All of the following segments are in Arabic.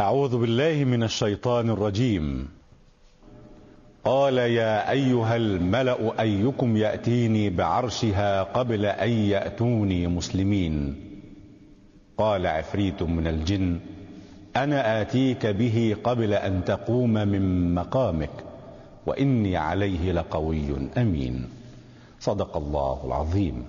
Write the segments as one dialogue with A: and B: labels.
A: أعوذ بالله من الشيطان الرجيم قال يا أيها الملأ أيكم يأتيني بعرشها قبل أن يأتوني مسلمين قال عفريت من الجن أنا آتيك به قبل أن تقوم من مقامك وإني عليه لقوي أمين صدق الله العظيم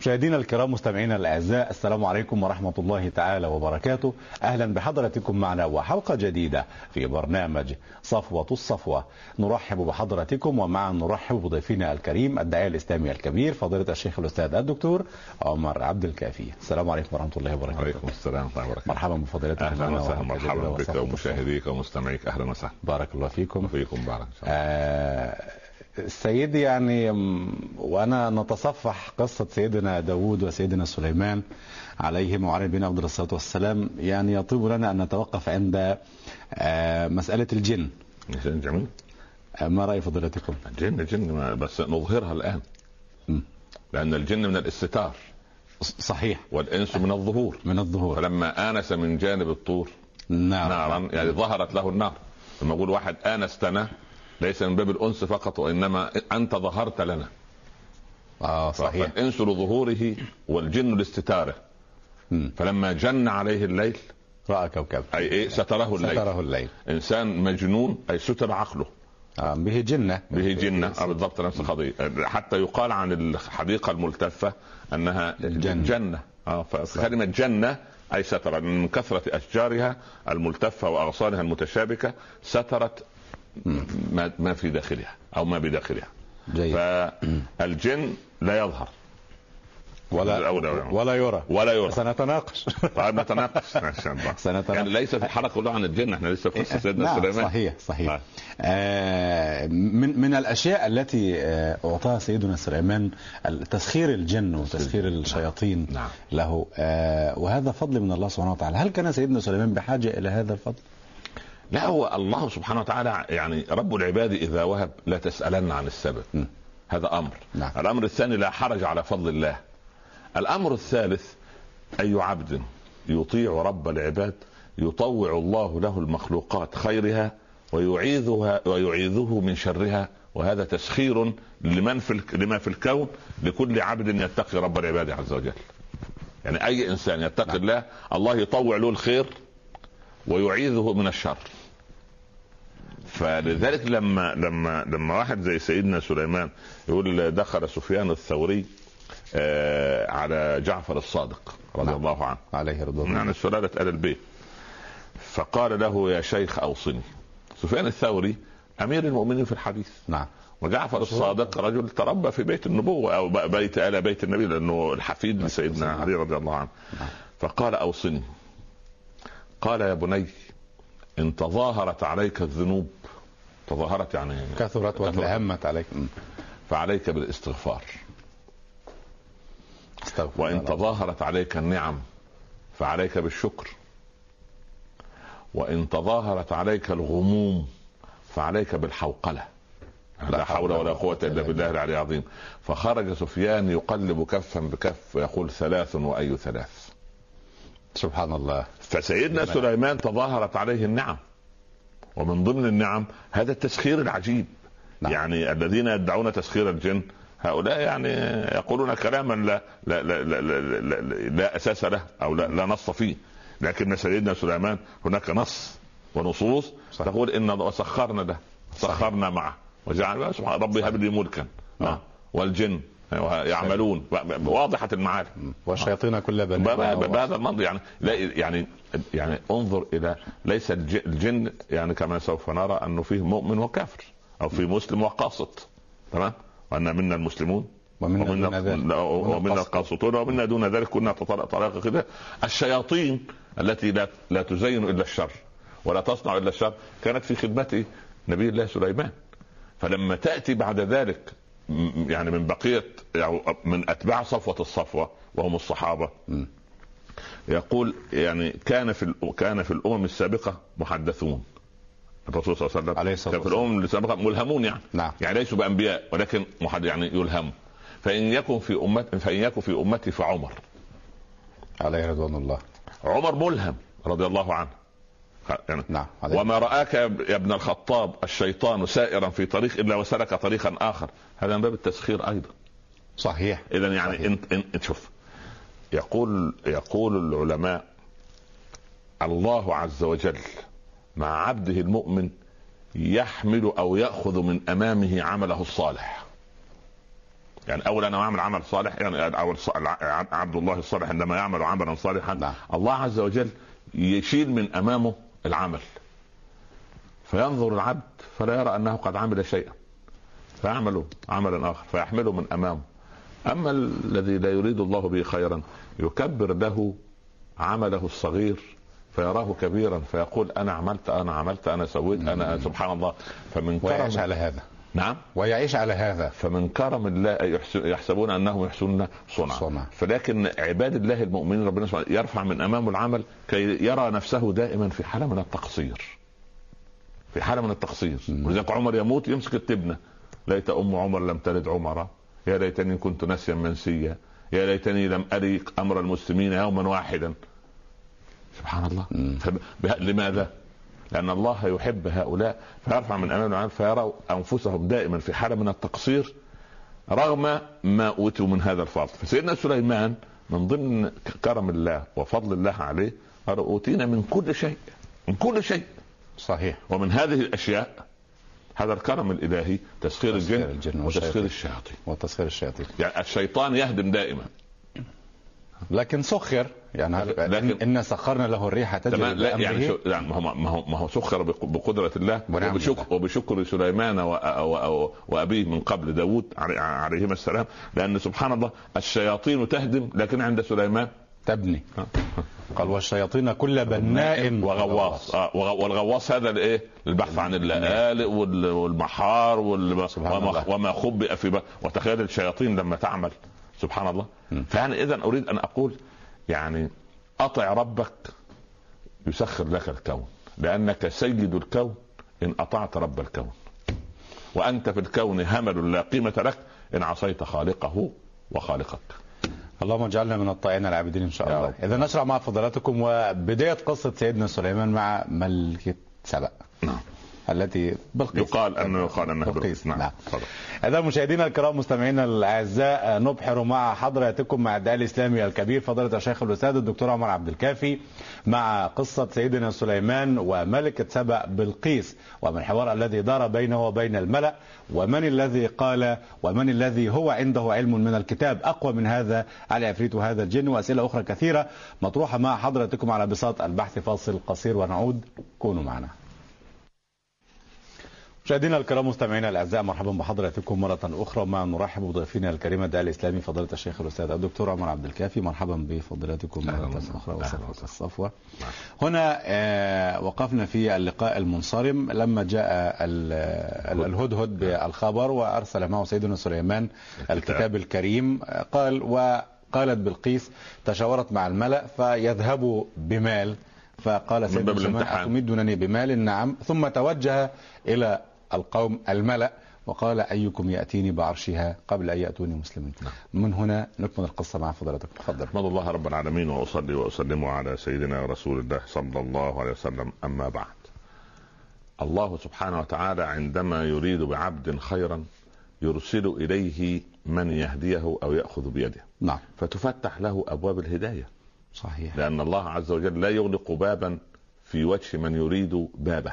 A: مشاهدينا الكرام مستمعينا الاعزاء السلام عليكم ورحمه الله تعالى وبركاته اهلا بحضراتكم معنا وحلقه جديده في برنامج صفوه الصفوه نرحب بحضراتكم ومعا نرحب بضيفنا الكريم الداعيه الاسلامي الكبير فضيله الشيخ الاستاذ الدكتور عمر عبد الكافي السلام عليكم ورحمه الله وبركاته
B: وعليكم السلام ورحمه الله وبركاته
A: مرحبا بفضيلتك
B: اهلا
A: معنا
B: وسهلا
A: وحلقة
B: مرحبا
A: جديدة
B: بك
A: وصفوة
B: ومشاهديك ومستمعيك اهلا وسهلا
A: الصفوة. بارك الله فيكم
B: فيكم بعد ان شاء الله
A: آه، السيد يعني م، وانا نتصفح قصه سيدنا داوود وسيدنا سليمان عليهم وعلى نبينا افضل الصلاه والسلام يعني يطيب لنا ان نتوقف عند آه، مساله الجن
B: جن جميل
A: آه، ما راي فضيلتكم؟
B: الجن جن ما- بس نظهرها الان
A: مم.
B: لان الجن من الاستتار
A: ص- صحيح
B: والانس من الظهور
A: من الظهور
B: فلما انس من جانب الطور
A: نعم
B: نارا يعني ظهرت له النار لما اقول واحد انستنا ليس من باب الانس فقط وانما انت ظهرت لنا
A: اه صحيح
B: فالانس لظهوره والجن لاستتاره
A: مم.
B: فلما جن عليه الليل
A: راى كوكب
B: اي ايه ستره الليل
A: ستره الليل
B: انسان مجنون اي ستر عقله
A: آه، به جنه
B: به جنه آه، بالضبط نفس القضيه حتى يقال عن الحديقه الملتفه انها
A: جنة.
B: جنه, جنة. اه فكلمه جنه اي ستر من كثره اشجارها الملتفه واغصانها المتشابكه سترت ما, ما في داخلها او ما بداخلها
A: جيد
B: فالجن لا يظهر
A: ولا
B: الأولى والأولى.
A: ولا يرى
B: ولا يرى
A: سنتناقش
B: طيب نتناقش ما شاء الله يعني
A: سنتناقش
B: ليس في حلقه كلها عن الجن احنا لسه في قصه سيدنا
A: نعم
B: سليمان
A: صحيح صحيح
B: آه.
A: آه، من من الاشياء التي آه، اعطاها سيدنا سليمان تسخير الجن وتسخير الشياطين
B: نعم
A: له آه، وهذا فضل من الله سبحانه وتعالى هل كان سيدنا سليمان بحاجه الى هذا الفضل
B: لا هو الله سبحانه وتعالى يعني رب العباد اذا وهب لا تسالن عن السبب
A: م.
B: هذا امر
A: نعم.
B: الامر الثاني لا حرج على فضل الله الامر الثالث اي عبد يطيع رب العباد يطوع الله له المخلوقات خيرها ويعيذها ويعيذه من شرها وهذا تسخير لمن في الك- لما في الكون لكل عبد يتقي رب العباد عز وجل يعني اي انسان يتقي الله الله يطوع له الخير ويعيذه من الشر فلذلك لما لما لما واحد زي سيدنا سليمان يقول دخل سفيان الثوري آه، على جعفر الصادق رضي
A: نعم.
B: الله عنه
A: عليه رضوان
B: من
A: الله
B: عن سلالة آل البيت فقال له يا شيخ أوصني سفيان الثوري أمير المؤمنين في الحديث
A: نعم
B: وجعفر الصادق رجل تربى في بيت النبوة أو ب- بيت آل بيت النبي لأنه الحفيد لسيدنا
A: نعم.
B: علي رضي الله عنه
A: نعم.
B: فقال أوصني قال يا بني إن تظاهرت عليك الذنوب تظاهرت يعني
A: كثرت وتلهمت عليك مم.
B: فعليك بالاستغفار
A: استغفر
B: وإن
A: الله.
B: تظاهرت عليك النعم فعليك بالشكر وإن تظاهرت عليك الغموم فعليك بالحوقلة لا حول ولا قوة إلا بالله العلي العظيم فخرج سفيان يقلب كفا بكف ويقول ثلاث وأي ثلاث
A: سبحان الله
B: فسيدنا سليمان تظاهرت عليه النعم ومن ضمن النعم هذا التسخير العجيب
A: نعم.
B: نعم. يعني الذين يدعون تسخير الجن هؤلاء يعني يقولون كلاما لا لا لا لا, لا, لا, لا, لا اساس له او لا, لا نص فيه لكن سيدنا سليمان هناك نص ونصوص
A: صح.
B: صح. تقول ان وسخرنا له سخرنا معه وجعل سبحان ربي هب لي ملكا
A: نعم.
B: آه. والجن يعملون واضحه المعارف
A: والشياطين كل بني
B: ب- ب- ب- بهذا المنظر يعني لا يعني يعني انظر الى ليس الج- الجن يعني كما سوف نرى انه فيه مؤمن وكافر او فيه مسلم وقاسط تمام وان منا المسلمون
A: ومنا دون ذلك.
B: لا،
A: ومنا
B: ومنا
A: القاسط.
B: القاسطون ومنا دون ذلك كنا تطلق طلاقه كده الشياطين التي لا لا تزين الا الشر ولا تصنع الا الشر كانت في خدمه نبي الله سليمان فلما تاتي بعد ذلك م- يعني من بقيه يعني من اتباع صفوه الصفوه وهم الصحابه
A: مم.
B: يقول يعني كان في ال- كان في الامم السابقه محدثون الرسول صلى الله عليه وسلم
A: عليه الصلاة
B: كان في الامم السابقه ملهمون يعني
A: نعم
B: يعني ليسوا بانبياء ولكن محد يعني يلهموا فان يكن في امتي فان يكن في امتي فعمر
A: عليه رضوان الله
B: عمر ملهم رضي الله عنه يعني
A: نعم عليك.
B: وما رآك يا اب- يا ابن الخطاب الشيطان سائرا في طريق إلا وسلك طريقا آخر هذا من باب التسخير أيضا
A: صحيح
B: اذا يعني
A: صحيح.
B: انت انت شوف يقول يقول العلماء الله عز وجل مع عبده المؤمن يحمل او ياخذ من امامه عمله الصالح يعني اول انا اعمل عمل صالح يعني اول ص- الع- عبد الله الصالح عندما يعمل عملا صالحا
A: نعم.
B: الله عز وجل يشيل من امامه العمل فينظر العبد فلا يرى انه قد عمل شيئا فيعمل عملا اخر فيحمله من امامه اما الذي لا يريد الله به خيرا يكبر له عمله الصغير فيراه كبيرا فيقول انا عملت انا عملت انا سويت انا سبحان الله فمن
A: ويعيش
B: كرم
A: على هذا
B: نعم
A: ويعيش على هذا
B: فمن كرم الله يحس- يحسبون انهم يحسنون صنعا
A: صنعا.
B: فلكن عباد الله المؤمنين ربنا سبحانه وتعالى يرفع من امامه العمل كي يرى نفسه دائما في حاله من التقصير في حاله من التقصير
A: مم.
B: ولذلك عمر يموت يمسك التبنه ليت ام عمر لم تلد عمرا يا ليتني كنت نسيا منسيا يا ليتني لم اري امر المسلمين يوما واحدا سبحان الله
A: مم.
B: فب- به- لماذا؟ لأن الله يحب هؤلاء فيرفع من أمام العالم فيروا أنفسهم دائما في حالة من التقصير رغم ما أوتوا من هذا الفضل فسيدنا سليمان من ضمن ك- كرم الله وفضل الله عليه قال أوتينا من كل شيء من كل شيء
A: صحيح
B: ومن هذه الأشياء هذا الكرم الإلهي تسخير
A: تسخير
B: الجن,
A: الجن
B: وتسخير
A: والشياطين.
B: الشياطين
A: وتسخير الشياطين
B: يعني الشيطان يهدم دائما
A: لكن سخر يعني هل-
B: لكن-
A: إنا سخرنا له الريح تجري
B: تمام لا
A: بأمره
B: يعني شو يعني ما هو ما هو ما هو سخر بق- بقدره الله
A: ونعم
B: وبشكر, وبشكر سليمان و- و- و- وابيه من قبل داود علي- عليهما السلام لان سبحان الله الشياطين تهدم لكن عند سليمان
A: تبني قال والشياطين كل بناء
B: وغواص آه، وغ- والغواص هذا الايه؟ البحث عن اللآلئ وال- والمحار وال-
A: سبحان
B: وما,
A: الله.
B: وما خبئ في بقى. وتخيل الشياطين لما تعمل سبحان الله
A: مم.
B: فأنا إذا أريد أن أقول يعني أطع ربك يسخر لك الكون لأنك سيد الكون إن أطعت رب الكون وأنت في الكون همل لا قيمة لك إن عصيت خالقه وخالقك
A: اللهم اجعلنا من الطائعين العابدين ان شاء
B: يا
A: الله
B: رب.
A: اذا نشرع مع فضلاتكم وبدايه قصه سيدنا سليمان مع ملكه سبأ
B: نعم.
A: التي بلقيس
B: يقال أنه يقال أنها
A: بلقيس
B: نعم
A: نعم
B: تفضل.
A: اذا مشاهدينا الكرام مستمعينا الاعزاء نبحر مع حضراتكم مع الداعي الاسلامي الكبير فضيله الشيخ الاستاذ الدكتور عمر عبد الكافي مع قصه سيدنا سليمان وملكه سبأ بلقيس وما الحوار الذي دار بينه وبين الملأ ومن الذي قال ومن الذي هو عنده علم من الكتاب اقوى من هذا على عفريت هذا الجن واسئله اخرى كثيره مطروحه مع حضراتكم على بساط البحث فاصل قصير ونعود كونوا معنا مشاهدينا الكرام مستمعينا الاعزاء مرحبا بحضراتكم مره اخرى مع نرحب بضيفنا الكريم الداعي الاسلامي فضيله الشيخ الاستاذ الدكتور عمر عبد الكافي مرحبا بفضيلتكم
B: أهلا
A: مره
B: وسهلا.
A: اخرى
B: أهلا
A: وصفوه
B: وسهلا.
A: الصفوه هنا آه، وقفنا في اللقاء المنصرم لما جاء ال- ال- الهدهد بالخبر وارسل معه سيدنا سليمان الكتاب الكريم آه، قال وقالت بلقيس تشاورت مع الملأ فيذهبوا بمال فقال
B: من باب
A: سيدنا سليمان
B: الامتحان.
A: أتمدونني بمال نعم ثم توجه إلى القوم الملأ وقال أيكم يأتيني بعرشها قبل أن يأتوني مسلمين
B: نعم.
A: من هنا نكمل القصة مع فضلاتكم تفضل
B: احمد الله رب العالمين واصلي واسلم على سيدنا رسول الله صلى الله عليه وسلم اما بعد الله سبحانه وتعالى عندما يريد بعبد خيرا يرسل اليه من يهديه او ياخذ بيده
A: نعم
B: فتفتح له ابواب الهدايه
A: صحيح
B: لان الله عز وجل لا يغلق بابا في وجه من يريد بابه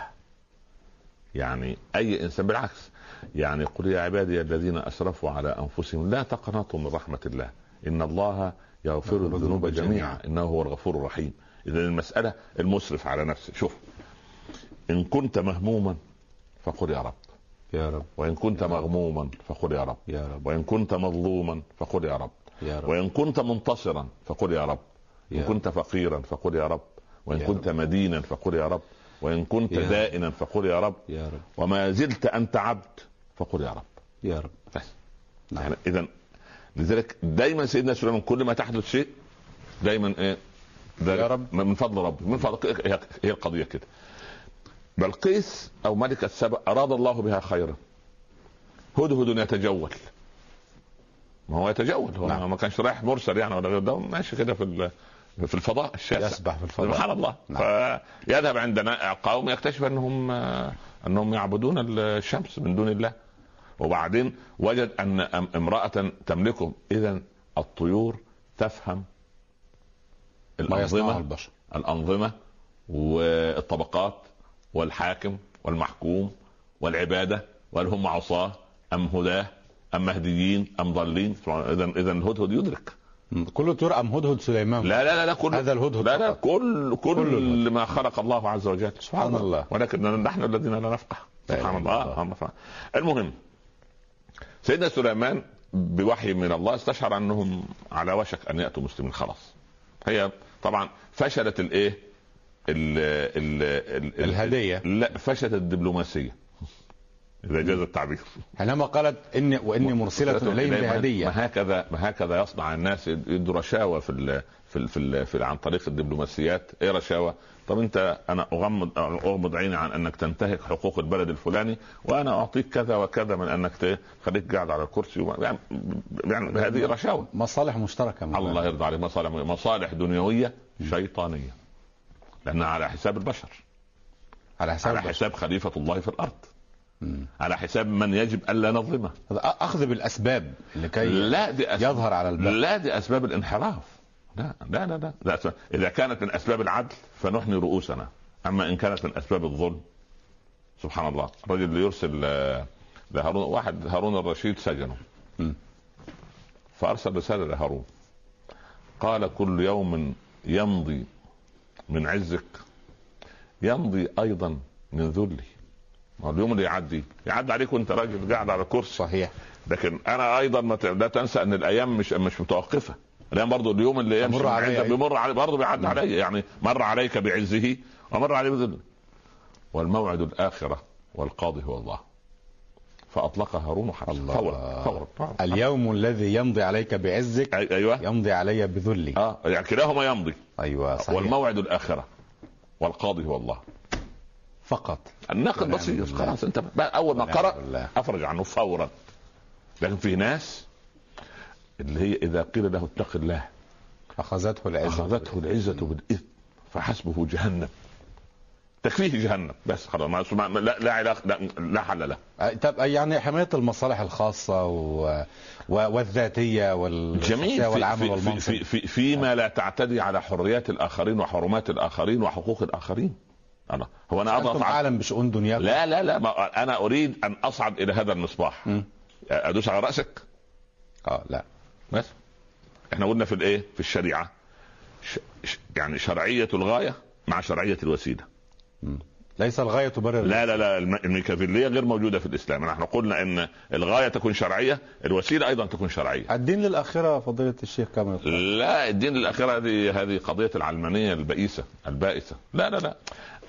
B: يعني اي انسان بالعكس يعني قل يا عبادي الذين اسرفوا على انفسهم لا تقنطوا من رحمه الله ان الله يغفر
A: يغفر
B: الذنوب
A: الذنوب
B: جميعا
A: جميعاً.
B: انه هو الغفور الرحيم اذا المساله المسرف على نفسه شوف ان كنت مهموما فقل يا رب
A: يا رب
B: وان كنت مغموما فقل يا رب
A: يا رب
B: وان كنت مظلوما فقل يا رب
A: يا رب
B: وان كنت منتصرا فقل يا رب وان
A: يا
B: كنت فقيرا فقل يا رب وان
A: يا
B: كنت مدينا فقل يا رب وان كنت
A: يا رب.
B: دائنا فقل يا رب
A: يا رب
B: وما زلت انت عبد فقل يا رب
A: يا رب
B: بس
A: نعم.
B: يعني اذا لذلك دايما سيدنا سليمان كل ما تحدث شيء دايما ايه ذلك
A: يا رب.
B: من فضل رب من فضل هي- هي القضيه كده بلقيس او ملكة سبأ اراد الله بها خيرا هدهد يتجول ما هو يتجول هو
A: نعم.
B: ما كانش رايح مرسل يعني ولا غير ده ماشي كده في ال- في الفضاء الشاسع
A: يسبح في الفضاء
B: سبحان الله
A: نعم.
B: نعم. يذهب عندنا قوم يكتشف انهم انهم يعبدون الشمس من دون الله وبعدين وجد ان أم- امراه تملكهم اذا الطيور تفهم
A: ما يصنعه
B: الانظمه
A: البشر
B: الانظمه والطبقات والحاكم والمحكوم والعباده وهل هم عصاه ام هداه ام مهديين ام ضالين اذا اذا الهدهد يدرك
A: م. كل الطيور ام هدهد سليمان
B: لا لا لا, لا كل
A: هذا الهدهد
B: لا لا
A: فقط.
B: كل كل,
A: كل
B: ما خلق الله عز وجل
A: سبحان الله.
B: ولكن نحن الذين لا نفقه
A: لا إله إلا
B: سبحان الله
A: الله.
B: آه، الله سبحانه. المهم سيدنا سليمان بوحي من الله استشعر انهم على وشك ان ياتوا مسلمين خلاص هي طبعا فشلت الايه ال ال ال
A: الهدية.
B: لا فشلت الدبلوماسيه اذا جاز التعبير
A: حينما قالت اني واني مرسله اليهم
B: إليهم
A: بهديه
B: ما هكذا ما هكذا يصنع الناس يدوا رشاوى في ال في ال في, ال في ال عن طريق الدبلوماسيات ايه رشاوى طب انت انا اغمض اغمض عيني عن انك تنتهك حقوق البلد الفلاني وانا اعطيك كذا وكذا من انك ت- خليك قاعد على الكرسي وما- يعني, يعني هذه رشاوى
A: مصالح مشتركه من
B: الله يرضى عليك مصالح مصالح دنيويه شيطانيه لانها على حساب البشر
A: على حساب
B: على
A: البشر.
B: حساب خليفه الله في الارض
A: م.
B: على حساب من يجب الا نظلمه
A: هذا أ- اخذ بالاسباب لكي
B: لا دي أسباب
A: يظهر على البشر
B: لا دي اسباب الانحراف لا لا لا, لا. لا أسباب. اذا كانت من اسباب العدل فنحني رؤوسنا اما ان كانت من اسباب الظلم سبحان الله الرجل اللي يرسل آه، لهارون واحد هارون الرشيد سجنه
A: مم.
B: فارسل رساله لهارون قال كل يوم يمضي من عزك يمضي ايضا من ذلي ما هو اليوم اللي يعدي يعدي عليك وانت راجل قاعد على كرسي
A: صحيح
B: لكن انا ايضا ما ت- لا تنسى ان الايام مش مش متوقفه الايام برضه اليوم اللي يمشي
A: مر
B: من
A: عليا
B: عندك
A: أيضاً.
B: بيمر علي برضه بيعدي
A: نعم.
B: علي يعني مر عليك بعزه ومر علي بذله والموعد الاخره والقاضي هو الله فاطلق هارون حبسه
A: الله.
B: فورا فورا
A: اليوم الذي يمضي عليك بعزك
B: أي- ايوه
A: يمضي علي بذلي
B: اه يعني كلاهما يمضي
A: ايوه صحيح
B: والموعد الاخره والقاضي هو الله
A: فقط
B: الناقد
A: ونعم
B: بسيط
A: بالله.
B: خلاص انت بقى اول ما
A: ونعم
B: قرأ
A: بالله.
B: افرج عنه فورا لكن في ناس اللي هي اذا قيل له اتق الله
A: اخذته العزه
B: أخذته العزة بالإثم فحسبه جهنم تكفيه جهنم بس خلاص ما- ما- ما- لا لا علاقة لا, لا حل له
A: أه، طب يعني حمايه المصالح الخاصه و... و... والذاتيه وال...
B: جميل
A: والعمل
B: في في,
A: والمنصب
B: في, في فيما لا تعتدي على حريات الآخرين وحرمات الآخرين وحقوق الآخرين أنا هو أنا أضغط
A: انتم
B: على
A: اعلم بشؤون دنياكم
B: لا لا لا ما أنا أريد أن أصعد إلى هذا المصباح
A: مم.
B: أدوس على رأسك
A: اه لا
B: بس احنا قلنا في الايه في الشريعه ش... ش... يعني شرعيه الغايه مع شرعيه الوسيله
A: ليس الغايه تبرر
B: لا لا لا الم- الميكافيليه غير موجوده في الاسلام نحن قلنا ان الغايه تكون شرعيه الوسيله ايضا تكون شرعيه
A: الدين للاخره فضيله الشيخ كما يقول
B: لا الدين الاخره هذه هذه قضيه العلمانيه البئيسه البائسه لا لا لا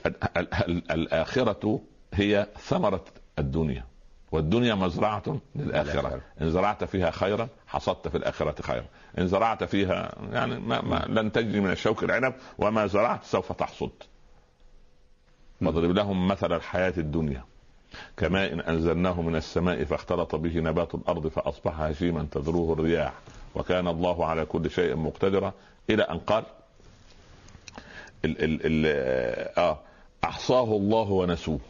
B: ال- ال- ال- الاخره هي ثمره الدنيا والدنيا مزرعة للآخرة
A: للآخرة.
B: إن زرعت فيها خيرا حصدت في الآخرة خيرا إن زرعت فيها يعني ما ما لن تجني من الشوك العنب وما زرعت سوف تحصد واضرب لهم مثل الحياة الدنيا كماء إن أنزلناه من السماء فاختلط به نبات الأرض فأصبح هشيما تذروه الرياح وكان الله على كل شيء مقتدرا إلى أن قال ال ال ال آه أحصاه الله ونسوه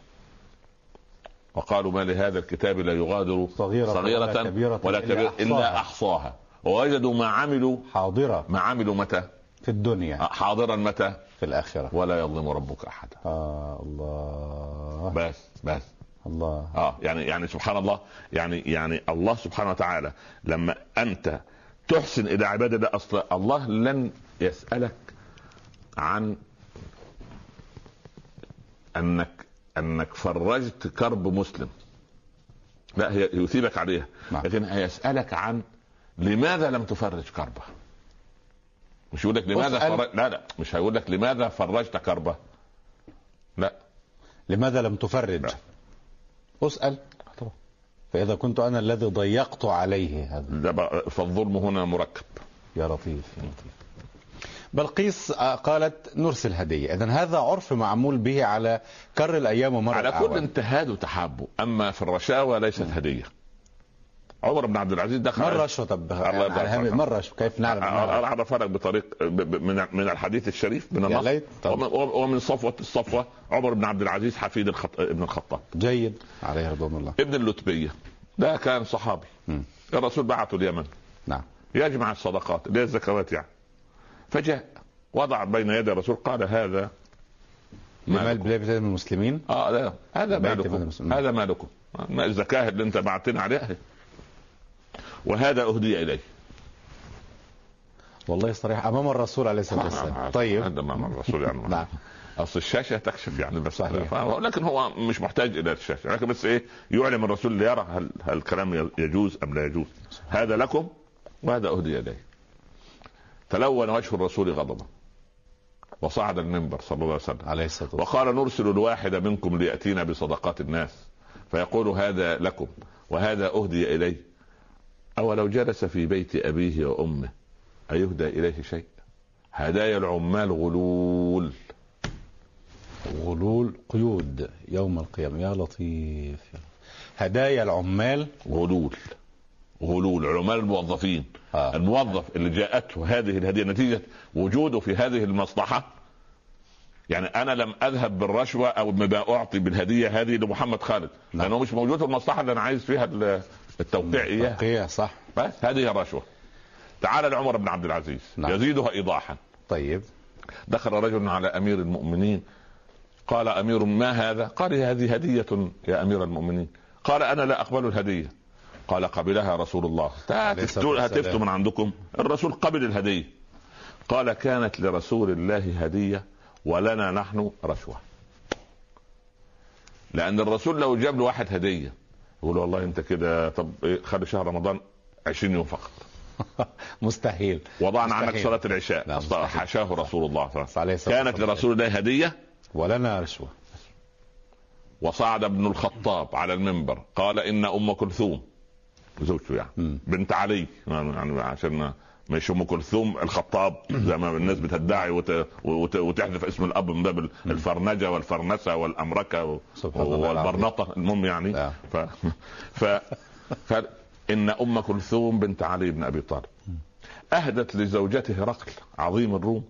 B: وقالوا ما لهذا الكتاب لا يغادر
A: صغيرة ولا كبيرة
B: ولا
A: إلا
B: كبيرة إلا
A: أحصاها.
B: أحصاها ووجدوا ما عملوا
A: حاضره
B: ما عملوا متى
A: في الدنيا
B: حاضرا متى
A: في الاخره
B: ولا يظلم ربك أحدا
A: آه الله
B: بس بس
A: الله
B: اه يعني يعني سبحان الله يعني يعني الله سبحانه وتعالى لما انت تحسن الى عباده ده اصلا الله لن يسالك عن انك انك فرجت كرب مسلم لا هي يثيبك عليها
A: نعم.
B: لكن هيسالك عن لماذا لم تفرج كربه مش يقول لك لماذا
A: أسأل.
B: فرج... لا لا مش هيقول لك لماذا فرجت كربه لا
A: لماذا لم تفرج
B: لا.
A: اسال
B: طبعا.
A: فاذا كنت انا الذي ضيقت عليه هذا
B: ده بقى- فالظلم هنا مركب
A: يا لطيف يا لطيف بلقيس آه، قالت نرسل هديه اذا هذا عرف معمول به على كر الايام ومر
B: على كل
A: الأعوام.
B: انتهاد وتحابه اما في الرشاوى ليست هديه عمر بن عبد العزيز دخل
A: مرة أشهر طب
B: الله يبارك
A: على هامي
B: فيك. آه،
A: مرة أشهر كيف نعلم
B: أنا أعرف لك بطريق ب- ب- من من الحديث الشريف من
A: يا
B: النص
A: ليت. طب.
B: ومن- ومن صفوة الصفوة عمر بن عبد العزيز حفيد الخط... ابن الخطاب
A: جيد عليه رضوان الله
B: ابن اللتبية ده كان صحابي
A: مم.
B: الرسول بعته اليمن
A: نعم
B: يجمع الصدقات اللي هي الزكوات يعني فجاء وضع بين يدي الرسول قال هذا
A: لمال
B: مالكم
A: بلاد المسلمين
B: اه لا هذا
A: بيت مال
B: مالكم
A: المسلمين.
B: هذا مالكم ما الزكاة اللي انت بعتنا عليها وهذا اهدي اليه
A: والله صريح أمام الرسول عليه الصلاة
B: آه،
A: والسلام طيب
B: هذا مع الرسول يعني
A: نعم
B: اصل الشاشه تكشف يعني المساله
A: صحيح.
B: ف- لكن هو مش محتاج الى الشاشه لكن بس ايه يعلم الرسول ليرى هل هل الكلام ي- يجوز ام لا يجوز هذا لكم وهذا اهدي اليه تلون وجه الرسول غضبا وصعد المنبر صلى الله عليه وسلم
A: عليه الصلاة والسلام
B: وقال نرسل الواحد منكم ليأتينا بصدقات الناس فيقول هذا لكم وهذا أهدي إليه أولو جلس في بيت أبيه وأمه أيهدى إليه شيء هدايا العمال غلول
A: غلول قيود يوم القيامة يا لطيف يا- هدايا العمال
B: غلول غلول عمال الموظفين
A: آه.
B: الموظف اللي جاءته هذه الهديه نتيجه وجوده في هذه المصلحه يعني انا لم اذهب بالرشوه او بما اعطي بالهديه هذه لمحمد خالد
A: نعم.
B: لانه مش موجود في المصلحه اللي انا عايز فيها ال- التوقيع اياه
A: بقية صح
B: بس هذه الرشوه تعال لعمر بن عبد العزيز
A: نعم.
B: يزيدها ايضاحا
A: طيب
B: دخل رجل على امير المؤمنين قال امير ما هذا؟ قال هذه هديه يا امير المؤمنين قال انا لا اقبل الهديه قال قبلها رسول الله
A: عليه الصلاة
B: هتفتوا
A: والسلام.
B: هتفتوا من عندكم الرسول قبل الهديه قال كانت لرسول الله هديه ولنا نحن رشوه لان الرسول لو جاب له واحد هديه يقول والله انت كده طب إيه، خلي شهر رمضان 20 يوم فقط
A: مستحيل
B: وضعنا
A: مستحيل.
B: عنك صلاه العشاء
A: لا،
B: أصلا
A: مستحيل.
B: حاشاه رسول الله صلى الله عليه وسلم
A: عليه الصلاة
B: كانت
A: والسلام.
B: لرسول الله هديه
A: ولنا رشوة
B: وصعد ابن الخطاب على المنبر قال ان ام كلثوم زوجته يعني
A: مم.
B: بنت علي يعني يعني عشان ما- مش ام كلثوم الخطاب زي ما الناس بتدعي وت... وت... وتحذف اسم الاب من باب الفرنجه والفرنسه والامركه و...
A: سبحان الله
B: والبرنطه المهم يعني
A: نعم.
B: ف... ف... ف... ان ام كلثوم بنت علي بن ابي طالب اهدت لزوجته هرقل عظيم الروم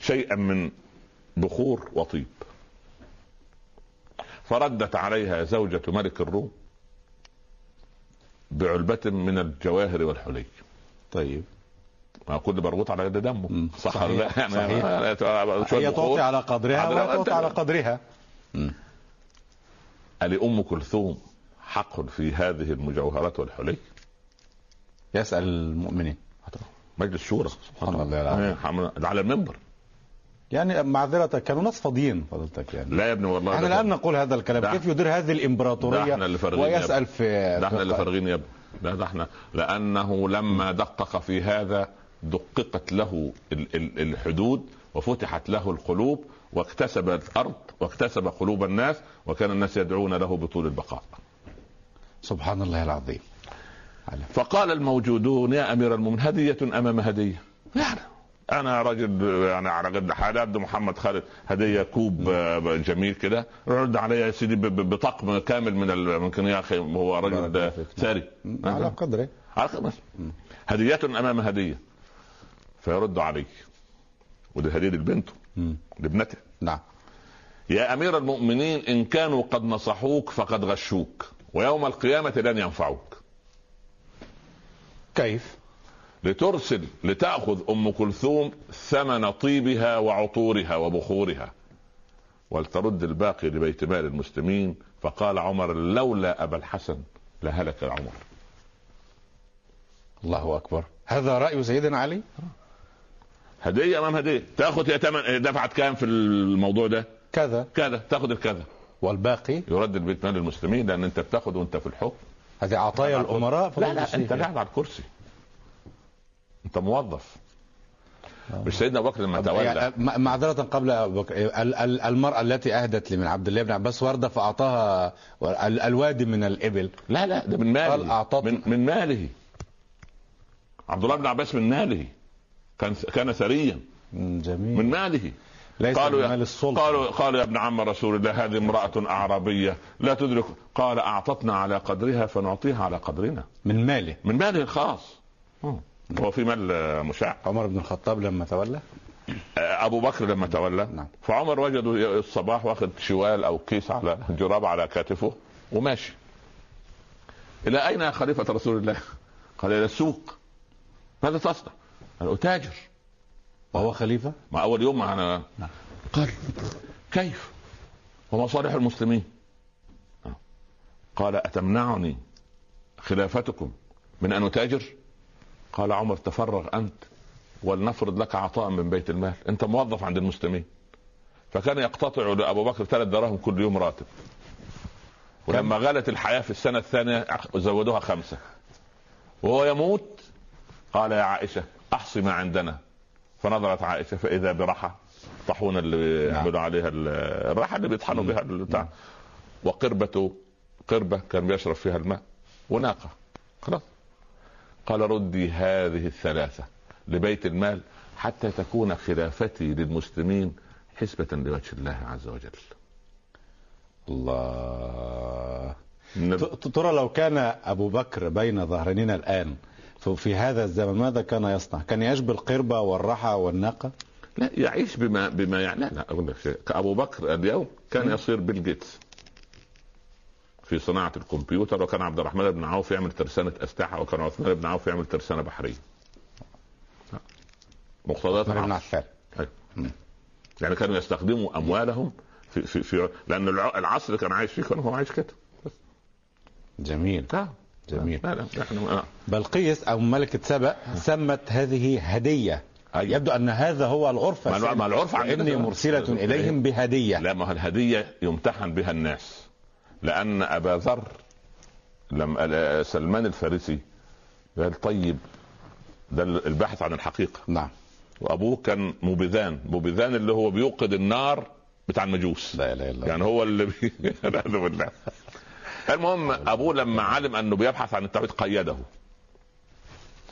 B: شيئا من بخور وطيب فردت عليها زوجة ملك الروم بعلبة من الجواهر والحلي
A: طيب
B: ما كل برغوث على يد دمه
A: مم.
B: صح
A: صحيح.
B: ولا لا؟ يعني
A: صحيح.
B: آه، شوية
A: هي
B: بخور.
A: تعطي على قدرها
B: على-
A: ولا تعطي
B: أنت-
A: على قدرها
B: ألأم كلثوم حق في هذه المجوهرات والحلي
A: يسأل المؤمنين
B: مجلس شورى نعم.
A: سبحان الله العظيم.
B: على المنبر
A: يعني معذرة كانوا ناس فاضيين فضلتك يعني
B: لا يا ابني والله
A: احنا
B: ده-
A: الآن نقول هذا
B: ده
A: الكلام كيف
B: احنا-
A: يدير هذه
B: ده
A: الإمبراطورية
B: احنا اللي فارغين يا
A: ويسأل في
B: ده احنا اللي
A: في-
B: فارغين يا ابني لا ده احنا لانه لما دقق في هذا دققت له ال- ال- الحدود وفتحت له القلوب واكتسب الارض واكتسب قلوب الناس وكان الناس يدعون له بطول البقاء
A: سبحان الله العظيم
B: فقال الموجودون يا امير المؤمنين هديه امام هديه يعني انا راجل يعني على قد حالي ابن محمد خالد هديه كوب آه، جميل كده رد عليا يا سيدي ب- ب- بطقم كامل من ال- ممكن يا اخي هو رجل
A: بارك الله
B: آه،
A: فيك.
B: ثري
A: على قدره
B: على الخمس هدية أمام هدية فيرد عليك وده هدية لبنته
A: مم.
B: لابنته
A: نعم
B: يا أمير المؤمنين إن كانوا قد نصحوك فقد غشوك ويوم القيامة لن ينفعوك
A: كيف
B: لترسل لتأخذ أم كلثوم ثمن طيبها وعطورها وبخورها ولترد الباقي لبيت مال المسلمين فقال عمر لولا أبا الحسن لهلك عمر
A: الله أكبر هذا رأي سيدنا علي
B: هدية أمام هدية تأخذ هي تمن إيه، دفعت كام في الموضوع ده
A: كذا
B: كذا تاخد الكذا
A: والباقي
B: يرد البيت مال المسلمين لان انت بتاخد وانت في الحكم
A: هذه عطايا الأمراء
B: لا لا
A: فضل
B: انت
A: الشيخ.
B: قاعد على الكرسي انت موظف
A: آه.
B: مش سيدنا ابو بكر لما تولى
A: يعني م- معذرة قبل أبو بكر. ال- ال- المرأة التي أهدت لمن عبد الله بن عباس وردة فأعطاها ال- الوادي من الإبل
B: لا لا ده من
A: قال
B: ماله
A: أعطت-
B: من, من ماله عبد الله بن عباس من ماله كان كان ثريا
A: مم، جميل
B: من ماله
A: ليس
B: قالوا
A: بمال
B: يا
A: السلطة
B: قالوا قالوا يا ابن عم رسول الله هذه امرأة أعرابية لا تدرك قال أعطتنا على قدرها فنعطيها على قدرنا
A: من ماله
B: من ماله الخاص هو في مال آه، مشع
A: عمر بن الخطاب لما تولى
B: آه، أبو بكر لما تولى
A: نعم.
B: فعمر وجده الصباح واخد شوال أو كيس على جراب على كتفه وماشي إلى أين يا خليفة رسول الله قال إلى السوق ماذا تصنع قال أتاجر
A: وهو خليفة
B: ما اول يوم انا
A: نعم.
B: قال كيف ومصالح المسلمين آه. قال اتمنعني خلافتكم من ان اتاجر قال عمر تفرغ انت ولنفرض لك عطاء من بيت المال انت موظف عند المسلمين فكان يقتطع لابو بكر ثلاث دراهم كل يوم راتب ولما غلت الحياه في السنه الثانيه زودوها خمسه وهو يموت قال يا عائشه احصي ما عندنا فنظرت عائشه فاذا برحى طاحونه اللي
A: نعم.
B: يعملوا عليها ال- الرحى اللي بيطحنوا
A: مم.
B: بها البتاع وقربته قربه كان بيشرب فيها الماء وناقه خلاص قال ردي هذه الثلاثه لبيت المال حتى تكون خلافتي للمسلمين حسبة لوجه الله عز وجل
A: الله
B: نب-
A: ت- ترى لو كان أبو بكر بين ظهرانينا الآن ف- في هذا الزمن ماذا كان يصنع؟ كان يشبي القربة والرحى والناقة؟
B: لا يعيش بما بما يعني لا, لا اقول لك شيء ابو بكر اليوم كان يصير بيل جيتس في صناعه الكمبيوتر وكان عبد الرحمن بن عوف يعمل ترسانه اسلحه وكان عثمان بن عوف يعمل ترسانه بحريه مقتضيات
A: عثمان بن
B: العصر.
A: عفان
B: أيوة. يعني كانوا يستخدموا اموالهم في في, في لان الع- العصر اللي كان عايش فيه كان هو عايش كده
A: جميل
B: آه.
A: جميل.
B: لا لا نحن آه.
A: بلقيس أو ملكة سبأ سمت هذه هدية
B: أيوة.
A: يبدو أن هذا هو العرف
B: ما- ما العرف عندنا
A: إني
B: كده.
A: مرسلة إليهم بهدية
B: لا ما هو الهدية يمتحن بها الناس لأن أبا ذر لم سلمان الفارسي قال طيب ده الباحث عن الحقيقة
A: نعم
B: وأبوه كان مبذان مبذان اللي هو بيوقد النار بتاع المجوس
A: لا إله إلا الله
B: يعني هو اللي بي... لا أعوذ بالله المهم أبوه لما علم أنه بيبحث عن التوحيد قيده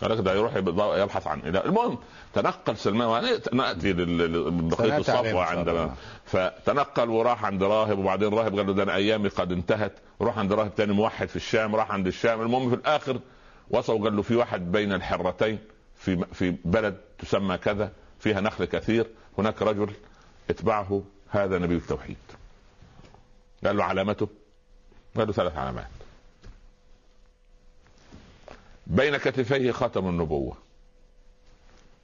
B: قال لك ده يروح يبض- يبحث عن إله المهم تنقل سلمان وهنأت- ناتي لبقيه
A: سنأتي عليه إن شاء
B: الصفوه عندما
A: الله.
B: فتنقل وراح عند راهب وبعدين راهب قال له ده انا ايامي قد انتهت راح عند راهب تاني موحد في الشام راح عند الشام المهم في الاخر وصل وقال له في واحد بين الحرتين في في بلد تسمى كذا فيها نخل كثير هناك رجل اتبعه هذا نبي التوحيد قال له علامته قال له ثلاث علامات بين كتفيه خاتم النبوه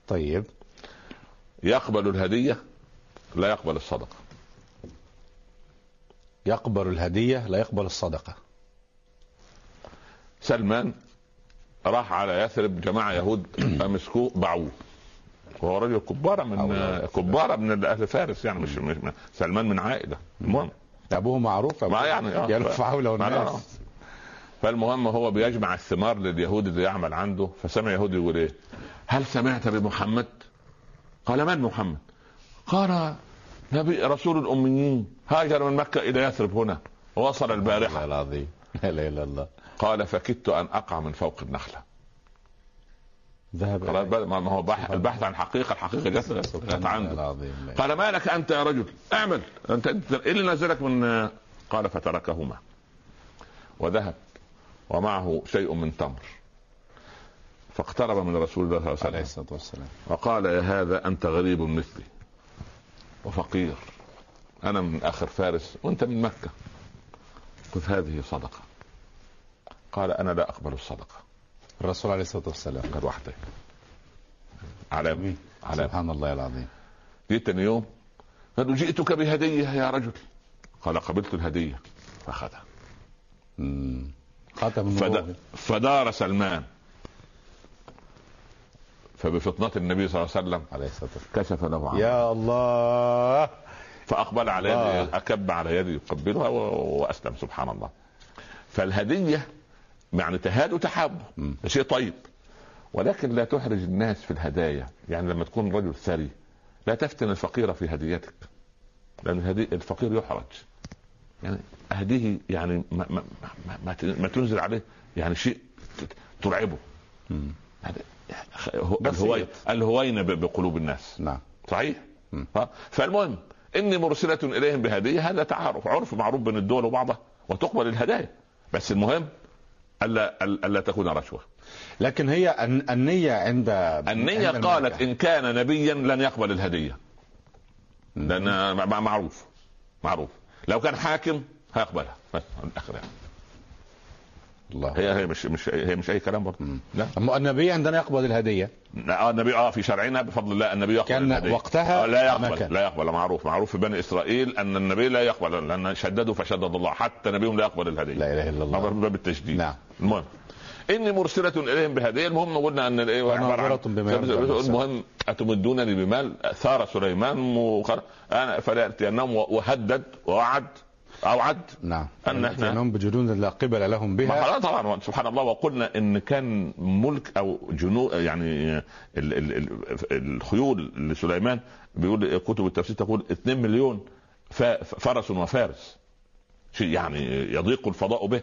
A: طيب
B: يقبل الهديه لا يقبل الصدقه
A: يقبل الهدية لا يقبل الصدقة
B: سلمان راح على يثرب جماعه يهود مسكوه باعوه وهو رجل كبارة من
A: الله.
B: كبارة من اهل فارس يعني مش, مش سلمان من عائله المهم
A: أبوه معروف أبوه
B: ما يعني، آه.
A: يلف حوله
B: ما أنا
A: الناس
B: فالمهم هو بيجمع الثمار لليهود اللي يعمل عنده فسمع يهودي يقول ايه هل سمعت بمحمد قال من محمد قال نبي رسول الاميين هاجر من مكه الى يثرب هنا ووصل
A: والله
B: البارحه
A: العظيم لا إله إلا الله
B: قال فكدت ان اقع من فوق النخله
A: ذهب
B: خلاص بقى، ما ما هو بح- البحث عن حقيقه الحقيقه جت عنده
A: العظيم
B: قال ما لك انت يا رجل اعمل انت أنت- ايه اللي نزلك من قال فتركهما وذهب ومعه شيء من تمر فاقترب من رسول الله صلى الله عليه
A: عليه
B: وسلم
A: الصلاة والسلام
B: وقال يا هذا انت غريب مثلي وفقير انا من اخر فارس وانت من مكه خذ هذه صدقه قال انا لا اقبل الصدقه
A: الرسول عليه الصلاة والسلام
B: قال واحده علامه علامه
A: سبحان الله العظيم
B: جيت تاني يوم قالوا جئتك بهدية يا رجل قال قبلت الهدية فأخذها
A: مم. خاتم
B: فد...
A: النبوة
B: فدار سلمان فبفطنة النبي صلى الله عليه وسلم
A: عليه الصلاة والسلام
B: كشف له عنه
A: يا الله
B: فأقبل على
A: الله.
B: يدي أكب على يدي يقبلها و... وأسلم سبحان الله فالهدية يعني تهاد وتحاب
A: مم.
B: شيء طيب ولكن لا تحرج الناس في الهدايا يعني لما تكون رجل ثري لا تفتن الفقير في هديتك لأن الهدي... الفقير يحرج يعني أهديه يعني ما, ما... ما... ما... ما تنزل عليه يعني شيء ت- ترعبه
A: مم.
B: يعني الهوي... الهوينة ب- بقلوب الناس
A: نعم
B: صحيح
A: م.
B: ها؟ فالمهم اني مرسله اليهم بهديه هذا تعارف عرف معروف بين الدول وبعضها وتقبل الهدايا بس المهم الا الا ألا تكون رشوه
A: لكن هي الن- النية عند
B: النية
A: عند
B: قالت
A: الملكة.
B: إن كان نبيا لن يقبل الهدية لأن مع- مع- معروف معروف لو كان حاكم هيقبلها بس من الآخر يعني.
A: الله
B: هي هي مش مش هي مش أي كلام برضه لا
A: أما النبي عندنا يقبض الهدية
B: لا، آه، النبي اه في شرعنا بفضل الله النبي يقبل
A: كان
B: الهدية.
A: وقتها
B: آه، لا
A: ما كان.
B: يقبل لا يقبل معروف معروف في بني اسرائيل ان النبي لا يقبل لان شددوا فشدد الله حتى نبيهم لا يقبل الهديه
A: لا إله إلا
B: هذا
A: الله
B: من باب التشديد
A: نعم.
B: المهم اني مرسله اليهم بهديه المهم قلنا ان الايه
A: وناظرة نعم، بما يرضى الله.
B: المهم اتمدونني بمال ثار سليمان وخر... انا فلياتينهم وهدد ووعد اوعد
A: نعم
B: أن إحنا-
A: أنهم بجنود لا قبل لهم
B: ما
A: بها
B: خلاص طبعا سبحان الله وقلنا ان كان ملك او جنود يعني ال ال ال الخيول لسليمان بيقول كتب التفسير تقول 2 مليون ف- فرس وفارس شيء يعني يضيق الفضاء به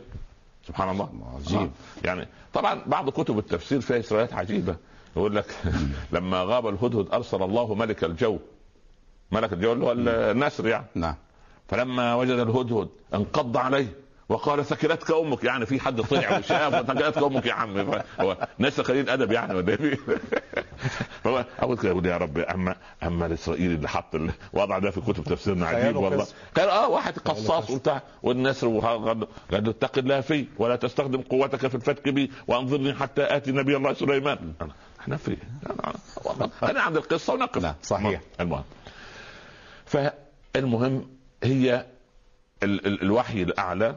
B: سبحان الله
A: عجيب.
B: آه. يعني طبعا بعض كتب التفسير فيها اسرائيلات عجيبه يقول لك لما غاب الهدهد ارسل الله ملك الجو ملك الجو اللي هو النسر يعني
A: نعم
B: فلما وجد الهدهد انقض عليه وقال ثكلتك امك يعني في حد طلع وشاف وثكلتك امك يا عم هو ناس قليل ادب يعني ولا ايه هو اول كده يقول يا رب اما اما الاسرائيلي اللي حط الوضع ده في كتب تفسيرنا عجيب
A: خياله
B: والله
A: قسم.
B: قال اه واحد قصاص
A: قسم.
B: وبتاع والناس قال له اتق الله فيه ولا تستخدم قوتك في الفتك بي وانظرني حتى اتي نبي الله سليمان أنا- احنا في أنا- أنا- والله انا عند القصه ونقف
A: نعم، صحيح.
B: المهم فالمهم هي ال ال الوحي الاعلى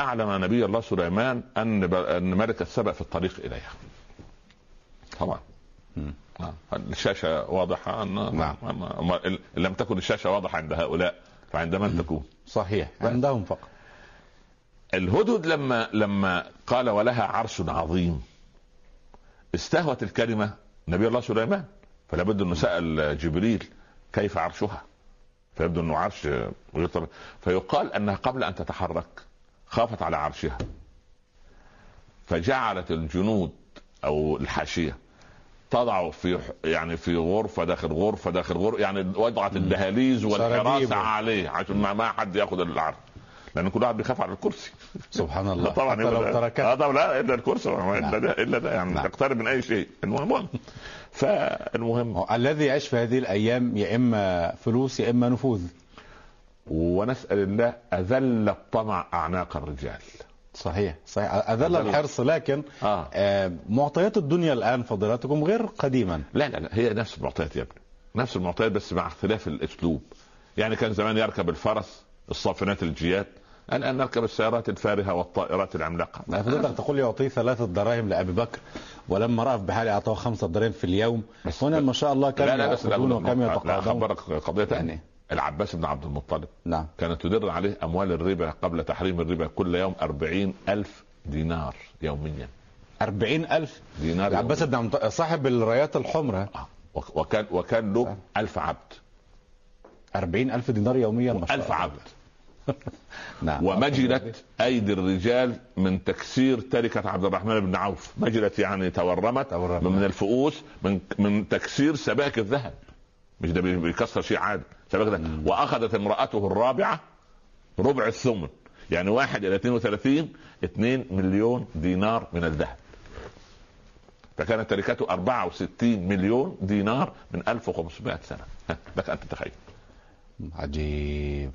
B: اعلم نبي الله سليمان ان ب- ان ملك السبأ في الطريق اليها. طبعا.
A: مم.
B: نعم. الشاشه واضحه ان
A: نعم.
B: أما إن لم تكن الشاشه واضحه عند هؤلاء فعند من تكون؟
A: صحيح
B: بس.
A: عندهم فقط
B: الهدهد لما لما قال ولها عرش عظيم استهوت الكلمه نبي الله سليمان فلا بد انه سال جبريل كيف عرشها؟ فيبدو انه عرش غير طبيعي فيقال انها قبل ان تتحرك خافت على عرشها فجعلت الجنود او الحاشيه تضع في يعني في غرفه داخل غرفه داخل غرفه يعني وضعت الدهاليز والحراسه
A: سراديب.
B: عليه عشان ما ما حد ياخذ العرش لأن كل واحد بيخاف على الكرسي
A: سبحان الله
B: طبعا
A: حتى لو
B: يبقى-
A: تركت
B: اه طبعا لا الا الكرسي
A: نعم.
B: الا ده الا ده يعني
A: نعم.
B: تقترب من اي شيء المهم المهم. فالمهم
A: الذي يعيش في هذه الأيام يا إما فلوس يا إما نفوذ
B: ونسال الله اذل الطمع اعناق الرجال
A: صحيح صحيح أذل
B: أذل.
A: الحرص لكن
B: اه
A: آه، معطيات الدنيا الآن فضيلتكم غير قديما
B: لا لا لا هي نفس المعطيات يا ابني نفس المعطيات بس مع اختلاف الاسلوب يعني كان زمان يركب الفرس الصافنات الجياد الان نركب السيارات الفارهه والطائرات العملاقه
A: فضلتك تقول لي أعطيه ثلاثة دراهم لأبي بكر ولما رأف بحالي أعطاه خمسة دراهم في اليوم
B: بس-
A: هنا ما شاء الله كم
B: لا لا بس لا
A: يأخذون وكم
B: لا
A: يتقاضون
B: خبرك قضيه
A: يعني.
B: يعني العباس بن عبد المطلب
A: نعم
B: كانت تدر عليه أموال الربا قبل تحريم الربا كل يوم أربعين ألف دينار يوميا
A: أربعين ألف
B: دينار
A: العباس بن عبد صاحب الرايات الحمراء
B: يومياً. آه. وك- وكان وكان له ألف عبد
A: أربعين ألف دينار يوميا ما شاء
B: ألف
A: الله.
B: عبد
A: نعم
B: ومجلت أيدي الرجال من تكسير تركة عبد الرحمن بن عوف مجلت يعني تورمت
A: تورمت.
B: من الفؤوس من من تكسير سبائك الذهب مش ده بي- بيكسر شيء عادي سبائك الذهب واخذت امراته الرابعه ربع الثمن يعني واحد الى 32 2 مليون دينار من الذهب فكانت تركته 64 مليون دينار من 1500 سنه ها، لك ان تتخيل
A: عجيب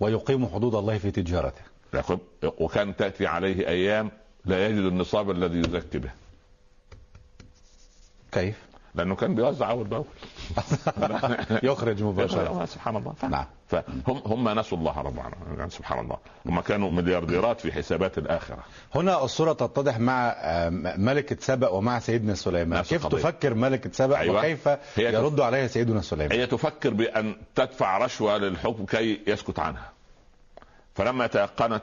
A: ويقيم حدود الله في تجارته
B: لكن- وكان تاتي عليه ايام لا يجد النصاب الذي يزكي به
A: كيف؟
B: لانه كان بيوزع اول باول
A: يخرج مباشرة
B: سبحان الله
A: نعم
B: فهم هم نسوا الله رب العالمين يعني سبحان الله هم كانوا مليارديرات في حسابات الاخره
A: هنا الصورة تتضح مع آه، ملكة سبأ ومع سيدنا سليمان
B: نفس
A: كيف
B: القضية.
A: تفكر ملكة سبأ
B: أيوة.
A: وكيف
B: هي
A: يرد عليها سيدنا سليمان
B: هي تفكر بان تدفع رشوه للحكم كي يسكت عنها فلما تيقنت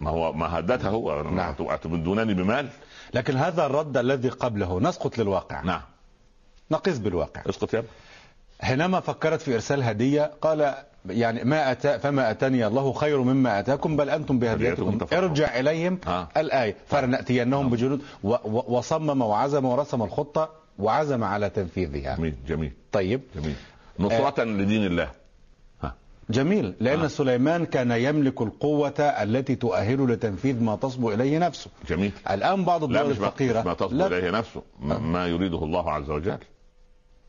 B: ما هو ما هددها هو
A: نعم.
B: اتمدونني بمال
A: لكن هذا الرد الذي قبله نسقط للواقع
B: نعم
A: نقيس بالواقع
B: اسقط يا ابني.
A: حينما فكرت في ارسال هديه قال يعني ما أتى فما اتاني الله خير مما اتاكم بل انتم بهديتكم
B: هديتكم تفرحون.
A: ارجع اليهم
B: آه.
A: الايه فلناتينهم بجنود و- و- وصمم وعزم ورسم الخطه وعزم على تنفيذها
B: جميل جميل
A: طيب
B: جميل نصرة لدين الله
A: جميل لأن
B: آه.
A: سليمان كان يملك القوة التي تؤهله لتنفيذ ما تصبو إليه نفسه
B: جميل
A: الآن بعض
B: لا
A: الدول
B: مش ما-
A: الفقيرة
B: مش ما تصبر
A: لا. آه.
B: إليه نفسه ما- ما يريده الله عز وجل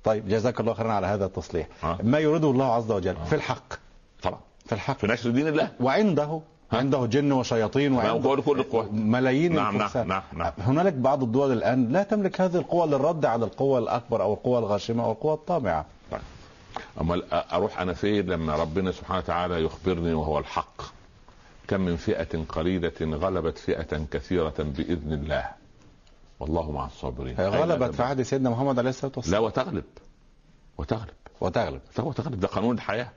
A: طيب جزاك الله خيرا على هذا التصليح
B: آه.
A: ما يريده الله عز وجل في الحق
B: طبعا
A: في الحق
B: في نشر دين الله
A: وعنده عنده جن وشياطين وعنده
B: هو كل القوة
A: ملايين
B: نعم،
A: الفرسان.
B: نعم، نعم، نعم.
A: هنالك بعض الدول الآن لا تملك هذه القوة للرد على القوة الأكبر أو القوة الغاشمة أو القوة الطامعة
B: طيب. امال أ- اروح انا فين لما ربنا سبحانه وتعالى يخبرني وهو الحق كم من فئه قليله غلبت فئه كثيره باذن الله والله مع الصابرين
A: هي
B: أين
A: غلبت في
B: تذهب؟
A: عهد سيدنا محمد عليه الصلاة والسلام
B: لا وتغلب وتغلب
A: وتغلب
B: لا وتغلب ده قانون الحياه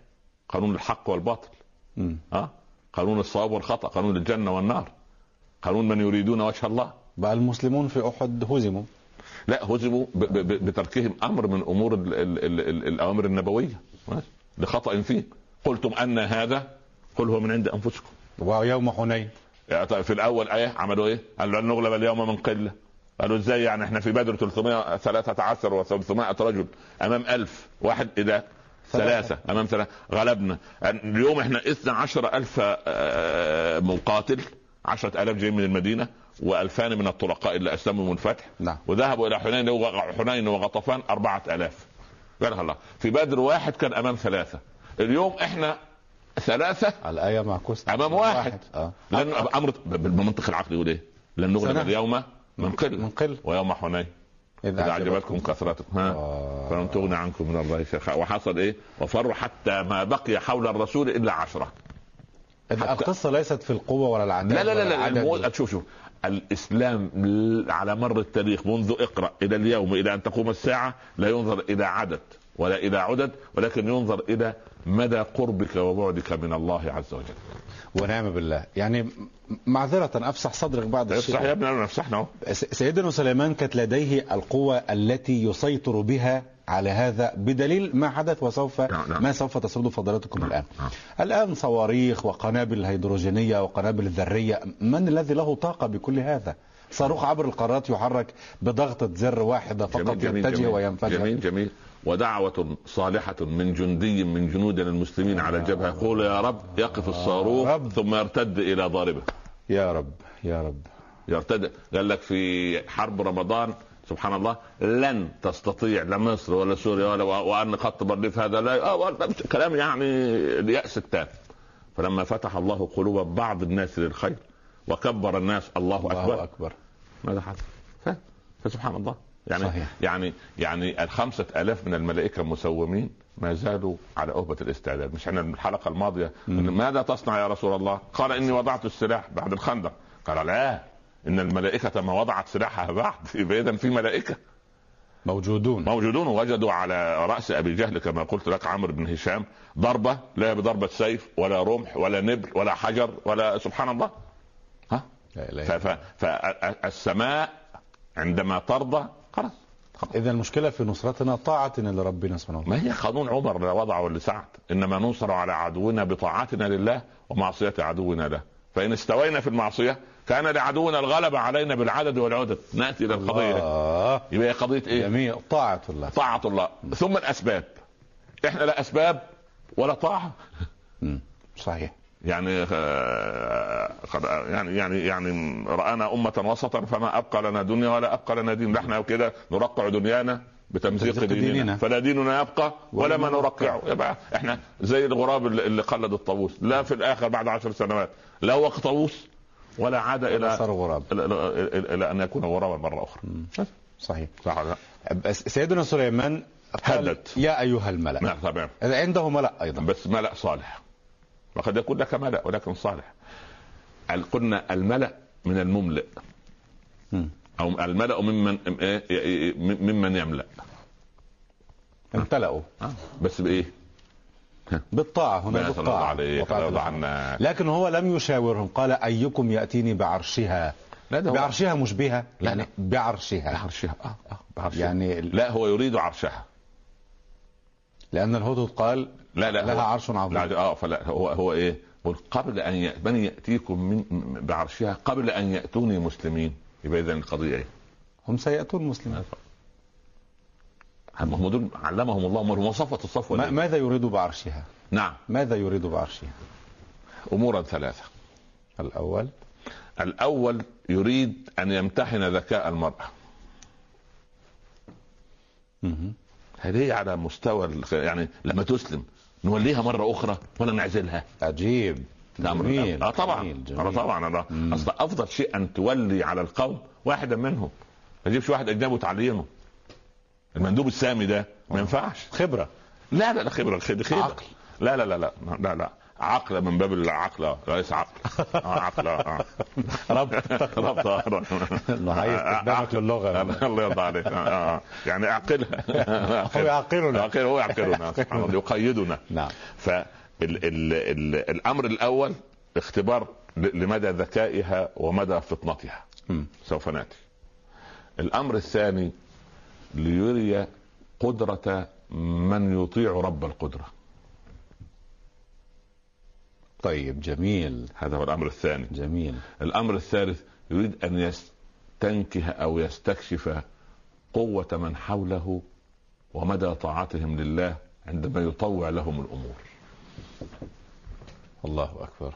B: قانون الحق والباطل
A: مم.
B: اه قانون الصواب والخطا قانون الجنه والنار قانون من يريدون وجه الله
A: بقى المسلمون في أحد هزموا
B: لا هزموا ب- ب- ب- بتركهم امر من امور ال ال ال ال الاوامر النبويه لخطا فيه قلتم ان هذا قل هو من عند انفسكم
A: ويوم حنين
B: يعني طيب في الاول ايه عملوا ايه؟ قالوا لن نغلب اليوم من قله قالوا ازاي يعني احنا في بدر 313 و300 رجل امام 1000 واحد ايه ده؟
A: ثلاثة.
B: ثلاثة أمام ثلاثة غلبنا اليوم احنا اثنا عشر ألف آه، مقاتل عشرة ألاف جايين من المدينة وألفان من الطلقاء اللي أسلموا من الفتح
A: نعم.
B: وذهبوا إلى حنين وغ- حنين وغطفان أربعة ألاف قالها الله في بدر واحد كان أمام ثلاثة اليوم احنا ثلاثة
A: الآية معكوسة
B: أمام واحد.
A: آه.
B: لأن أمر بالمنطق العقلي يقول إيه؟ لن نغلب
A: سنة.
B: اليوم من قلة
A: من قل
B: ويوم حنين إذا أعجبتكم كثرتكم ها
A: آه.
B: فلم تغن عنكم من الله شيئا وحصل إيه؟ وفروا حتى ما بقي حول الرسول إلا عشرة
A: إذا القصة ليست في القوة ولا العداء
B: لا لا
A: ولا
B: لا, لا
A: العدد.
B: المو... شوف شوف الاسلام ل- على مر التاريخ منذ اقرا الى اليوم الى ان تقوم الساعه لا ينظر الى عدد ولا الى عدد ولكن ينظر الى مدى قربك وبعدك من الله عز وجل.
A: ونعم بالله يعني م- معذرة أفسح صدرك بعد
B: افسح يا ابن نعم. الذين افسحنا اهو
A: س- سيدنا سليمان كانت لديه القوة التي يسيطر بها على هذا بدليل ما حدث وسوف
B: نعم، نعم.
A: ما سوف تسرده فضيلتكم الآن
B: نعم.
A: الآن صواريخ وقنابل هيدروجينية وقنابل ذرية من الذي له طاقة بكل هذا صاروخ عبر القارات يحرك بضغطة زر واحدة فقط يتجه وينفجر
B: جميل جميل ودعوة صالحة من جندي من جنود المسلمين على الجبهة يقول يا رب يقف الصاروخ
A: رب.
B: ثم يرتد إلى ضاربه
A: يا رب يا رب
B: يرتد قال لك في حرب رمضان سبحان الله لن تستطيع لا مصر ولا سوريا ولا وان خط برليف هذا لا آه، ولا- كلام يعني الياس التام فلما فتح الله قلوب بعض الناس للخير وكبر الناس الله,
A: الله
B: اكبر
A: أكبر
B: ماذا حدث؟ ف- فسبحان الله يعني
A: صحيح.
B: يعني يعني الخمسة ألاف من الملائكة مسومين ما زالوا على أهبة الاستعداد مش احنا الحلقة الماضية إن ماذا تصنع يا رسول الله قال إني وضعت السلاح بعد الخندق قال لا إن الملائكة ما وضعت سلاحها بعد يبقى إذا في ملائكة
A: موجودون
B: موجودون وجدوا على رأس أبي جهل كما قلت لك عمرو بن هشام ضربة لا بضربة سيف ولا رمح ولا نبل ولا حجر ولا سبحان الله ها
A: لا إله إلا
B: فالسماء عندما ترضى خلاص
A: إذا المشكلة في نصرتنا طاعتنا لربنا سبحانه وتعالى
B: ما هي قانون عمر لا وضعه لسعد انما ننصر على عدونا بطاعتنا لله ومعصيه عدونا له فان استوينا في المعصيه كان لعدونا الغلبه علينا بالعدد والعدد ناتي الى القضيه دي.
A: آه
B: يبقى هي قضيه ايه؟
A: جميع طاعة الله
B: طاعه الله ثم الاسباب احنا لا اسباب ولا طاعه
A: صحيح
B: يعني آه، قد- يعني يعني يعني رانا امه وسطا فما ابقى لنا دنيا ولا ابقى لنا دين نحن كده نرقع دنيانا بتمزيق
A: بتمزيق
B: ديننا.
A: ديننا.
B: فلا ديننا يبقى ولا ما نرقعه يبقى احنا زي الغراب اللي اللي قلد الطاووس لا في الاخر بعد عشر سنوات لا وقت طاووس ولا عاد
A: إلى
B: الى
A: صار غراب
B: الى, إلى, إلى ان يكون غرابا مره اخرى
A: صحيح
B: صح ولا لا؟
A: بس سيدنا سليمان قال
B: هدت.
A: يا أيها الملأ
B: نعم تمام
A: عنده ملأ أيضا
B: بس ملأ صالح وقد يكون لك ملأ ولكن صالح ال- قلنا الملأ من المملئ
A: مم.
B: أو الملأ ممن م- إيه- إيه- ممن يملأ
A: امتلأوا
B: آه. بس بإيه؟
A: بالطاعة هنا
B: نسأل الله
A: بالطاعة
B: عليك
A: وطاعة
B: الله يرضى
A: الله.
B: عنا
A: لكن هو لم يشاورهم قال أيكم يأتيني بعرشها
B: لا ده هو-
A: بعرشها مش بها
B: لا،
A: يعني
B: لا.
A: بعرشها
B: بعرشها آه آه بعرشها
A: يعني ال-
B: لا هو يريد عرشها
A: لأن الهدهد قال
B: لا لا
A: لها
B: هو-
A: عرش
B: لا
A: عظيم
B: اه فلا هو هو ايه؟ قل قبل ان يأ- من ياتيكم من م- بعرشها قبل ان ياتوني إيه؟ مسلمين يبقى اذا القضيه ايه؟
A: هم سيأتون مسلمين
B: ما هم دول علمهم الله امرهم وصفة الصفوه
A: ما
B: ما
A: ماذا يريد بعرشها
B: نعم
A: ماذا يريد بعرشها
B: امورا ثلاثه
A: الأول
B: الاول يريد ان يمتحن ذكاء المراه
A: مهم.
B: هذه على مستوى الخ- يعني لما تسلم نوليها مره اخرى ولا نعزلها
A: عجيب
B: ده أمر
A: جميل
B: اه طبعا
A: جميل.
B: اه
A: جميل.
B: طبعا اه
A: مم.
B: اصل افضل شيء ان تولي على القوم واحدا منهم ما تجيبش واحد اجنبي وتعينه المندوب السامي ده ما ينفعش
A: خبرة
B: لا لا لا خبره الخير خبره
A: عقل.
B: لا لا لا لا لا لا عقل من باب العقل آه، ليس عقل آه، عقل آه، آه.
A: ربط
B: ربط آه، ربط.
A: ضعيف استخدامك للغة
B: الله يرضى عليك آه، آه. يعني اعقلها
A: هو يعقلنا
B: اعقلها هو يعقلنا سبحان الله، يقيدنا
A: نعم
B: فال ال ال الامر الاول اختبار ل- لمدى ذكائها ومدى فطنتها
A: مم.
B: سوف ناتي الامر الثاني ليري قدرة من يطيع رب القدرة
A: طيب جميل
B: هذا هو الامر الثاني
A: جميل
B: الامر الثالث يريد ان يستنكه او يستكشف قوة من حوله ومدى طاعتهم لله عندما يطوع لهم الامور
A: الله أكبر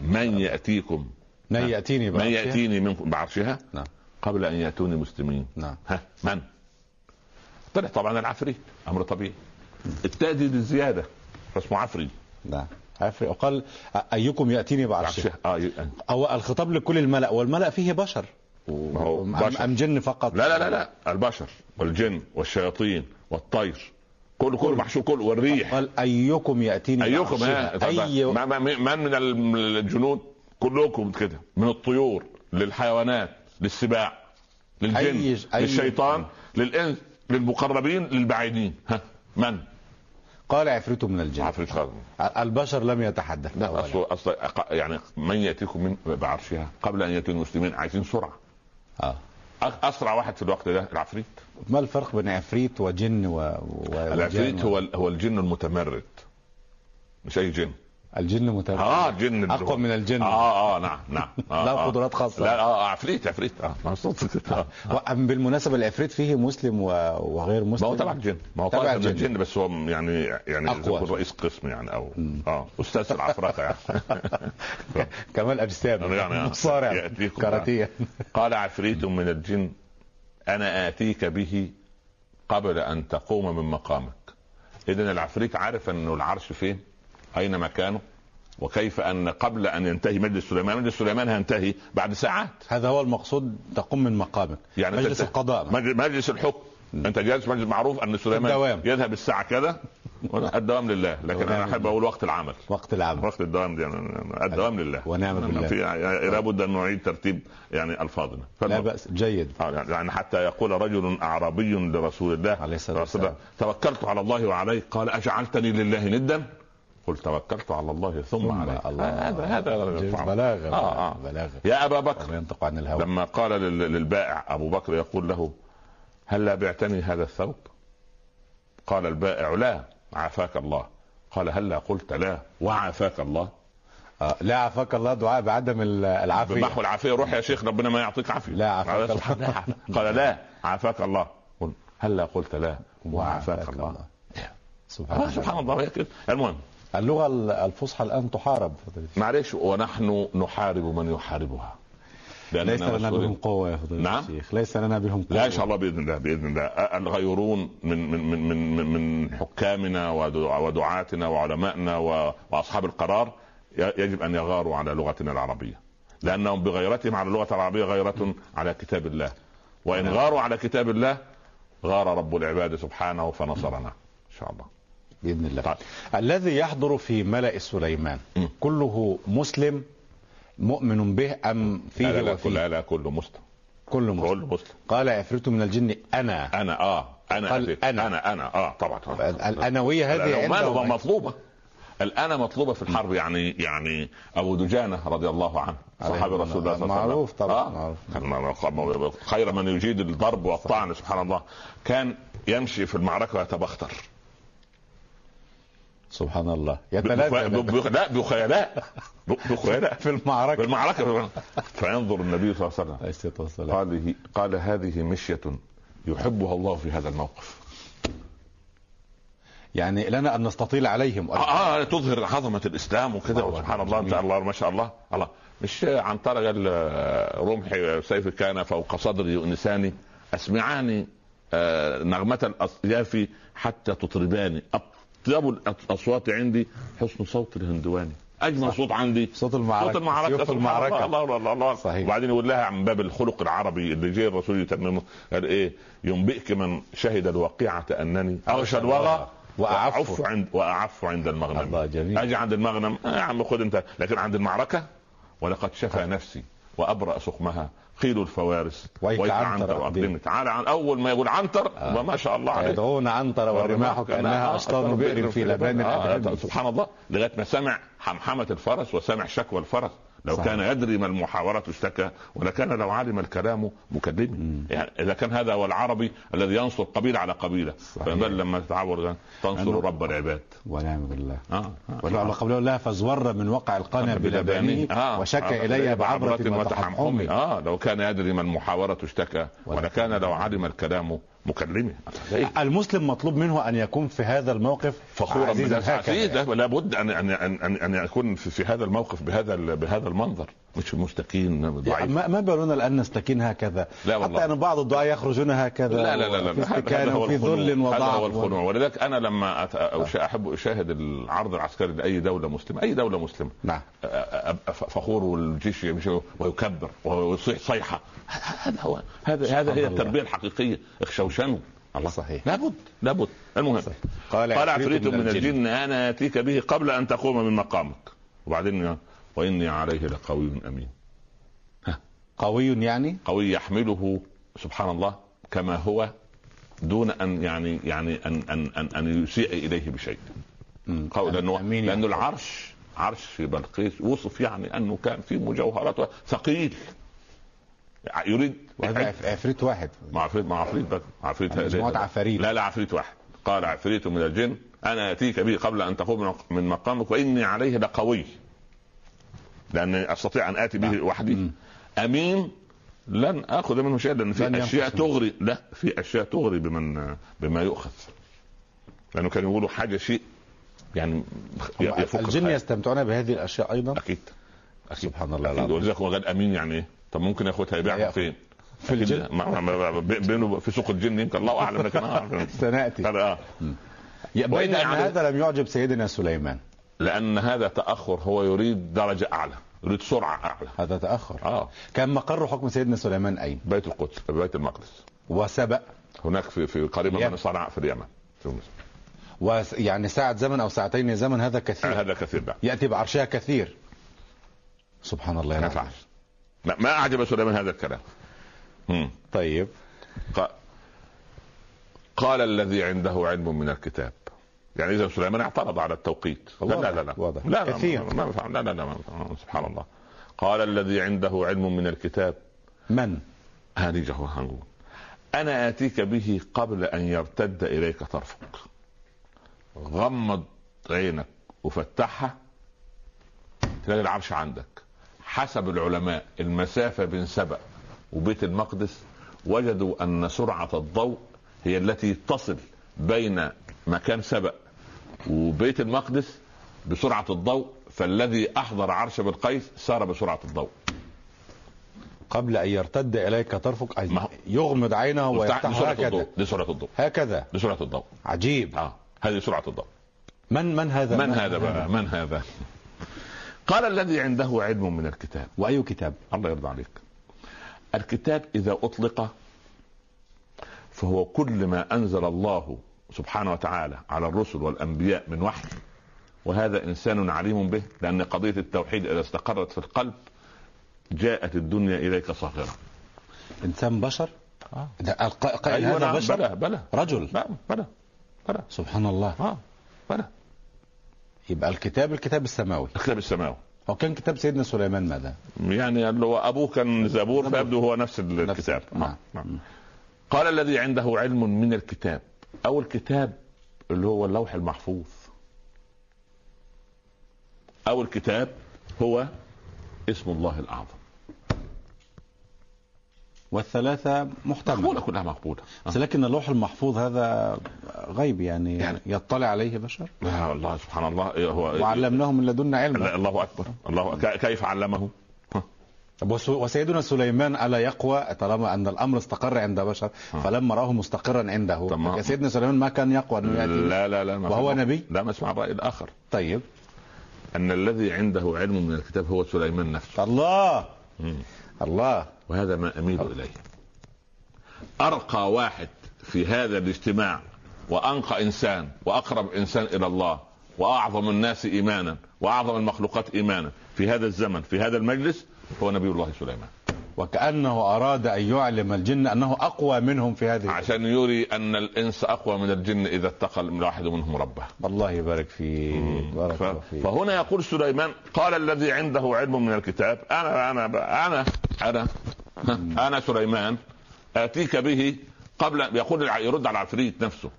B: من ياتيكم
A: من
B: نعم.
A: يأتيني
B: من
A: بعرشها؟
B: ياتيني منكم بعرشها
A: نعم.
B: قبل ان ياتوني مسلمين
A: نعم
B: ها من طلع طبعا العفريت امر طبيعي التاء دي للزياده اسمه عفري
A: نعم عفري وقال أيكم يأتيني بعرشها
B: عفري. اه ي-
A: أو الخطاب لكل الملأ والملأ فيه بشر
B: ما هو
A: أم-
B: بشر.
A: أم جن فقط
B: لا لا لا لا البشر والجن والشياطين والطير كله كله محشور كله والريح
A: قال أيكم يأتيني
B: ايكم
A: بعرشها؟
B: ها
A: أي
B: أي... ما ما من من الجنود كلكم كده من الطيور للحيوانات للسباع للجن
A: أي- أي-
B: للشيطان للانس للمقربين للبعيدين ها من
A: قال عفريت من الجن
B: عفريت خالد
A: البشر لم يتحدث
B: لا
A: أولاً.
B: اصل اصل أق- يعني من ياتيكم من بعرشها قبل ان ياتي المسلمين عايزين سرعه
A: آه.
B: أ- اسرع واحد في الوقت ده العفريت
A: ما الفرق بين عفريت وجن و... و...
B: العفريت
A: وجان
B: هو ال- هو الجن المتمرد مش اي جن
A: الجن متابع
B: اه جن اللي هو-
A: أقوى من الجن
B: اه اه نعم نعم آه
A: لا
B: آه.
A: قدرات خاصة.
B: لا اه آه، عفريت عفريت اه ما صدق. آه.
A: وأم بالمناسبة العفريت فيه مسلم و... وغير
B: ما
A: مسلم
B: هو تبع الجن ما هو
A: طيب. تبع
B: تبع الجن.
A: الجن.
B: الجن بس هو يعني يعني إذا
A: أقوى.
B: كنت رئيس قسم يعني او اه استاذ العفرقه يعني
A: كمال أجسام
B: يعني-
A: مصارع
B: يأتيكم.
A: كاراتيه
B: قال عفريت من الجن انا اتيك به قبل ان تقوم من مقامك اذا العفريت عارف انه العرش فين اين مكانه وكيف ان قبل ان ينتهي مجلس سليمان مجلس سليمان هينتهي بعد ساعات
A: هذا هو المقصود تقوم من مقامك
B: يعني
A: مجلس
B: أنت-
A: القضاء
B: مجل- مجلس الحكم انت جالس في مجلس معروف ان سليمان
A: الدوام. نعم.
B: يذهب الساعه كذا الدوام لله لكن انا احب اقول وقت العمل
A: وقت العمل
B: وقت الدوام دي يعني الدوام لله
A: ونعم بالله.
B: في يعني لابد ان نعيد ترتيب يعني الفاظنا
A: لا
B: فالمهم.
A: بأس جيد
B: آه، يعني حتى يقول رجل اعرابي لرسول الله
A: عليه الصلاة
B: رسول الله، توكلت على الله وعليه قال اجعلتني لله ندا قل توكلت على الله ثم
A: ثم
B: عليه
A: الله
B: آه، هذا
A: جيد.
B: هذا
A: بلاغة
B: آه، آه.
A: بلاغة
B: يا ابا بكر
A: وما ينطق عن الهوى
B: لما قال لل- للبائع ابو بكر يقول له هلا بعتني هذا الثوب؟ قال البائع لا عافاك الله قال هلا قلت لا وعافاك الله
A: آه، لا عافاك الله دعاء بعدم ال- العافية
B: بمحو العافيه روح يا شيخ ربنا ما يعطيك عافيه
A: لا عافاك
B: قال-
A: الله.
B: قال لا عافاك الله قل هلا قلت لا وعافاك الله
A: سبحان
B: آه،
A: الله
B: سبحان الله هي كده المهم
A: اللغة ال- الفصحى الآن تحارب فضيلة الشيخ.
B: معلش ونحن نحارب من يحاربها لأننا
A: ليس لنا
B: مسؤولين.
A: بهم قوة يا فضيلة
B: نعم.
A: الشيخ ليس لنا بهم قوة
B: لا ان شاء الله باذن الله باذن الله الغيرون من من من من من, من حكامنا ودع- ودعاتنا وعلمائنا و- واصحاب القرار ي- يجب ان يغاروا على لغتنا العربيه لانهم بغيرتهم على اللغه العربيه غيره على كتاب الله وان
A: نعم.
B: غاروا على كتاب الله غار رب العباد سبحانه فنصرنا ان شاء الله
A: بإذن الله
B: طيب.
A: الذي يحضر في ملأ سليمان
B: م.
A: كله مسلم مؤمن به أم فيه
B: لا لا,
A: وفيه
B: كل لا لا كله مسلم
A: كل مسلم
B: كله مسلم
A: قال عفريت من الجن أنا
B: انا اه انا
A: قال
B: أتيت.
A: أنا.
B: انا انا اه طبعا طبعا
A: الأنوية هذه
B: الأمانة
A: عندهم
B: مطلوبة الآن مطلوبة في الحرب يعني يعني أبو دجانة رضي الله عنه
A: عليه
B: صحابي رسول الله صلى الله عليه
A: معروف
B: وسلم
A: طبعا،
B: آه. معروف خير من يجيد الضرب والطعن سبحان الله كان يمشي في المعركة ويتبختر
A: سبحان الله
B: بخ-
A: يتلازم
B: بخ- لا بخيلاء ب- بخيلاء
A: في المعركة
B: بالمعركة فينظر النبي صلى الله عليه وسلم
A: عليه الصلاة والسلام
B: قال قال هذه مشية يحبها الله في هذا الموقف
A: يعني لنا ان نستطيل عليهم
B: آه, اه تظهر عظمه الاسلام وكده
A: الله
B: سبحان الله
A: جميل.
B: انت الله ما شاء الله الله مش عن طرق الرمح آه، سيف كان فوق صدري يؤنساني اسمعاني آه، نغمة الاصياف حتى تطرباني اطيب الاصوات عندي حسن صوت الهندواني اجمل
A: صح.
B: صوت عندي
A: صوت المعركه
B: صوت المعركة
A: سيوف
B: سبحان
A: المعركه
B: الله الله الله, الله.
A: صحيح.
B: وبعدين يقول لها عن باب الخلق العربي اللي جه الرسول يتممه قال ايه ينبئك من شهد الواقعة انني اغشى الوغى
A: واعف
B: واعف عند واعف عند المغنم
A: الله جميل
B: اجي عند المغنم آه يا عم خد انت لكن عند المعركة ولقد شفى نفسي وابرأ سقمها قيل الفوارس
A: ويك عنتر
B: اقدمي
A: أقدمي.
B: تعالى عن اول ما يقول عنتر
A: آه.
B: وما شاء الله عليه
A: يدعون عنتر والرماح كانها اشطان بئر في لبان
B: آه،
A: الأبرم.
B: سبحان الله لغايه ما سمع حمحمه الفرس وسمع شكوى الفرس لو
A: صحيح.
B: كان يدري ما المحاورة اشتكى ولكان لو علم الكلام مكلمي
A: مم.
B: يعني إذا كان هذا هو العربي الذي ينصر قبيلة على قبيلة
A: صحيح.
B: بل لما تتعور تنصر رب العباد
A: ونعم بالله
B: آه.
A: ولعل قوله لها فازور من وقع القنا بلبانه
B: آه.
A: وشك
B: آه.
A: الي بعبرة
B: وتحمحمي.
A: وتحمحمي
B: اه لو كان يدري ما المحاورة اشتكى ولكان لو علم الكلام مكلمي
A: إيه. المسلم مطلوب منه ان يكون في هذا الموقف
B: فخورا يعني.
A: عزيزا
B: بالناس
A: هكذا
B: عزيز لابد ان ان ان ان, أن يكون في, في هذا الموقف بهذا ال- بهذا المنظر مش مستكين
A: يعني
B: ضعيف
A: ما ما بالنا الان نستكين هكذا
B: لا والله.
A: حتى ان بعض الدعاة يخرجون هكذا
B: لا لا لا لا
A: في
B: هذا- هذا
A: استكانه
B: هو
A: وفي
B: الخنوع.
A: ذل
B: هذا هو
A: وضعف
B: الخنوع ولذلك انا لما أت- أش- احب اشاهد العرض العسكري لاي دوله مسلمه اي دوله مسلمه
A: نعم
B: أبقى فخور والجيش يمشي ويكبر ويصيح صيحه هذا هو هذا هذا هي
A: الله.
B: التربيه الحقيقيه اخشوشنوا
A: الله صحيح
B: لابد لابد المهم
A: صحيح.
B: قال عفريت من الجن انا اتيك به قبل ان تقوم من مقامك وبعدين واني عليه لقوي امين
A: قوي يعني
B: قوي يحمله سبحان الله كما هو دون ان يعني يعني ان ان ان, أن يسيء اليه بشيء
A: مم.
B: قوي لانه
A: أمين يعني.
B: لانه العرش عرش بلقيس وصف يعني انه كان فيه مجوهرات ثقيل يريد
A: وهذا يعني عف- عفريت واحد
B: مع عفريت مع عفريت بقى عفريت
A: مجموعة عفاريت.
B: لا لا عفريت واحد قال عفريت من الجن انا اتيك به قبل ان تقوم من مقامك واني عليه لقوي لاني استطيع ان اتي به وحدي
A: نعم. مم.
B: امين لن اخذ منه شيئا لان
A: لن
B: في
A: ينقص
B: اشياء
A: منه.
B: تغري لا في اشياء تغري بمن بما يؤخذ لانه كانوا يقولوا حاجه شيء يعني
A: هم
B: يفك
A: الجن
B: الخيال.
A: يستمتعون بهذه الاشياء ايضا
B: اكيد اكيد
A: سبحان الله
B: أكيد.
A: العظيم.
B: ولذلك هو قال امين يعني ايه؟ طب ممكن ياخدها يبيعها
A: يأخذ.
B: فين؟
A: في الجن
B: ما- ما- ما- ما- بي- بينه في سوق الجن يمكن الله اعلم لكن انا أعرف.
A: سناتي
B: قال آه.
A: يا- بين
B: وإن يعني-
A: ان
B: عليه-
A: هذا لم يعجب سيدنا سليمان
B: لان هذا تاخر هو يريد درجه اعلى يريد سرعه اعلى
A: هذا تاخر
B: اه
A: كان مقر حكم سيدنا سليمان اين
B: بيت القدس بيت المقدس
A: وسبق
B: هناك في في قريبا
A: اليمن.
B: من صنعاء في اليمن في مصر.
A: وس- يعني ساعة زمن أو ساعتين زمن هذا
B: آه،
A: كثير
B: هذا كثير بقى
A: يأتي بعرشها كثير سبحان الله
B: ما
A: يا رب.
B: ينفعش لا، ما اعجب سليمان هذا الكلام مم.
A: طيب
B: ق- قال الذي عنده علم من الكتاب يعني اذا سليمان اعترض على التوقيت لا لا لا لا
A: واضح.
B: لا لا
A: كثير.
B: ما- ما ينفع. لا لا لا ما- سبحان الله قال الذي عنده علم من الكتاب
A: من
B: هنيجه هنقول انا اتيك به قبل ان يرتد اليك طرفك غمض عينك وفتحها تلاقي العرش عندك حسب العلماء المسافه بين سبأ وبيت المقدس وجدوا ان سرعه الضوء هي التي تصل بين مكان سبأ وبيت المقدس بسرعه الضوء فالذي احضر عرش بالقيس سار بسرعه الضوء
A: قبل أن يرتد إليك طرفك أي-
B: ما هو-
A: يغمض عينه
B: دي
A: ويفتح
B: سرعه
A: هكذا
B: الضوء دي سرعه الضوء
A: هكذا
B: دي سرعه الضوء
A: عجيب
B: اه هذه سرعه الضوء
A: من من هذا
B: من هذا بقى من هذا قال الذي عنده علم من الكتاب
A: وأي كتاب
B: الله يرضى عليك الكتاب إذا أطلق فهو كل ما أنزل الله سبحانه وتعالى على الرسل والأنبياء من وحي وهذا إنسان عليم به لأن قضية التوحيد إذا استقرت في القلب جاءت الدنيا إليك صاغرة
A: إنسان بشر
B: آه.
A: ده الق- الق-
B: أيوة
A: طيب، هذا
B: نعم،
A: بشر
B: بلى بلى
A: رجل
B: لا بلى بلى
A: سبحان الله
B: آه بلى
A: يبقى الكتاب الكتاب السماوي
B: الكتاب السماوي
A: هو كان كتاب سيدنا سليمان ماذا
B: يعني اللي هو أبوه كان زبور فيبدو هو نفس الكتاب
A: نعم.
B: نعم. قال الذي عنده علم من الكتاب او الكتاب اللي هو اللوح المحفوظ او الكتاب هو اسم الله الاعظم
A: والثلاثة محتملة
B: مقبوله كلها مقبوله آه.
A: بس لكن اللوح المحفوظ هذا غيب يعني,
B: يعني-
A: يطلع عليه بشر
B: لا الله سبحان الله إيه هو إيه؟
A: وعلمناه من لدنا
B: لا،
A: علما
B: الله اكبر الله أكبر. كي- كيف علمه؟
A: طب وس- وسيدنا سليمان ألا يقوى طالما أن الأمر استقر عند بشر
B: آه.
A: فلما رآه مستقرا عنده
B: طب ما-
A: يا سيدنا سليمان ما كان يقوى أنه يأتي
B: لا لا لا ما
A: وهو
B: سمع-
A: نبي؟
B: لا ما اسمع الراي الاخر
A: طيب
B: ان الذي عنده علم من الكتاب هو سليمان نفسه
A: الله
B: مم.
A: الله
B: وهذا ما اميل اليه ارقى واحد في هذا الاجتماع وانقى انسان واقرب انسان الى الله واعظم الناس ايمانا واعظم المخلوقات ايمانا في هذا الزمن في هذا المجلس هو نبي الله سليمان
A: وكأنه أراد أن يعلم الجن أنه أقوى منهم في هذه
B: عشان يري ان الانس اقوى من الجن اذا اتقى الواحد منهم ربه
A: الله يبارك فيك بارك
B: إيه. ف-
A: الله فيك
B: فهنا يقول سليمان قال الذي عنده علم من الكتاب انا انا انا انا انا سليمان اتيك به قبل يقول الع- يرد على العفريت نفسه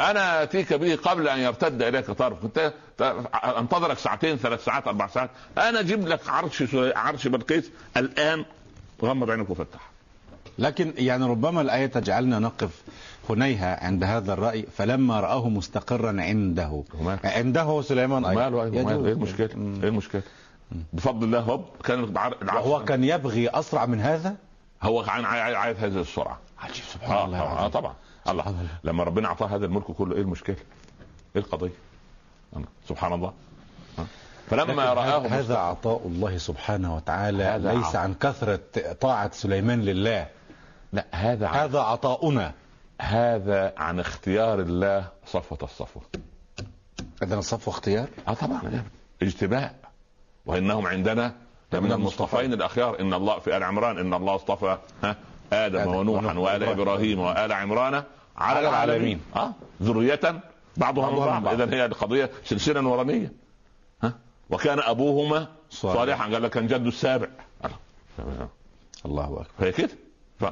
B: انا اتيك به قبل ان يرتد اليك طرف كنت انتظرك ساعتين ثلاث ساعات اربع ساعات انا اجيب لك عرش سلي- عرش بلقيس الان غمض عينك وفتح
A: لكن يعني ربما الآية تجعلنا نقف هنيها عند هذا الرأي فلما رآه مستقرا عنده
B: وماله؟
A: عنده سليمان أيضا
B: ماله أيوة،
A: يجوز.
B: ماله ايه المشكله؟ ايه المشكله؟ بفضل الله هوب كان العر- العرش
A: وهو كان يبغي أسرع من هذا
B: هو كان عاي- عايز هذه السرعه
A: عجيب سبحان
B: اه
A: الله
B: طبعا, آه
A: العظيم.
B: طبعا. الله لما ربنا اعطاه هذا الملك كله ايه المشكله؟ ايه القضيه؟ آه، سبحان الله آه.
A: لكن
B: فلما
A: هذا-
B: رآه مست-
A: هذا عطاء الله سبحانه وتعالى
B: هذا
A: ليس
B: عطاء.
A: عن كثرة طاعة سليمان لله
B: لا هذا عن
A: هذا عطاؤنا
B: هذا عن اختيار الله صفوة الصفوة
A: عندنا صفو اختيار
B: اه طبعا اجتباء وانهم عندنا لمن المصطفين الاخيار ان الله في ال عمران ان الله اصطفى ها ادم
A: آدم
B: ونوحا
A: ونوح
B: وال
A: وإبراهيم.
B: ابراهيم وال عمران على
A: على العالمين.
B: العالمين اه ذرية بعضها من
A: بعضها من
B: بعض
A: بعض.
B: اذا هي القضية سلسلة نورانية ها وكان ابوهما
A: صالح.
B: صالحا قال لك كان جده السابع آه.
A: الله أكبر
B: فهي كده ف...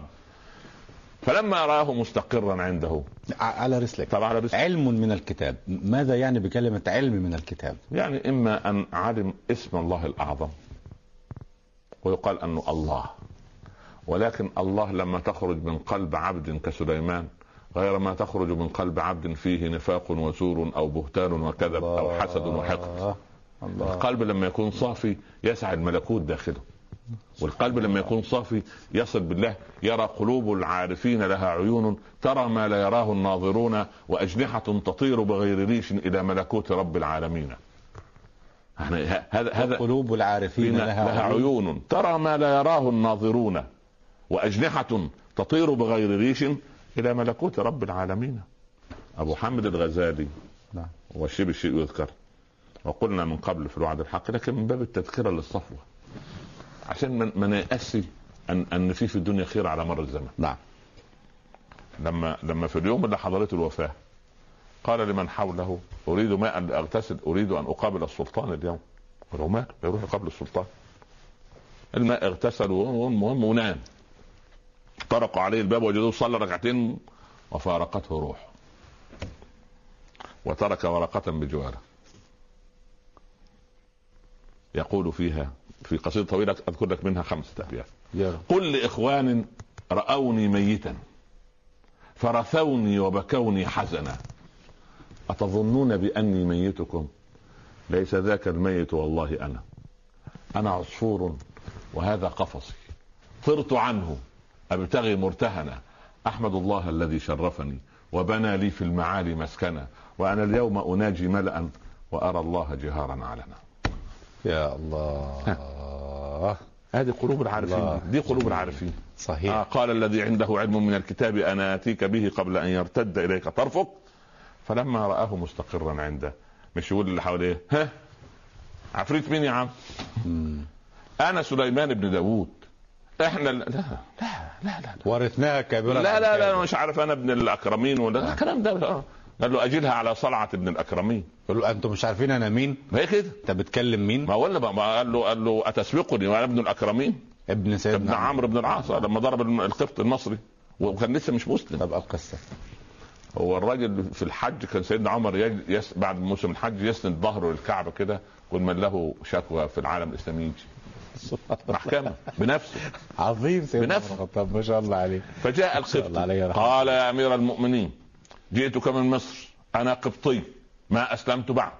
B: فلما رآه مستقرا عنده
A: ع- على رسلك
B: طبعا على بس-
A: علم من الكتاب ماذا يعني بكلمة علم من الكتاب
B: يعني اما ان علم اسم الله الاعظم ويقال انه الله ولكن الله لما تخرج من قلب عبد كسليمان غير ما تخرج من قلب عبد فيه نفاق وزور او بهتان وكذب او حسد وحقد
A: الله الله
B: القلب لما يكون صافي يسعى الملكوت داخله والقلب لما يكون صافي يصل بالله يرى قلوب العارفين لها عيون ترى ما لا يراه الناظرون وأجنحة تطير بغير ريش إلى ملكوت رب العالمين يعني ه- هذا هذا
A: قلوب العارفين
B: فينا لها عيون ترى ما لا يراه الناظرون وأجنحة تطير بغير ريش إلى ملكوت رب العالمين أبو حامد الغزالي
A: نعم.
B: وشبه الشيء يذكر وقلنا من قبل في الوعد الحق لكن من باب التذكرة للصفوة عشان ما- ما نيأسي أن أن في في الدنيا خير على مر الزمن
A: نعم
B: لما لما في اليوم اللي حضرته الوفاة قال لمن حوله أريد ماء لأغتسل أريد أن أقابل السلطان اليوم قالوا ماله يروح يقابل السلطان الماء اغتسل المهم ونام طرقوا عليه الباب وجدوه صلى ركعتين وفارقته روحه وترك ورقة بجواره يقول فيها في قصيدة طويلة أذكر لك منها خمسة أبيات
A: يا رب
B: قل لإخوان رأوني ميتا فرثوني وبكوني حزنا أتظنون بأني ميتكم ليس ذاك الميت والله أنا أنا عصفور وهذا قفصي طرت عنه أبتغي مرتهنا أحمد الله الذي شرفني وبنى لي في المعالي مسكنا وأنا اليوم أناجي ملأ وأرى الله جهارا علنا
A: يا الله
B: هذه قلوب العارفين
A: الله.
B: دي, دي قلوب العارفين
A: صحيح
B: آه قال الذي عنده علم من الكتاب انا اتيك به قبل ان يرتد اليك طرفك فلما راه مستقرا عنده مش يقول اللي حواليه ها عفريت مين يا عم
A: مم.
B: انا سليمان بن داوود احنا ال- لا لا لا لا
A: ورثناها كبيرا
B: لا لا, لا, لا مش عارف انا ابن الاكرمين ولا الكلام ده آه. قال له اجلها على صلعه ابن الاكرمين
A: يقول له انتم مش عارفين انا مين
B: ما هي كده
A: انت بتكلم مين
B: ما ولا ما قال له قال له اتسبقني وانا ابن الاكرمين
A: ابن
B: ابن
A: سيدنا
B: عمرو بن العاص لما ضرب القبط المصري وكان لسه مش مسلم
A: طب القصه
B: هو الراجل في الحج كان سيدنا عمر يج- يس بعد موسم الحج يسند ظهره للكعبه كده كل من له شكوى في العالم الاسلامي يجي محكمة بنفسه
C: عظيم سيدنا
B: بنفسه.
C: عمر الخطاب ما شاء الله عليه
B: فجاء
C: الله عليه
B: القبطي
C: رحمة.
B: قال يا أمير المؤمنين جئتك من مصر أنا قبطي ما أسلمت بعد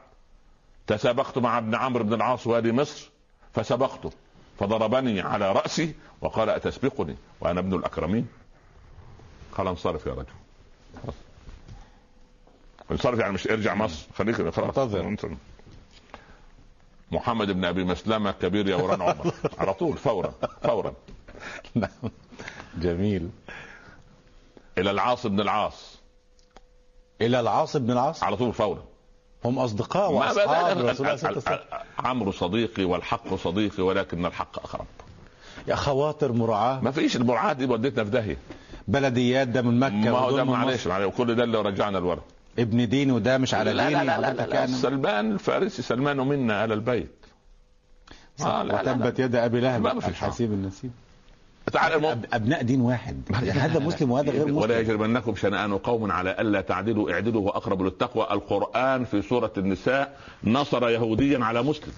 B: تسابقت مع ابن عمرو بن العاص والي مصر فسبقته فضربني على رأسي وقال أتسبقني وأنا ابن الأكرمين قال انصرف يا رجل خلاص. انصرف يعني مش ارجع مصر خليك خلاص
A: انتظر.
B: انتظر. محمد بن ابي مسلمه كبير يا وران عمر على طول فورا فورا
A: نعم.
C: جميل
B: الى العاص بن العاص
A: الى العاص بن العاص
B: على طول فورا
A: هم اصدقاء
B: ما
A: واصحاب رسول
B: بدأنا-
A: الله صلى الله عليه وسلم
B: عمرو صديقي والحق صديقي ولكن الحق اقرب
A: يا خواطر مراعاه
B: ما فيش المرعاه دي ودتنا في داهيه
A: بلديات ده من مكه
B: ما هو
A: ودول
B: ده
A: من
B: معلش
A: مصر.
B: معلش كل ده اللي رجعنا الورد
A: ابن دين وده مش على
B: لا
A: ديني
B: لا لا, لا, لا,
A: حضرتك
B: لا
A: يعني.
B: سلمان الفارسي سلمان منا على البيت آه لا لا لا.
A: وتبت يد ابي لهب
B: ما فيش
A: الحسيب النسيب
B: تعال المهم
A: أب- ابناء دين واحد هذا مسلم وهذا غير
B: ولا
A: مسلم
B: يجرمنكم شنآن قوم على ألا تعدلوا اعدلوا وأقرب للتقوى القرآن في سورة النساء نصر يهوديا على مسلم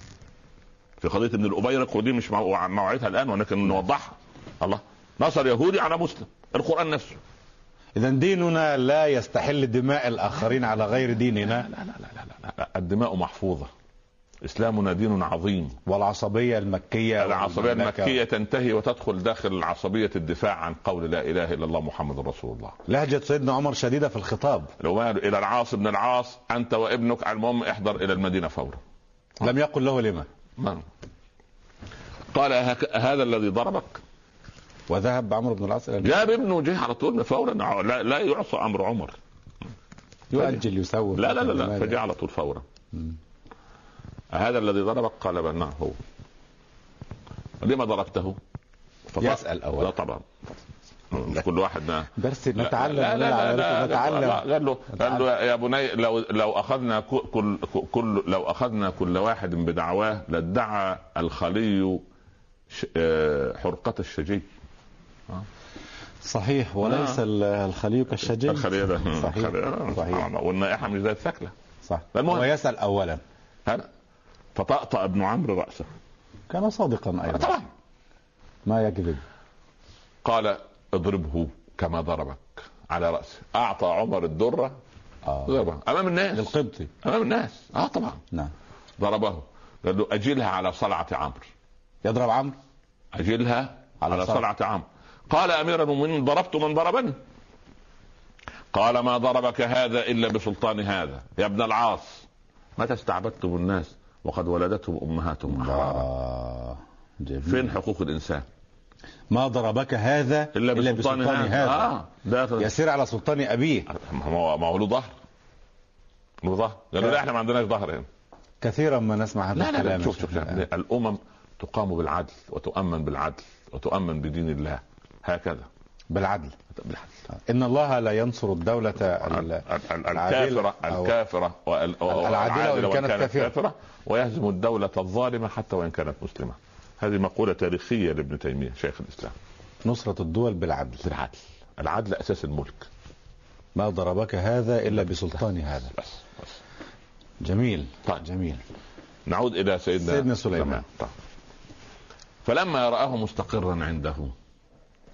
B: في قضية ابن الأبيرق ودي مش مو- موعدها الآن ولكن نوضحها الله نصر يهودي على مسلم القرآن نفسه
A: اذا ديننا لا يستحل دماء الاخرين على غير ديننا
B: لا لا لا لا, لا, لا. الدماء محفوظة إسلامنا دين عظيم
A: والعصبيه المكيه
B: العصبية
A: والمملكة.
B: المكية تنتهي وتدخل داخل العصبية الدفاع عن قول لا إله إلا الله محمد رسول الله
A: لهجه سيدنا عمر شديده في الخطاب
B: لو قالوا الى العاص بن العاص انت وابنك المهم احضر الى المدينه فورا آه.
A: لم يقل له لما
B: ما- قال هك- هذا الذي ضربك
A: وذهب عمرو بن العاص إلى-
B: جاب ابنه جه على طول فورا لا, لا يعصى امر عمر
A: يؤجل يسوف
B: لا لا لا, لا
A: ماذا؟
B: فجاء على طول فورا "أه-، هذا الذي ضربك قال بل نعم هو لما ضربته فقال-
A: يسأل أولا.
B: لا طبعا مش كل واحد ما
A: بس
B: لا-
A: نتعلم
B: لا لا لا, لا, لا, لا,
A: نتعلم
B: قال له قال له يا بني لو لو اخذنا كو- كل كل لو اخذنا كل واحد بدعواه لادعى الخلي ش- آه، حرقة الشجي
A: صحيح وليس
B: آه.
A: ال- الخلي كالشجي
B: الخلية ده
A: صحيح.
B: الخلية-
A: صحيح.
B: والنائحة مش ذات ثكلة
A: صح
B: آه. المهم.
A: ويسال اولا
B: هلا فطأطأ ابن عمرو رأسه آه،
A: كان صادقا ايضا
B: طبعا
A: ما يكذب
B: قال اضربه كما ضربك على رأسه أعطى عمر الدرة
A: اه
B: ضربه أمام الناس
A: للقبطي
B: أمام الناس أه طبعا
A: نعم
B: ضربه قال له أجلها على صلعة عمرو
A: يضرب عمرو
B: أجلها
A: على
B: على, على
A: صلعة.
B: صلعة عمرو قال أمير المؤمنين ضربت من ضربني قال ما ضربك هذا إلا بسلطان هذا يا ابن العاص متى استعبدتم الناس وقد ولدتهم أمهاتهم أحرارا
A: آه جميل
B: فين حقوق الإنسان
A: ما ضربك هذا
B: إلا بسلطان, هذا, آه. ده
A: يسير على سلطان ابيه
B: ما هو ما هو له ظهر له ظهر قالوا لا احنا ما عندناش ظهر هنا
A: كثيرا ما نسمع هذا
B: لا لا,
A: الكلام
B: لا شوف شوف شوف. الامم تقام بالعدل وتؤمن بالعدل وتؤمن بدين الله هكذا
A: بالعدل
B: بالعدل
A: ان الله لا ينصر الدوله
B: ال-
A: ال-
B: ال- ال-
A: العادلة
B: الكافرة
A: أو-
B: الكافرة وال-
A: العادلة وإن
B: وإن
A: كانت كافرة.
B: ويهزم الدولة الظالمة حتى وإن كانت مسلمة هذه مقولة تاريخية لابن تيمية شيخ الإسلام
A: نصره الدول بالعدل
B: العدل العدل أساس الملك
A: ما ضربك هذا الا بسلطان هذا
B: بس, بس.
A: جميل
B: طيب.
A: جميل
B: نعود إلى سيدنا
A: سيدنا سليمان.
B: طيب. فلما رآه مستقرا عنده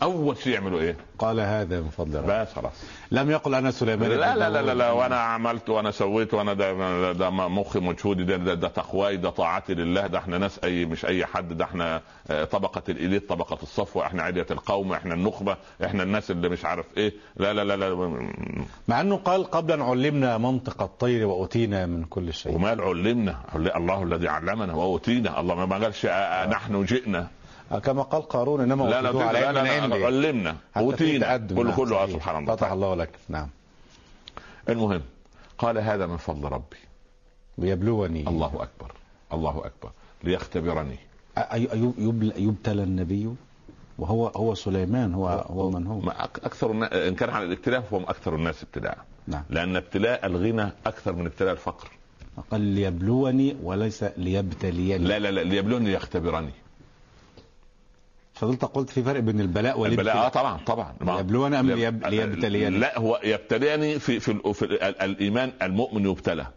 B: أول شيء يعملوا إيه؟
A: قال هذا من فضل ربي
B: بس خلاص
A: لم يقل انا سليمان
B: لا
A: بن
B: لا لا لا, لا
A: داوود.
B: وانا عملت وانا سويت وانا ده, ده مخي مجهودي ده, ده, ده تقواي ده طاعتي لله ده احنا ناس اي مش اي حد ده احنا آه، طبقه الاليت طبقه الصفوه احنا عليه القوم احنا النخبه احنا الناس اللي مش عارف ايه لا لا لا لا
A: مع انه قال قبل ان علمنا منطق الطير واتينا من كل شيء
B: وما علمنا عل- الله الذي علمنا واوتينا الله ما- ما قالش آه، آه، نحن جئنا
A: كما قال قارون انما
B: لا لا
A: وجدوه
B: لا,
A: على
B: لا,
A: علم
B: لا, لا
A: عندي
B: علمنا
A: حتى في
B: اوتينا
A: تقدم.
B: كله
A: نعم،
B: كله
A: صحيح.
B: آه، سبحان الله
A: فتح الله لك نعم
B: المهم قال هذا من فضل ربي
A: ليبلوني
B: الله اكبر الله اكبر ليختبرني
A: أي- أي- يبل- يبتلى النبي وهو هو سليمان هو هو من هو
B: ما أك- اكثر النا- ان كان على الابتلاء فهم اكثر الناس ابتلاء
A: نعم
B: لان ابتلاء الغنى اكثر من ابتلاء الفقر
A: قال ليبلوني وليس ليبتليني
B: لا لا لا ليبلوني ليختبرني
A: فضلت قلت في فرق بين البلاء
B: البلاء اه
A: والابتلاء
B: طبعا طبعا ما-
A: ليبلوني ام
B: ليب-
A: ليب- ليبتليني
B: لا هو يبتليني في في, ال- في ال- الايمان المؤمن يبتلى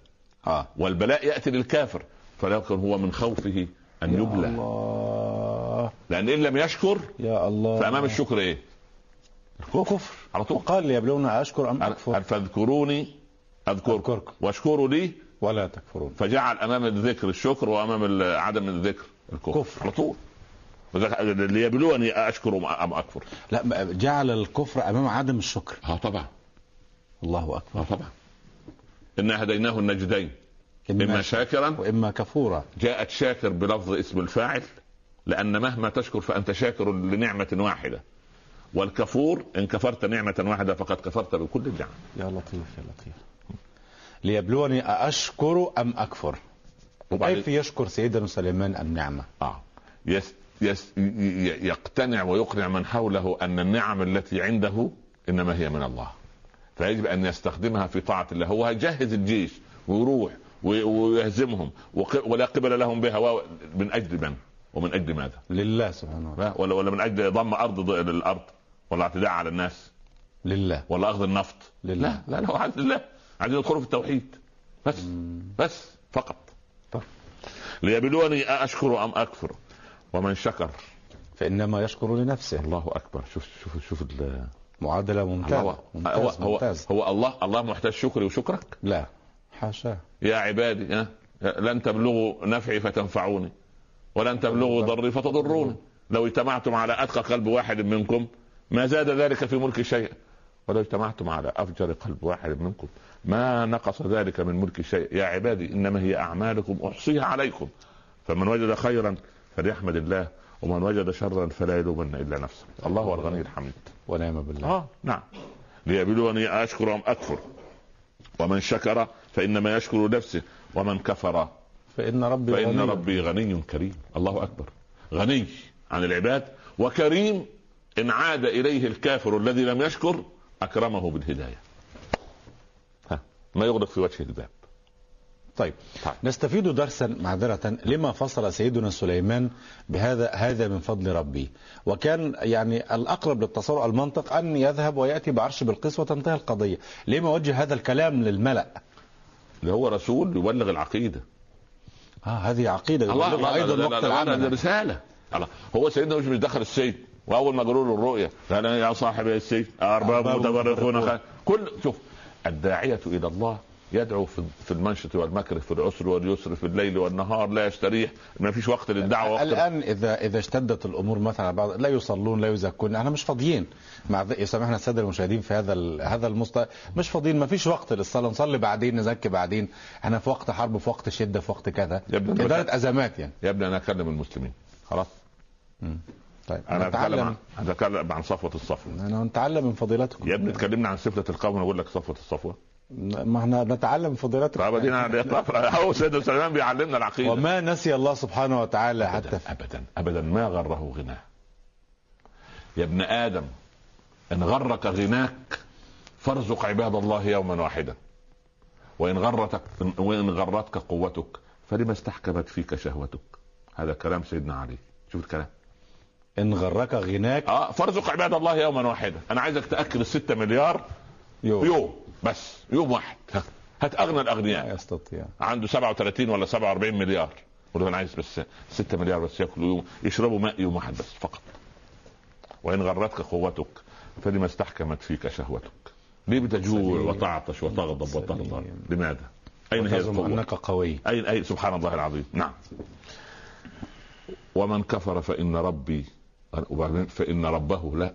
A: اه
B: والبلاء ياتي للكافر فلكن هو من خوفه ان
A: يا
B: يبلى
A: الله
C: الله
B: لان ان لم يشكر
A: يا الله
B: فامام الشكر ايه؟ الكفر على طول
A: وقال ليبلغنا أشكر أم
B: أن
A: أكفر
B: فاذكروني اذكركم
A: أذكركم.
B: واشكروا لي
A: ولا تكفرون
B: فجعل امام الذكر الشكر وامام ال- عدم الذكر الكفر
A: كفر.
B: على طول وذلك- ليبلوني اشكر ام اكفر
A: لا ب- جعل الكفر أمام عدم الشكر
B: اه طبعا
A: الله أكبر
B: اه طبعا انا هديناه النجدين اما شاكرا
A: وإما كفورا
B: جاءت شاكر بلفظ اسم الفاعل لان مهما تشكر فانت شاكر لنعمه واحده والكفور ان كفرت نعمه واحده فقد كفرت بكل النعم
C: يا لطيف يا لطيف
A: ليبلوني أشكر أم أكفر
B: وبعدين-
A: كيف يشكر سيدنا سليمان النعمة
B: آه. يس يس ي- ي- يقتنع ويقنع من حوله ان النعم التي عنده انما هي من الله فيجب ان يستخدمها في طاعه الله هو هيجهز الجيش ويروح وي- ويهزمهم وق- ولا قبل لهم بها و- من اجل من ومن اجل ماذا
A: لله سبحانه وتعالى
B: لا، ولا ولا من اجل ضم ارض ض- للارض ولا اعتداء على الناس
A: لله
B: ولا اخذ النفط
A: لله.
B: لا لا هو عايز لله عايزين يدخلوا في التوحيد بس بس فقط
A: طب.
B: ليبلوني أأشكر أم أكفر ومن شكر
A: فإنما يشكر لنفسه
B: الله أكبر شوف شوف شوف ال-
A: معادلة ممتازة
B: هو هو
A: ممتاز
B: هو,
A: ممتاز
B: هو الله الله محتاج شكري وشكرك
A: لا حاشاه
B: يا عبادي ها لن تبلغوا نفعي فتنفعوني ولن تبلغوا ضري فتضروني لو اجتمعتم على أتقى قلب واحد منكم ما زاد ذلك في ملك شيئا ولو اجتمعتم على أفجر قلب واحد منكم ما نقص ذلك من ملك شيء يا عبادي إنما هي أعمالكم أحصيها عليكم فمن وجد خيرا فليحمد الله ومن وجد شرا فلا يلومن إلا نفسه الله هو الغني الحميد
A: ونعم بالله
B: اه نعم ليبلوني أشكر أم أكفر ومن شكر فإنما يشكر نفسه ومن كفر
A: فإن ربي
B: فإن
A: غني.
B: ربي غني كريم الله أكبر غني عن العباد وكريم إن عاد إليه الكافر الذي لم يشكر أكرمه بالهداية ها ما يغلق في وجه الباب
A: طيب
B: طيب.
A: نستفيد درسا معذرة لما فصل سيدنا سليمان بهذا هذا من فضل ربي وكان يعني الأقرب للتصور المنطق أن يذهب ويأتي بعرش بالقيس وتنتهي القضية ليه ما وجه هذا الكلام للملأ
B: اللي هو رسول يبلغ العقيدة
A: آه هذه عقيدة يبلغها أيضا وقت
B: هذه
A: العمل
B: رسالة الله هو سيدنا مش بيدخل السجن واول ما قالوا له الرؤيا قال يا صاحب السجن ارباب
A: أرباب
B: متفرقون
A: متفرقون.
B: خير. كل شوف الداعية الى الله يدعو في في المنشط والمكر في العسر واليسر في الليل والنهار لا يستريح ما فيش وقت للدعوة وقت
A: الآن إذا إذا اشتدت الأمور مثلا على بعض لا يصلون لا يزكون احنا مش فاضيين مع ذ- يسامحنا السادة المشاهدين في هذا ال- هذا المستوى مش فاضيين ما فيش وقت للصلاة نصلي بعدين نزكي بعدين احنا في وقت حرب في وقت شدة في وقت كذا
B: يا ابن
A: إدارة أزمات يعني
B: يا ابني انا اكلم المسلمين خلاص
A: طيب
B: انا اتكلم
A: نتعلم
B: عن اتكلم عن صفوة الصفوة
A: أنا نتعلم من فضيلتكم
B: يا ابني اتكلمنا عن سفلة القوم اقول لك صفوة الصفوة
A: ما احنا نتعلم من فضيلتكم
B: طب دينا هو سيدنا سليمان بيعلمنا العقيدة
A: وما نسي الله سبحانه وتعالى حتى في
B: ابدا ابدا ما غره غناه يا ابن ادم ان غرك غناك فارزق عباد الله يوما واحدا وان غرتك وان غرتك قوتك فلما استحكمت فيك شهوتك هذا كلام سيدنا علي شوف الكلام
A: إن غرك غناك
B: اه فارزق عباد الله يوما واحدا انا عايزك تاكل الستة مليار
A: يوم
B: يوم بس يوم واحد هات اغنى
A: لا
B: الاغنياء
A: يستطيع
B: عنده 37 ولا 47 مليار يقول له انا عايز بس 6 مليار بس ياكلوا يوم يشربوا ماء يوم واحد بس فقط وان غرتك قوتك فلما استحكمت فيك شهوتك ليه بتجوع
A: سليم.
B: وتعطش وتغضب وترضى
A: سليم.
B: لماذا اين هي
A: وتزعم
B: القوه
A: أنك قوي
B: اين اي سبحان الله العظيم نعم ومن كفر فان ربي وبعدين فان ربه لا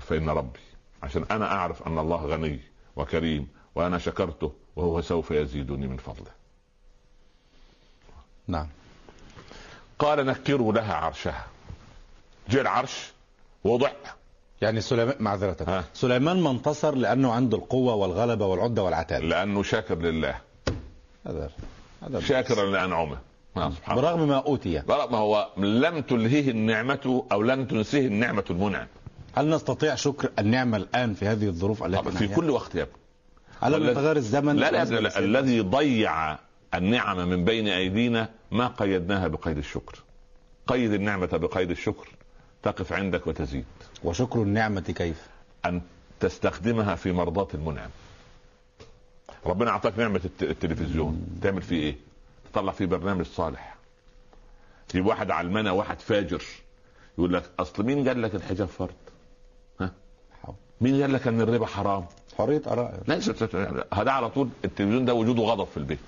B: فان ربي عشان انا اعرف ان الله غني وكريم وانا شكرته وهو سوف يزيدني من فضله
A: نعم
B: قال نكروا لها عرشها جاء العرش وضع
A: يعني سليمان معذرة
B: ها.
A: سليمان ما انتصر لأنه عنده القوة والغلبة والعدة والعتاد
B: لانه شاكر لله
A: هذا هذا
B: شاكرا لانعمه آه، سبحان الله
A: برغم ما أوتي
B: برغم هو لم تلهيه النعمة أو لم تنسيه النعمة المنعم
A: هل نستطيع شكر النعمة الآن في هذه الظروف التي
B: في
A: نحياها؟
B: كل وقت يا ابني
A: على
B: والذي-
A: متغير الزمن
B: لا لا, لا, لا الذي ضيع النعم من بين أيدينا ما قيدناها بقيد الشكر قيد النعمة بقيد الشكر تقف عندك وتزيد
A: وشكر النعمة كيف
B: أن تستخدمها في مرضاة المنعم ربنا أعطاك نعمة الت- التلفزيون تعمل فيه إيه تطلع فيه برنامج صالح تجيب واحد علمانة واحد فاجر يقول لك اصل مين قال لك الحجاب فرض؟ ها؟ مين قال لك ان الربا حرام؟
C: حريه اراء
B: لا ست- ست- هذا على طول التلفزيون ده وجوده غضب في البيت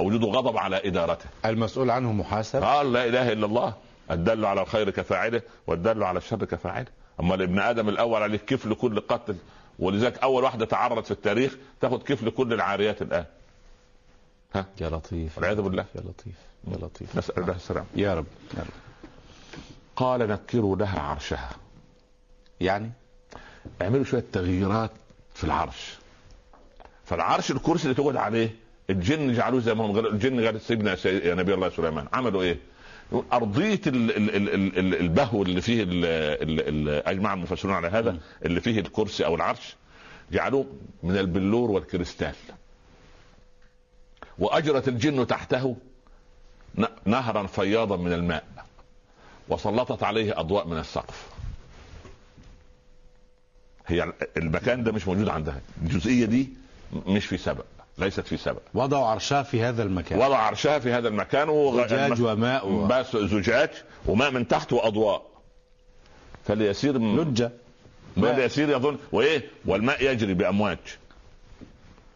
B: وجوده غضب على ادارته
A: المسؤول عنه محاسب
B: قال لا اله الا الله الدل على الخير كفاعله والدل على الشر كفاعله اما ابن ادم الاول عليه كفل كل قتل ولذلك اول واحده تعرض في التاريخ تاخد كفل كل العاريات الان
D: يا لطيف
B: والعياذ بالله.
D: يا لطيف يا لطيف
B: نسال الله السلام
A: يا رب
B: قال نكروا لها عرشها
A: يعني
B: اعملوا شويه تغييرات في العرش فالعرش الكرسي اللي تقعد عليه الجن جعلوه زي ما هم غير الجن غير سيدنا سي- يا نبي الله سليمان عملوا ايه؟ يقول ارضيه ال- ال- ال- ال- ال- البهو اللي فيه ال- ال- ال- اجمع المفسرون على هذا اللي فيه الكرسي او العرش جعلوه من البلور والكريستال واجرت الجن تحته ن- نهرا فياضا من الماء وسلطت عليه اضواء من السقف هي المكان ده مش موجود عندها الجزئيه دي مش في سبق ليست في سبق
A: وضعوا عرشها في هذا المكان
B: وضع عرشها في هذا المكان وغ-
A: زجاج وماء و-
B: بس زجاج وماء من تحت واضواء فليسير م-
A: لجة
B: فليسير يظن وايه والماء يجري بامواج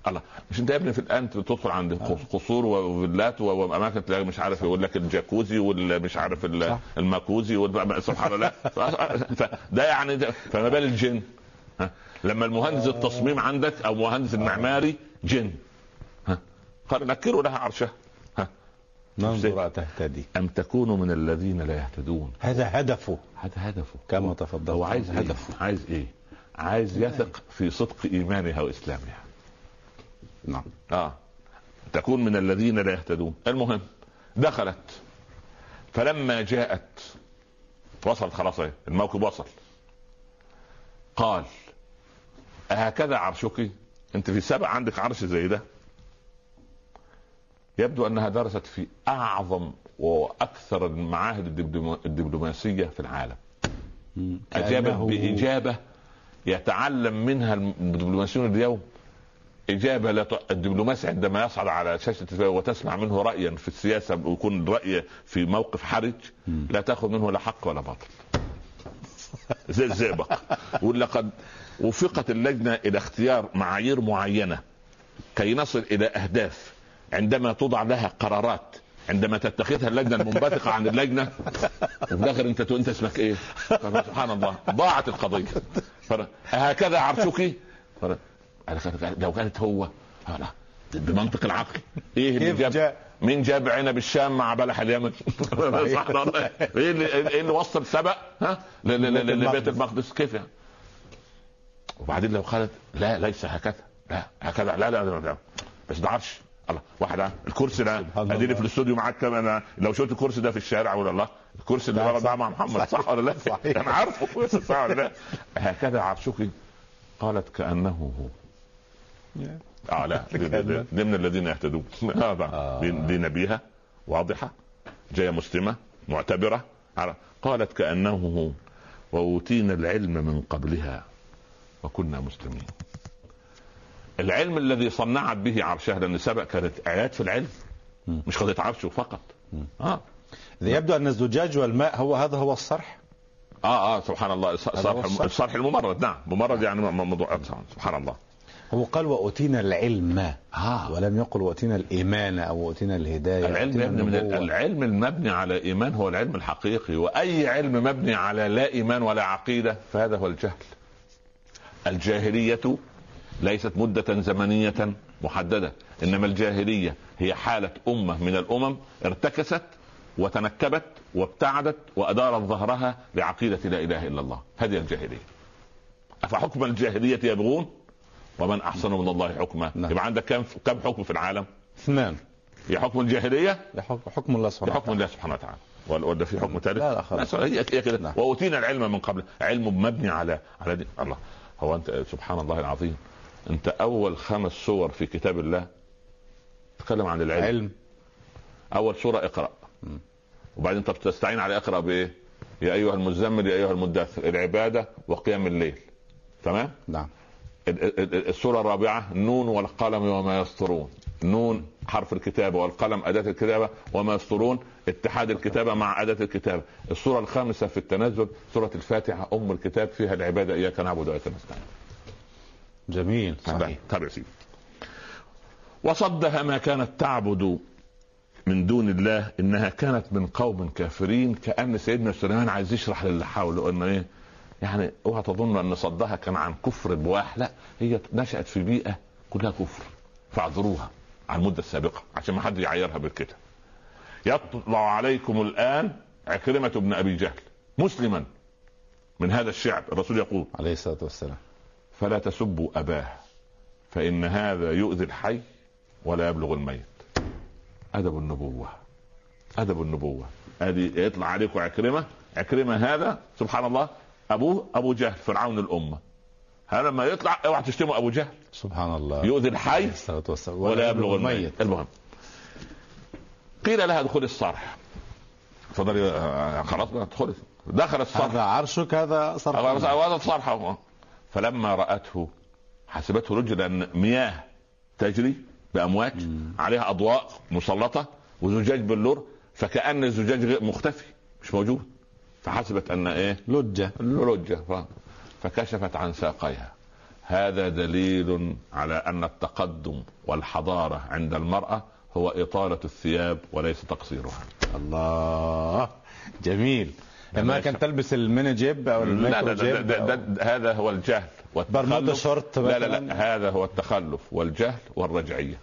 B: الله مش انت يا ابني في الان تدخل عند قص- قصور وفيلات و- واماكن تلاقي مش عارف يقول لك الجاكوزي والمش عارف ال- الماكوزي وال- سبحان الله ف- فده يعني ده فما بال الجن ها؟ لما المهندس التصميم عندك او مهندس المعماري جن ها؟ قال نكروا لها عرشها ها؟
A: ننظر تهتدي
B: ام تكونوا من الذين لا يهتدون
A: هذا هدفه
B: هذا هدفه
A: كما تفضلت
B: هو عايز
A: هدفه
B: هدفه عايز ايه؟ عايز يثق في صدق ايمانها واسلامها
A: نعم
B: اه تكون من الذين لا يهتدون المهم دخلت فلما جاءت وصل خلاص اهي الموكب وصل قال أهكذا عرشك انت في سبع عندك عرش زي ده يبدو انها درست في اعظم واكثر المعاهد الدبلوما- الدبلوماسيه في العالم اجابت
A: كأنه-
B: باجابه يتعلم منها الدبلوماسيون اليوم إجابة لا ت- الدبلوماسي عندما يصعد على شاشة التلفزيون وتسمع منه رأيا في السياسة ويكون رأي في موقف حرج لا تأخذ منه لا حق ولا باطل زي الزئبق يقول لقد وفقت اللجنة إلى اختيار معايير معينة كي نصل إلى أهداف عندما توضع لها قرارات عندما تتخذها اللجنه المنبثقه عن اللجنه وفي الاخر انت تقول انت اسمك ايه؟ سبحان الله ضاعت القضيه فر- هكذا عرشك فر- على خير- لو كانت هو لا بمنطق العقل ايه اللي
A: كيف
B: جاب
A: جاء؟
B: مين جاب عنب الشام مع بلح اليمن؟ سبحان الله ايه اللي ايه اللي وصل سبأ ها ل- ل- ل- لبيت المقدس كيف يعني؟ وبعدين لو قالت لا ليس هكذا لا هكذا لا لا, لا, لا. بس ده عرش الله واحد عارف. الكرسي ده
A: سبحان
B: اديني
A: الله.
B: في الاستوديو معاك كم انا لو شفت الكرسي ده في الشارع ولا الله الكرسي
A: لا،
B: اللي ورا
A: صح.
B: ده مع محمد صح ولا لا؟
A: صحيح.
B: انا عارفه صح ولا لا؟ هكذا عرشك قالت كانه هو اه لا دي- دي- دي- دي من الذين يهتدون آه بقى. دي دي نبيها واضحه جايه مسلمه معتبره على- قالت كانه هو واوتينا العلم من قبلها وكنا مسلمين العلم الذي صنعت به عرشها لان سبق كانت ايات في العلم مش قضيه عرشه فقط اه
A: آه. إذا يبدو ان الزجاج والماء هو هذا هو الصرح
B: اه اه سبحان الله الص-
A: هذا هو
B: الصرح
A: الصرح.
B: الصرح الممرد نعم ممرد يعني م- موضوع سبحان الله
A: هو قال وأوتينا العلم
B: آه.
A: ولم يقل وأوتينا الإيمان أو وأوتينا الهداية
B: العلم
A: وأوتينا
B: يا ابني من ال-
A: النبوة.
B: العلم المبني على ايمان هو العلم الحقيقي واي علم مبني على لا ايمان ولا عقيده فهذا هو الجهل. الجاهليه ليست مده زمنيه محدده انما الجاهليه هي حاله امه من الامم ارتكست وتنكبت وابتعدت وادارت ظهرها لعقيده لا اله الا الله، هذه الجاهليه. افحكم الجاهليه يبغون ومن احسن من الله حكما؟
A: نعم.
B: يبقى عندك كم كم حكم في العالم؟
A: اثنان
B: هي حكم الجاهليه
A: لحكم- حكم الله
B: في
A: سبحانه
B: حكم الله سبحانه وتعالى ولا ولا في حكم ثالث؟
A: لا، لا، خلاص.
B: هي هي كده
A: نعم.
B: واوتينا العلم من قبل علم مبني على على دي. الله هو انت سبحان الله العظيم انت اول خمس سور في كتاب الله تتكلم عن العلم
A: علم
B: اول سوره اقرا وبعدين طب تستعين على اقرا بايه؟ يا ايها المزمل يا ايها المدثر العباده وقيام الليل تمام؟
A: نعم
B: ال- ال- ال- السورة الرابعة نون والقلم وما يسطرون نون حرف الكتابة والقلم أداة الكتابة وما يسطرون اتحاد الكتابة مع أداة الكتابة السورة الخامسة في التنزل سورة الفاتحة أم الكتاب فيها العبادة إياك نعبد وإياك نستعين
A: جميل
B: صحيح طب يا سيدي. وصدها ما كانت تعبد من دون الله انها كانت من قوم كافرين كان سيدنا سليمان عايز يشرح للي حوله انه ايه يعني اوعى تظن ان صدها كان عن كفر بواح لا هي نشات في بيئه كلها كفر فاعذروها على المده السابقه عشان ما حد يعيرها بالكده يطلع عليكم الان عكرمه بن ابي جهل مسلما من هذا الشعب الرسول يقول
A: عليه الصلاة والسلام
B: فلا تسبوا أباه فإن هذا يؤذي الحي ولا يبلغ الميت أدب النبوة أدب النبوة هذه يطلع عليكم عكرمة عكرمة هذا سبحان الله أبوه أبو جهل فرعون الأمة هذا لما يطلع اوعى تشتموا أبو جهل
A: سبحان الله
B: يؤذي الحي
A: عليه الصلاة والسلام
B: ولا يبلغ الميت المهم قيل لها ادخل الصرح تفضلي آه، خلاص بقى، ادخلي دخل الصرح
A: هذا عرشك هذا
B: خلاص
A: صرف
B: وضعت صرحه هو. فلما رأته حسبته رجلا مياه تجري بأمواج عليها أضواء مسلطة وزجاج باللور فكأن الزجاج غير مختفي مش موجود فحسبت أن إيه
A: لجة
B: لرجة ف- فكشفت عن ساقيها هذا دليل على أن التقدم والحضارة عند المرأة هو إطالة الثياب وليس تقصيرها
A: الله جميل لما
B: ماشي.
A: كان تلبس الميني جيب او
B: لا
A: الميكرو
B: ده ده
A: جيب
B: ده ده
A: أو-
B: ده هذا هو الجهل
A: برمودا
B: والتخلف
A: شورت
B: لا لا
A: مثلاً.
B: لا هذا هو التخلف والجهل والرجعية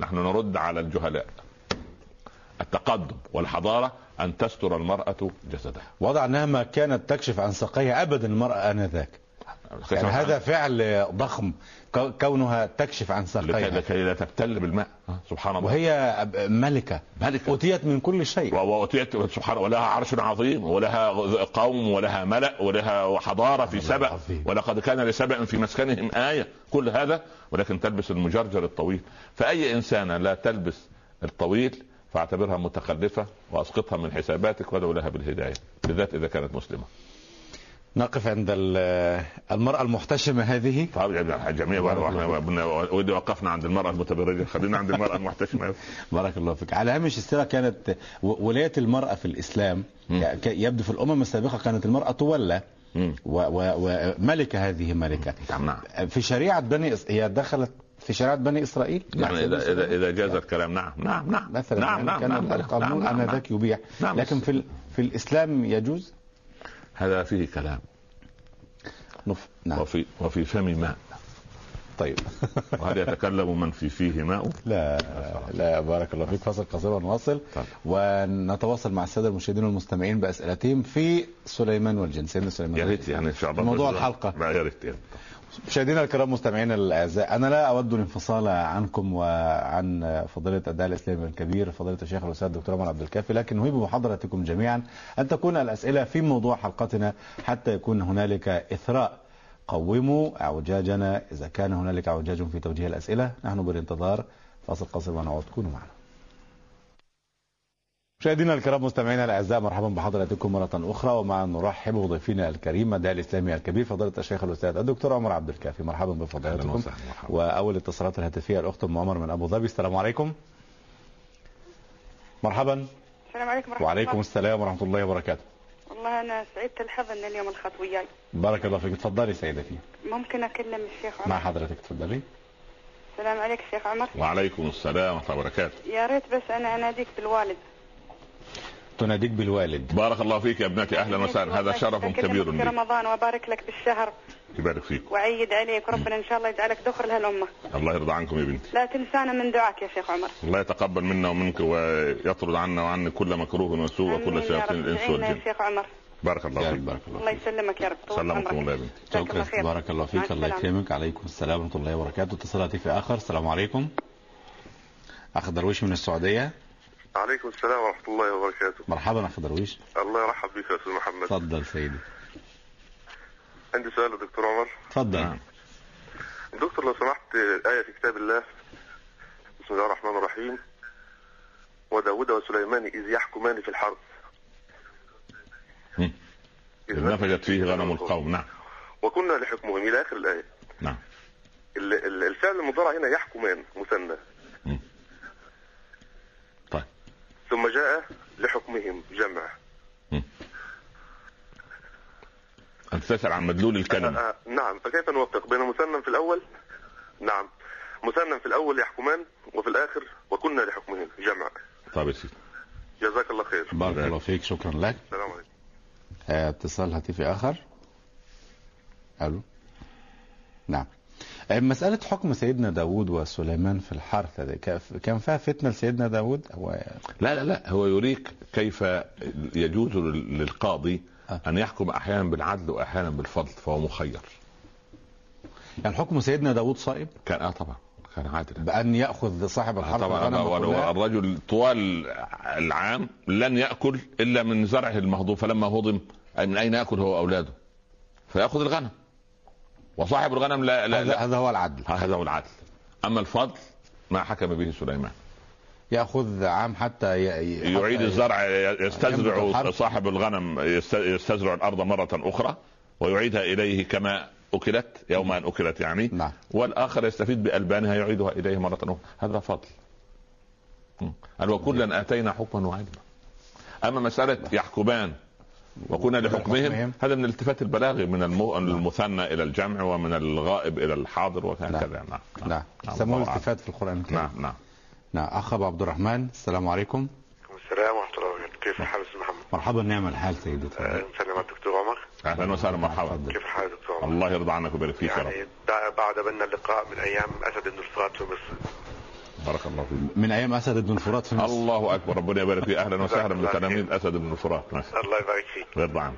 B: نحن نرد على الجهلاء التقدم والحضارة أن تستر المرأة جسدها
A: وضع انها ما كانت تكشف عن ساقيها ابدا المراه انذاك يعني هذا فعل ضخم كو- كونها تكشف عن
B: لكي,
A: ساقيها
B: لكي لا تبتل بالماء ها، سبحان الله
A: وهي ملكه
B: ملكة
A: أوتيت من كل شيء
B: وأتيت سبحان ولها عرش عظيم ولها غ- قوم ولها ملأ ولها حضارة في
A: الله
B: سبأ
A: العظيم.
B: ولقد كان لسبأ في مسكنهم آية كل هذا ولكن تلبس المجرجر الطويل فأي إنسانة لا تلبس الطويل فاعتبرها متخلفة وأسقطها من حساباتك وادعو لها بالهداية بالذات إذا كانت مسلمة
A: نقف عند ال- المرأة المحتشمة هذه
B: طب طيب يا جميع ودي وقفنا عند المرأة المتبرجة خلينا عند المرأة المحتشمة
A: بارك الله فيك على هامش السيرة كانت و- ولاية المرأة في الإسلام
B: مم.
A: ك- ك- يبدو في الأمم السابقة كانت المرأة تولى
B: مم.
A: و- و- وملكة هذه ملكة
B: نعم.
A: في شريعة بني إس... هي دخلت في شريعة بني إسرائيل
B: يعني إذا إذا إذا جاز الكلام نعم نعم نعم
A: مثلا
B: نعم
A: نعم. يعني
B: نعم
A: كان
B: نعم
A: القانون
B: نعم، نعم.
A: آنذاك يبيح
B: نعم.
A: لكن في ال... في الإسلام يجوز
B: هذا فيه كلام
A: نف... نعم
B: وفي وفي فم ماء
A: طيب
B: وهل يتكلم من في فيه ماء
A: لا لا بارك الله فيك فاصل قصير ونواصل
B: طيب.
A: ونتواصل مع الساده المشاهدين والمستمعين باسئلتهم في سليمان والجن سيدنا سليمان
B: يا
A: والجن.
B: ريت يعني ان شاء الله
A: موضوع
B: بس-
A: الحلقة.
B: لا يا ريت يعني. يا ريت.
A: مشاهدينا الكرام مستمعينا الاعزاء انا لا اود الانفصال عنكم وعن فضيله الداعي الاسلامي الكبير فضيله الشيخ الاستاذ الدكتور عمر عبد الكافي لكن اهيب محاضرتكم جميعا ان تكون الاسئله في موضوع حلقتنا حتى يكون هنالك اثراء قوموا اعوجاجنا اذا كان هنالك اعوجاج في توجيه الاسئله نحن بالانتظار فاصل قصير ونعود كونوا معنا مشاهدينا الكرام مستمعينا الاعزاء مرحبا بحضراتكم مره اخرى ومع نرحب بضيفنا الكريم الداعي الاسلامي الكبير فضيله الشيخ الاستاذ الدكتور عمر عبد الكافي مرحبا
B: اهلا
A: بفضيلتكم
B: وسهلا مرحبا.
A: واول اتصالات الهاتفيه الاخت ام عمر من ابو ظبي السلام عليكم مرحبا
E: السلام عليكم ورحمة
A: وعليكم
E: الله
A: السلام ورحمه الله وبركاته
E: والله أنا سعدت الحظ أن اليوم الخط وياي
A: بارك الله فيك اتفضلي سيدتي
E: ممكن أكلم الشيخ عمر
A: مع حضرتك اتفضلي
E: السلام عليك الشيخ عمر
B: وعليكم السلام ورحمه الله وبركاته
E: يا ريت بس أنا أناديك بالوالد
A: تناديك بالوالد
B: بارك الله فيك يا ابنتي اهلا وسهلا هذا شرف
E: أكلمك
B: كبير
E: في
B: لي
E: رمضان وأبارك لك بالشهر
B: يبارك فيك
E: وأعيد عليك وربنا إن شاء الله يجعلك دخر لهالأمة
B: الله يرضى عنكم يا بنتي
E: لا تنسانا من دعاك يا شيخ عمر
B: الله يتقبل منا ومنك ويطرد عنا وعنك كل مكروه وسوء
E: آمين
B: وكل
E: يا
B: شياطين
E: رب
B: الانس
E: تعيننا
B: والجن
E: يا شيخ عمر
B: بارك
A: يا
B: الله
A: رب
B: فيك
A: بارك الله
E: الله
A: فيك
E: يسلمك يا رب طول
B: سلامكم
E: عمرك.
B: الله يا بنتي
E: جزاك الله
A: شكرا
E: نعم. خير.
A: بارك الله
E: مع
A: فيك الله
E: السلامة.
A: يكرمك عليكم السلام ورحمه الله وبركاته اتصال هاتفي اخر السلام عليكم اخ درويش من السعوديه
F: عليكم السلام ورحمة الله وبركاته
A: مرحبا اخ درويش
F: الله يرحب بك يا أستاذ محمد
A: اتفضل سيدي
F: عندي سؤال للدكتور عمر
B: نعم.
A: اتفضل
F: دكتور لو سمحت آية في كتاب الله بسم الله الرحمن الرحيم وداود وسليمان إذ يحكمان في الحرب
B: مم. إذ نفجت فيه غنم القوم نعم
F: وكنا لحكمهم إلى آخر الآية
B: نعم
F: ال- ال- الفعل المضارع هنا يحكمان مثنى
B: طيب
F: ثم جاء لحكمهم جمع
B: انت تسال عن مدلول الكلمه
F: آه، نعم فكيف نوفق بين مثنى في الأول نعم مثنى في الأول يحكمان وفي الآخر وكنا لحكمهم جمع
B: طيب يا سيدي
F: جزاك الله خير
B: بارك الله
A: فيك شكرا لك
F: السلام عليكم
A: آه، اتصال هاتفي اخر الو نعم آه، مسألة حكم سيدنا داود وسليمان في الحرثة دي كان- كان فيها فتنة لسيدنا داود هو
B: لا لا لا هو يريك كيف يجوز لل- للقاضي
A: آه.
B: ان يحكم احيانا بالعدل واحيانا بالفضل فهو مخير
A: يعني حكم سيدنا داود صائب
B: كان اه طبعا كان عادلا
A: بأن يأخذ صاحب
B: آه
A: الحرثة
B: طبعا
A: الغنم
B: هو- هو
A: كلها؟
B: الرجل طوال العام لن ياكل الا من زرعه المهضوم فلما هضم من اين ياكل هو واولاده فياخذ الغنم وصاحب الغنم لا لا,
A: هذا
B: لا
A: هذا هو العدل
B: هذا هو العدل اما الفضل ما حكم به سليمان
A: يأخذ عام حتى ي... ي- حتى
B: يعيد
A: ي-
B: الزرع
A: ينبت
B: يستزرع
A: الحرث.
B: صاحب الغنم يست- يستزرع الارض مره اخرى ويعيدها اليه كما اكلت يوم ان اكلت يعني
A: نعم
B: والاخر يستفيد بالبانها يعيدها اليه مره اخرى هذا فضل م. قال وكلا اتينا حكما وعلما اما مساله
A: نعم.
B: يحكمان وكنا لحكمهم هذا من الالتفات البلاغي من الم-
A: نعم.
B: المثنى الى الجمع ومن الغائب الى الحاضر وهكذا نعم
A: نعم
B: نعم.
A: سموه
B: طبعاً.
A: التفات في القرآن الكريم
B: نعم نعم
A: نعم أخ أبو عبد الرحمن السلام عليكم
F: السلام ورحمة الله وبركاته كيف حال أستاذ محمد؟
A: مرحبا نعم الحال سيدي
B: آه.
A: تفضل.
F: سلام الدكتور عمر
B: اهلا وسهلا مرحبا
A: تفضل.
F: كيف حال دكتور
B: الله يرضى عنك ويبارك فيك يا رب
F: يعني دع- بعد بنا اللقاء من ايام اسد بن الفرات في مصر
B: بارك الله فيك
A: من أيام أسد بن فرات في مصر
B: الله اكبر ربنا يبارك فيه اهلا وسهلا بتلاميذ اسد بن الفرات ماشي.
F: الله يبارك فيك
B: يرضى عنك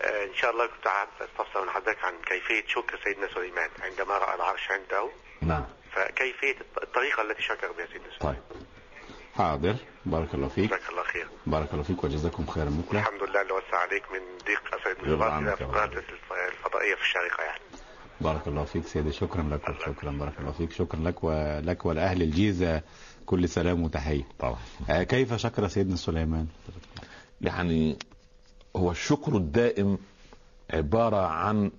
F: آه ان شاء الله كنت عايز استفسر من حضرتك عن كيفيه شكر سيدنا سليمان عندما راى العرش عنده
B: نعم
F: فكيفيه الط- الطريقه التي شكر بها سيدنا سليمان
A: طيب حاضر بارك الله فيك
F: جزاك الله خير
A: بارك الله فيك وجزاكم خيرا مثله
F: الحمد لله اللي وسع عليك من ضيق اسد بن
B: يرضى
F: الفرات الى
B: عنك يا رب.
F: قناه الفضائيه في الشارقه يعني
A: بارك الله فيك سيدي شكرا لك شكرا بارك الله فيك شكرا لك ولك ولأهل الجيزة كل سلام وتحية
B: طبعا
A: آه، كيف شكر سيدنا سليمان
B: يعني هو الشكر الدائم عباره عن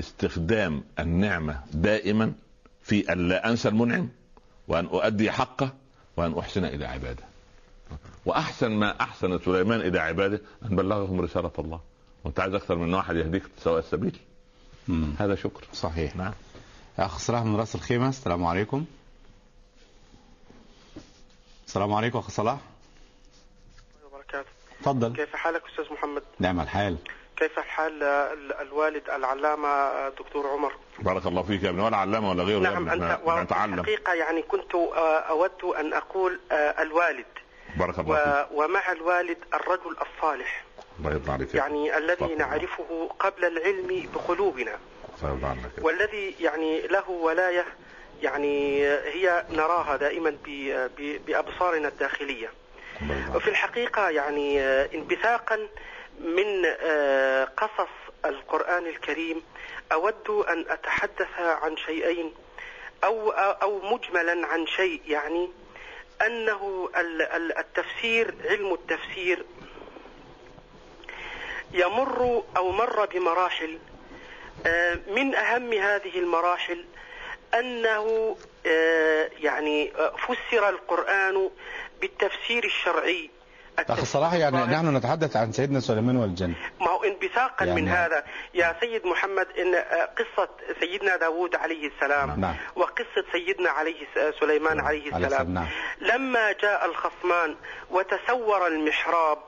B: استخدام النعمه دائما في ان لا انسى المنعم وان اؤدي حقه وان احسن الى عباده واحسن ما احسن سليمان الى عباده ان بلغهم رساله الله وانت عايز اكثر من واحد يهديك سواء السبيل
A: مم.
B: هذا شكر
A: صحيح
B: نعم
A: أخ صلاح من رأس الخيمة السلام عليكم السلام عليكم أخ صلاح
G: وبركاته
A: تفضل
G: كيف حالك أستاذ محمد
A: نعم الحال
G: كيف حال ال- الوالد العلامة دكتور عمر
B: بارك الله فيك يا ابني ولا علامه ولا غيره يا ابني
G: الح-
B: احنا نتعلم
G: نعم، الحقيقة يعني كنت آه، أود أن أقول آه، الوالد
B: بارك الله فيك
G: و- ومع الوالد الرجل الصالح
B: الله يرضى عليك يا ابني.
G: يعني الذي
B: الله.
G: نعرفه قبل العلم بقلوبنا
B: الله يرضى عنك يا ابني.
G: والذي يعني له ولاية يعني آه، هي نراها دائما ب- آه، ب- بأبصارنا الداخلية
B: الله يرضى عنك.
G: وفي الحقيقة يعني آه، انبثاقا من آه، قصص القرآن الكريم أود أن أتحدث عن شيئين أو أو مجملا عن شيء يعني أنه ال- ال- التفسير علم التفسير يمر أو مر بمراحل آه، من أهم هذه المراحل أنه آه، يعني آه، فسر القرآن بالتفسير الشرعي
A: أخ صلاح يعني نحن نتحدث عن سيدنا سليمان والجنة
G: ما هو انبثاقا
A: يعني-
G: يعني من هذا يا سيد محمد ان آه، قصه سيدنا داوود عليه السلام
A: نعم.
G: وقصه سيدنا عليه الس- آه، سليمان عليه
A: عليه السلام،
G: السلام
A: نعم.
G: لما جاء الخصمان وتسور المحراب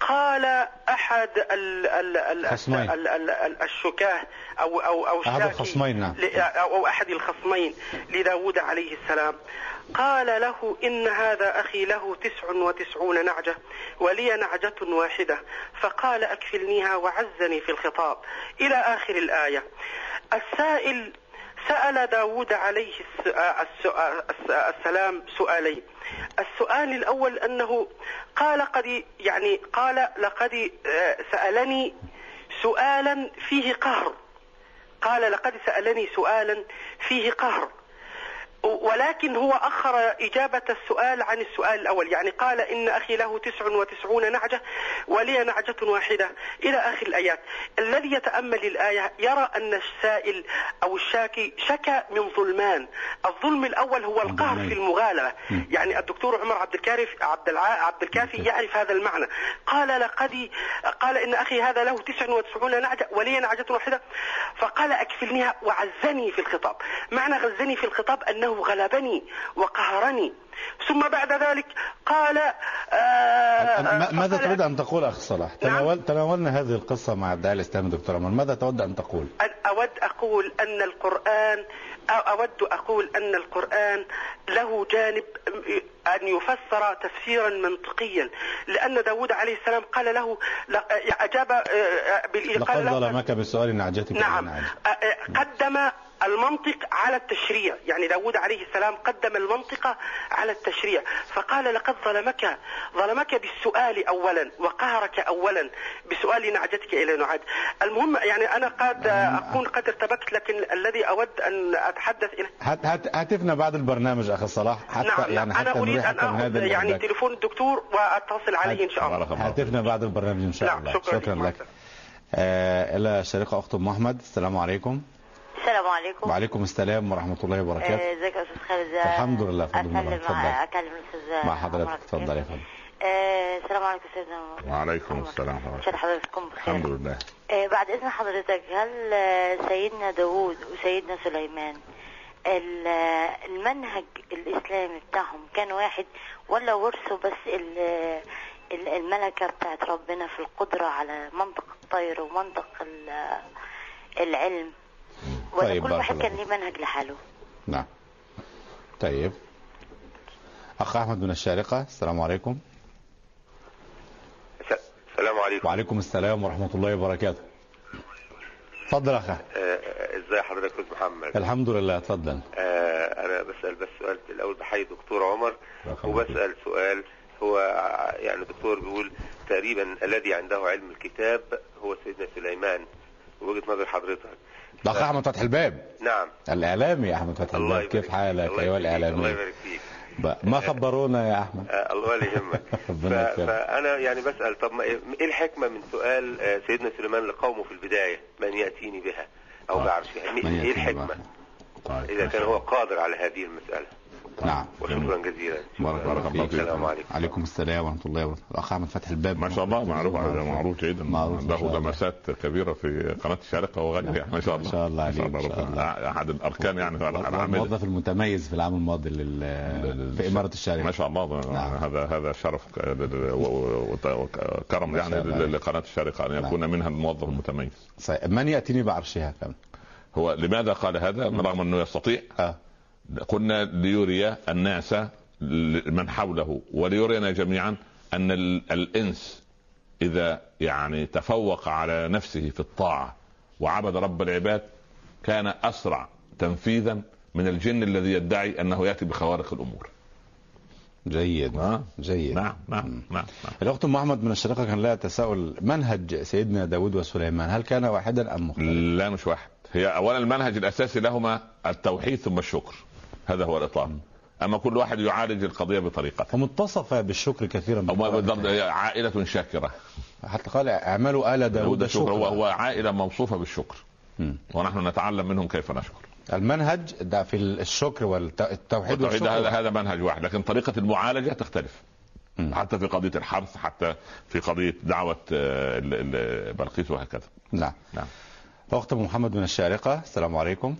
G: قال احد ال ال ال
A: خصمين.
G: ال ال ال الشكاه او او او
A: أحد
G: شاكي
A: الخصمين، نعم.
G: ل- او أو احد الخصمين لداود عليه السلام قال له ان هذا اخي له تسع وتسعون نعجه ولي نعجه واحده فقال اكفلنيها وعزني في الخطاب الى اخر الايه السائل سال داود عليه الس- آه الس- آه الس- آه السلام سؤالين السؤال الاول انه قال قد يعني قال لقد آه، سالني سؤالا فيه قهر قال لقد سألني سؤالا فيه قهر ولكن هو أخر إجابة السؤال عن السؤال الأول يعني قال إن أخي له تسع وتسعون نعجة ولي نعجة واحدة إلى آخر الآيات الذي يتأمل الآية يرى أن السائل أو الشاكي شكى من ظلمان الظلم الأول هو القهر في المغالبة يعني الدكتور عمر عبد الكافي عبد الع... عبد الكافي يعرف هذا المعنى قال لقد قال إن أخي هذا له 99 نعجة ولي نعجة واحدة فقال أكفلنيها وعزني في الخطاب معنى غزني في الخطاب أنه غلبني وقهرني ثم بعد ذلك قال آه
A: ما-
G: آه،
A: ماذا
G: فقال
A: تود أن تقول أخ صلاح؟
G: نعم.
A: تناول تناولنا هذه القصة مع الداعي الإسلامي دكتور عمر ماذا تود أن تقول؟
G: أن أود أقول أن القرآن أو أود أقول أن القرآن له جانب أن يفسر تفسيرا منطقيا لأن داود عليه السلام قال له لا- أجاب آه، آه، بال-
A: لقد
G: قال له
A: ظلمك بسؤال نعجتك عن
G: نعم
A: نعجة.
G: أ- أ- قدم المنطق على التشريع يعني داود عليه السلام قدم المنطق على التشريع فقال لقد ظلمك ظلمك بالسؤال أولا وقهرك أولا بسؤال نعجتك إلى نعاد المهم يعني أنا قد أكون قد ارتبكت لكن الذي أود أن أتحدث إليه
A: هات هات هاتفنا بعد البرنامج أخ صلاح حتى
G: نعم
A: يعني
G: أنا
A: حتى
G: أريد أن
A: نريحك من
G: أخذ
A: هذا
G: يعني
A: الإحباك.
G: تليفون الدكتور وأتصل عليه إن شاء الله
B: بارك الله
A: هاتفنا بعد البرنامج إن شاء
G: نعم،
A: الله
G: شكراً لك.
A: شكرا
G: مع
A: لك آه إلى شريكة أخت أم أحمد السلام عليكم
H: السلام عليكم
A: وعليكم السلام ورحمة الله وبركاته
H: آه، ازيك يا استاذ خالد
A: الحمد لله، فضل الله.
H: اتكلم
A: اتفضل.
H: مع اكلم الاستاذ
A: مع
H: عمر
A: حضرتك
H: عبد
A: اتفضل يا
H: الكريم.
A: فندم
H: آه، السلام عليكم استاذنا
B: وعليكم
H: عمر.
B: السلام ورحمة
H: ان
B: الله
H: شاء الله حضرتكم بخير
B: الحمد لله
H: آه، بعد اذن حضرتك هل آه، سيدنا داوود وسيدنا سليمان ال- آه، المنهج الاسلامي بتاعهم كان واحد ولا ورثوا بس ال- آه، ال- الملكه بتاعت ربنا في القدره على منطق الطير ومنطق ال- آه، العلم ولا
A: طيب،
H: كل
A: بارك
H: واحد
A: الله
H: كان ليه منهج لحاله
A: نعم طيب أخ أحمد من الشارقة السلام عليكم
F: السلام عليكم
A: وعليكم السلام ورحمة الله وبركاته اتفضل أخ أحمد.
F: ازاي آه، حضرتك يا أستاذ محمد
A: الحمد لله اتفضل
F: آه، انا بسال بس سؤال الاول بحيي دكتور عمر
A: رقم
F: وبسال سؤال هو ع- يعني الدكتور بيقول تقريبا الذي عنده علم الكتاب هو سيدنا سليمان وجهه نظر حضرتك
A: ده اخ احمد فتحي الباب
F: نعم
A: الاعلامي احمد فتحي
F: الله
A: الباب
F: يبارك
A: كيف
F: فيك.
A: حالك أيوة
F: الله
A: ايها
F: يبارك فيك. الله
A: الاعلامي
F: يبارك فيك
A: بقى، ما خبرونا يا احمد
F: آه، الله ولا يهمك
A: ربنا
F: ف-
A: يكرمك.
F: فانا يعني بسال طب ما ايه إيه الحكمه من سؤال آه، سيدنا سليمان لقومه في البدايه من ياتيني بها او
B: آه.
F: بعرشها
A: من
F: ايه
A: يأتينا
F: الحكمه
A: بقى.
B: طيب
F: اذا كان هو قادر على هذه المساله
A: نعم
F: وشكرا جزيلا
A: بارك الله فيك
F: السلام عليكم
A: عليكم السلام ورحمه الله وبركاته الاخ احمد فتحي الباب
B: ما شاء الله معروف هذا معروف جدا
A: معروف إن شاء
B: له
A: الله.
B: لمسات كبيره في قناه الشارقه وغيرها ما شاء الله
A: ما شاء الله عليك،
B: ما
A: إن شاء
B: ربنا. احد الاركان يعني العامله
A: الموظف المتميز في العام الماضي لل... في اماره
B: ما
A: الشارقه
B: شاء الله
A: نعم.
B: هذا هذا شرف و- و- وكرم
A: ما شاء
B: يعني
A: الله. نعم.
B: لقناه الشارقه ان يكون منها الموظف المتميز
A: صحيح. طيب، من ياتيني بعرشها كم
B: هو لماذا قال هذا رغم انه يستطيع
A: آه.
B: قلنا ليري الناس ل- من حوله وليرينا جميعا ان ال- الانس اذا يعني تفوق على نفسه في الطاعه وعبد رب العباد كان اسرع تنفيذا من الجن الذي يدعي انه ياتي بخوارق الامور.
A: جيد
B: نعم
A: جيد
B: نعم نعم نعم
A: الاخت ام احمد من الشارقه كان لها تساؤل منهج سيدنا داود وسليمان هل كان واحدا ام مختلفا
B: نعم. لا مش واحد هي اولا المنهج الاساسي لهما التوحيد ثم الشكر هذا هو الاطلاق اما كل واحد يعالج القضيه بطريقته
A: فمتصف بالشكر كثيرا
B: أو ما
A: بالقرآن
B: بالضبط
A: الكريم.
B: هي عائله شاكره
A: حتى قال اعملوا ال داود
B: داود الشكر
A: شكرا
B: هو, هو عائله موصوفه بالشكر
A: مم.
B: ونحن نتعلم منهم كيف نشكر
A: المنهج ده في الشكر والتوحيد
B: والتوحيد
A: والشكر
B: هذا هذا منهج واحد لكن طريقه المعالجه تختلف
A: مم.
B: حتى في قضيه الحرث حتى في قضيه دعوه آه، ال- ال- بلقيس وهكذا
A: نعم
B: نعم.
A: اخت أم محمد من الشارقه السلام عليكم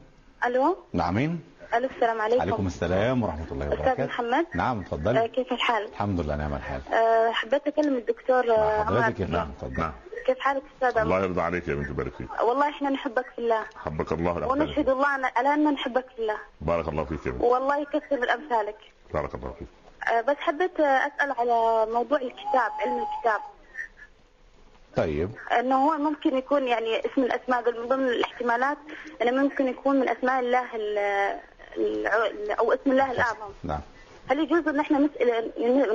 E: الو
A: نعمين
E: الو السلام
A: عليكم السلام ورحمه الله
E: استاذ
A: وبركاته
E: محمد
A: نعم
E: آه،
A: اتفضلي
E: كيف الحال؟
A: الحمد لله نعم الحال
E: آه، حبيت اكلم الدكتور آه،
A: مع
E: عمر
A: حضرتك
E: عبد-
A: يا فندم
B: نعم
A: اتفضل
B: نعم
E: كيف حالك استاذ عمر؟
B: الله يرضى عليك يا بنت بارك فيك
E: والله احنا نحبك في الله
B: حبك الله لا يحرمك.
E: ونشهد الله أن- على اننا نحبك في الله
B: بارك الله فيك يا بنت
E: والله يكثر من امثالك
B: بارك الله فيك
E: آه، بس حبيت آه، اسال على موضوع الكتاب علم الكتاب
A: طيب
E: انه هو ممكن يكون يعني اسم الاسماء دول من ضمن الاحتمالات انه ممكن يكون من اسماء الله ال- الع- او اسم الله الاعظم
A: نعم
E: هل يجوز ان احنا نسال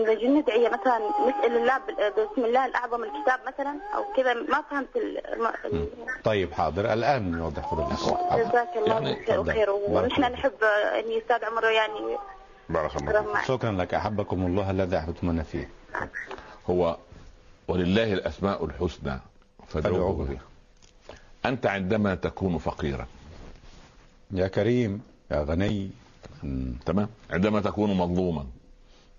E: نجي ندعي مثلا نسال الله بال- بسم الله الاعظم الكتاب مثلا او كذا ما فهمت ال- الم- ال-
A: طيب حاضر الان نوضح للاخوه حاضر.
E: جزاك الله
B: يعني
E: خير-
B: تفضل.
E: خير
A: بارك
E: ونحن
A: الله.
E: نحب ان استاذ عمر يعني
B: بارك الله
E: شكرا
B: فيك.
E: معك
A: شكرا لك احبكم الله الذي احببتمونا فيه
B: هو ولله الاسماء الحسنى
A: فادعوه
B: فادعوه بها انت عندما تكون فقيرا
A: يا كريم يا غني مم.
B: تمام عندما تكون مظلوما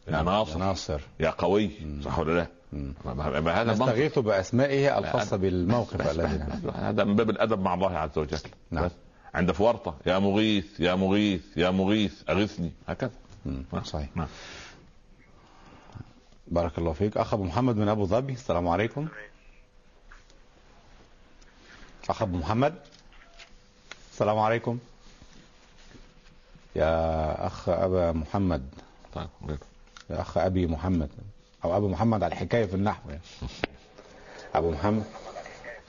B: يا
A: يا
B: ناصر
A: ناصر
B: يا قوي صح ولا لا
A: مم.
B: ما- ما- ما هذا منطق.
A: نستغيث باسمائه الخاصه بالموقف
B: بس-
A: الذي
B: بس- هذا من باب الادب مع الله عز وجل
A: نعم.
B: بس. عند فورطه يا مغيث يا مغيث يا مغيث اغثني هكذا
A: مم.
B: نعم.
A: صحيح
B: نعم.
A: بارك الله فيك اخ ابو محمد من ابو ظبي السلام عليكم اخ ابو محمد السلام عليكم يا اخ ابا محمد
B: طيب
A: يا اخ ابي محمد او ابو محمد على الحكايه في النحو يعني. ابو محمد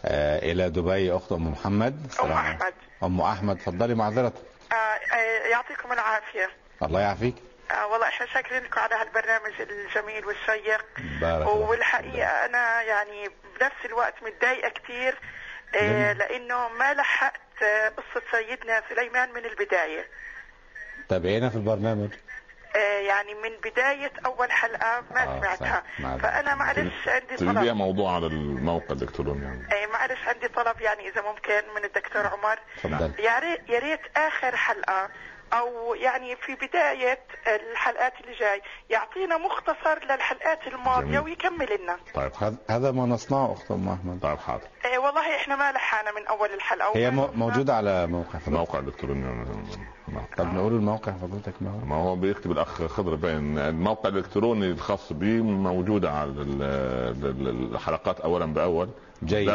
A: آه الى دبي اخت ام محمد
G: أم
A: عليكم.
G: أحمد.
A: ام احمد اتفضلي معذرتك
G: آه، آه، يعطيكم العافية
A: الله يعافيك
G: آه، والله احنا شاكرين لكم على هالبرنامج الجميل والشيق
A: بارك الله فيك.
G: والحقيقة أنا يعني بنفس الوقت متضايقة كثير آه، لأنه ما لحقت آه، قصة سيدنا سليمان من البداية
A: تابعينا في البرنامج
G: آه، يعني من بداية أول حلقة ما
A: آه،
G: سمعتها
A: صح. معذرة.
G: فأنا معلش عندي
B: تجيب
A: طيب،
B: لي
G: طلب
B: موضوع على الموقع دكتور يعني
G: آه، معلش عندي طلب يعني إذا ممكن من الدكتور عمر
A: اتفضل
G: يا ريت يا ريت اخر حلقه او يعني في بدايه الحلقات اللي جاي يعطينا مختصر للحلقات الماضيه
B: جميل.
G: ويكمل لنا
B: طيب
A: هذا- هذا ما نصنعه اخت ام احمد
B: طيب حاضر
G: إيه والله احنا ما لحقنا من اول الحلقه
A: هي
G: وما-
A: مو- موجوده على موقع فضلتك
B: موقع دكتور نعم. نعم.
A: طب نقول الموقع فضلتك ما هو
B: ما هو بيكتب الاخ خضر باين الموقع الالكتروني الخاص بيه موجود على ال- ال- ال- الحلقات اولا باول
A: جيد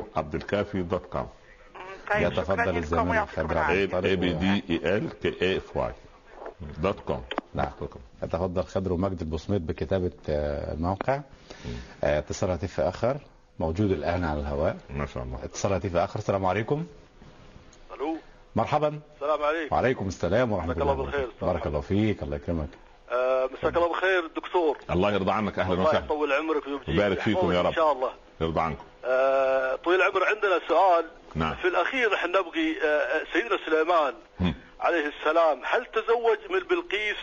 B: www.abdelkafi.com
G: مم، طيب شكرا
A: يتفضل
G: لكم
A: الزميل
G: ويعطيكم
A: الخبير.
G: العافيه
A: طريق
B: a b d e l k a f y دوت كوم
A: نعم. يتفضل خضر ومجد البصميت بكتابة آه، الموقع آه، اتصال هاتف آخر موجود الآن على الهواء
B: ما شاء الله
A: اتصال هاتف آخر السلام عليكم
I: الو
A: مرحبا
I: السلام عليكم
A: وعليكم السلام ورحمة
I: مساك
A: الله
I: الله بالخير.
A: وبركاته بارك الله فيك الله يكرمك
I: آه، مساك الله بخير دكتور
B: الله يرضى عنك اهلا
I: الله
B: وسهلا
I: يطول عمرك ويبجيك
B: ويبارك فيكم
I: ويحفظك
B: يا رب.
I: ان شاء الله
B: يرضى عنكم
I: آه، طويل العمر عندنا سؤال
B: نعم.
I: في الاخير احنا نبغي آه، سيدنا سليمان
B: هم.
I: عليه السلام هل تزوج من بلقيس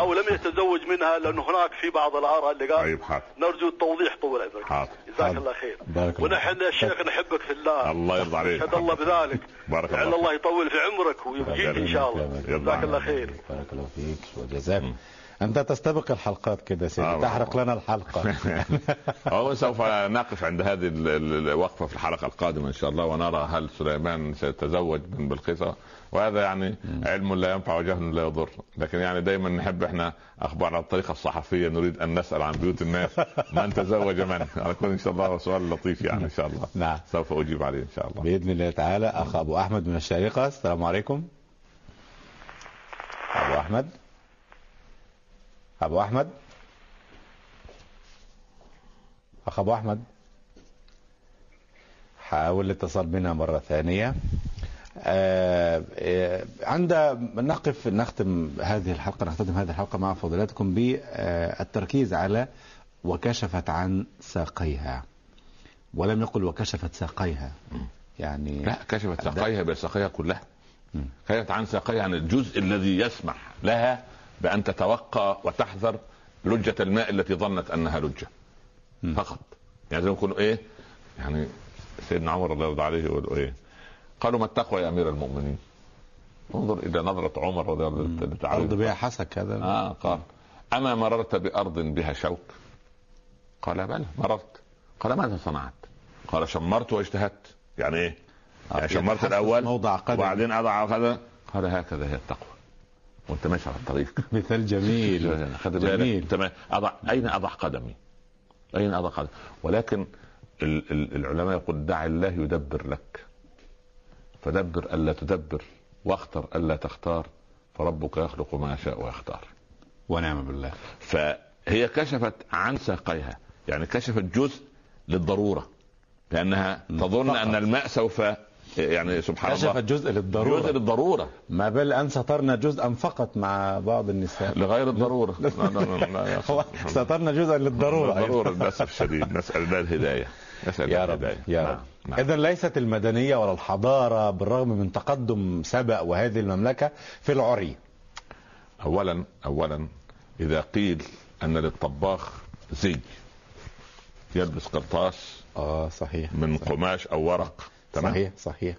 I: او لم يتزوج منها لان هناك في بعض الاراء اللي قال
B: طيب آه. حاضر
I: نرجو التوضيح طول عمرك
B: حاضر.
I: جزاك الله خير
A: بارك الله
I: ونحن يا شيخ نحبك في الله
B: الله يرضى عليك
I: أشهد الله بذلك
B: بارك
I: لعل
B: الله
I: الله يطول في عمرك ويبقيك ان شاء الله
B: يلا.
I: جزاك الله خير
A: بارك الله فيك وجزاك أنت تستبق الحلقات كده يا
B: آه،
A: سيدي تحرق لنا الحلقة
B: هو سوف نقف عند هذه ال- ال- الوقفه في الحلقه القادمه ان شاء الله ونرى هل سليمان سيتزوج من بلقيس وهذا يعني علم لا ينفع وجهل لا يضر لكن يعني دايما نحب احنا اخبار على الطريقه الصحفيه نريد ان نسال عن بيوت الناس من تزوج من يكون ان شاء الله سؤال لطيف يعني ان شاء الله
A: نعم
B: سوف اجيب عليه ان شاء الله
A: بإذن الله تعالى أخ أبو أحمد من الشارقة السلام عليكم أبو أحمد أبو أحمد أخ أبو أحمد حاول الاتصال بنا مرة ثانية آه، آه، عند نقف نختم هذه الحلقة نختتم هذه الحلقة مع فضيلتكم بالتركيز على وكشفت عن ساقيها ولم يقل وكشفت ساقيها يعني
B: لا كشفت ساقيها بساقيها كلها كشفت عن ساقيها عن الجزء الذي يسمح لها بان تتوقى وتحذر لجة الماء التي ظنت انها لجة
A: مم.
B: فقط يعني زي ما يكونوا ايه يعني سيدنا عمر رضي الله عليه يقول ايه قالوا ما التقوى يا امير المؤمنين انظر الى نظرة عمر رضي الله
A: عرض
B: عنه
A: بها حسك هذا
B: آه قال أما مررت بأرض بها شوك قال بلى مررت قال ماذا صنعت قال شمرت واجتهدت يعني ايه يعني شمرت
A: يتحسس
B: الأول
A: موضع قدم
B: وبعدين أضع هذا قال هكذا هي التقوى وانت ماشي على الطريق
A: مثال جميل
B: خد
A: جميل.
B: بالك تمام أضع أين أضع قدمي أين أضع قدمي ولكن ال... ال... العلماء يقول دع الله يدبر لك فدبر ألا تدبر واختر ألا تختار فربك يخلق ما يشاء ويختار
A: ونعم بالله
B: فهي كشفت عن ساقيها يعني كشفت جزء للضرورة لأنها تظن
A: فقط.
B: أن الماء سوف يعني سبحان
A: كشفت
B: الله
A: جزء للضرورة
B: جزء للضروره
A: ما بال أن سترنا جزءا فقط مع بعض النساء
B: لغير الضروره لا لا لا, لا يا
A: هو
B: أخي.
A: سترنا جزءا للضرورة أيضا.
B: ضرورة للأسف الشديد نسأل الله الهداية نسأل
A: يا
B: الله
A: رب
B: الهداية
A: يا
B: نعم،
A: رب
B: نعم.
A: إذا ليست المدنية ولا الحضارة بالرغم من تقدم سبأ وهذه المملكة في العري
B: أولا أولا إذا قيل أن للطباخ زي يلبس قرطاس
A: اه صحيح
B: من قماش أو ورق تمام
A: صحيح صحيح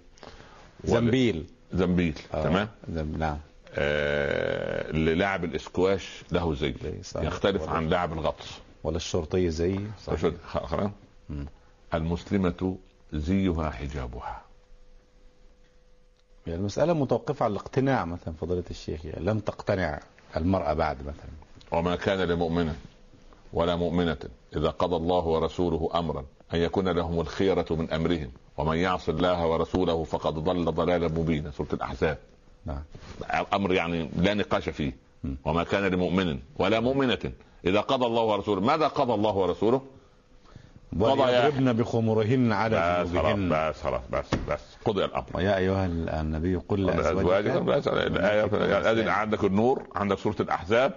B: وال-
A: زنبيل
B: زنبيل
A: آه،
B: تمام
A: زنب- نعم
B: آه للاعب الاسكواش له زي
A: صحيح.
B: يختلف عن لاعب الغطس
A: ولا الشرطي زي
B: شوف، خ- خلاص؟
A: مم.
B: المسلمة زيها حجابها
A: يعني المسألة متوقفة على الاقتناع مثلا فضيلة الشيخ يعني لم تقتنع المرأة بعد مثلا
B: وما كان لمؤمن ولا مؤمنة إذا قضى الله ورسوله أمرا أن يكون لهم الخيرة من أمرهم ومن يعص الله ورسوله فقد ضل ضلالا مبينا سورة الأحزاب
A: نعم.
B: أمر يعني لا نقاش فيه وما كان لمؤمن ولا مؤمنة إذا قضى الله ورسوله ماذا قضى الله ورسوله قضى يا-
A: وليضربن بخمرهن على
B: بس خلاص
A: جنوبهن
B: بس خلاص بس بس قضي الأمر
A: ويا أيها النبي قل
B: أزواجكم بس الآية يعني عندك النور عندك سورة الأحزاب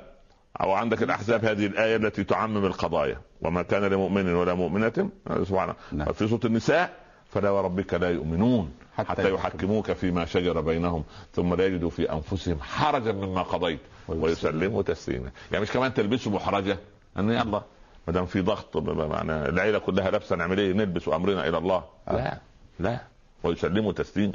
B: أو عندك الأحزاب هذه الآية التي تعمم القضايا وما كان لمؤمن ولا مؤمنة سبحانه
A: نعم.
B: في سورة النساء فلا وربك لا يؤمنون
A: حتى
B: حتى,
A: يحكموك.
B: يحكموك فيما شجر بينهم ثم لا يجدوا في أنفسهم حرجا مما قضيت ويسلموا تسليما يعني مش كمان تلبسوا محرجة أن يلا ما دام في ضغط معنا العيلة كلها لابسة نعمل إيه نلبس أمرنا إلى الله لا لا ويسلموا تسليما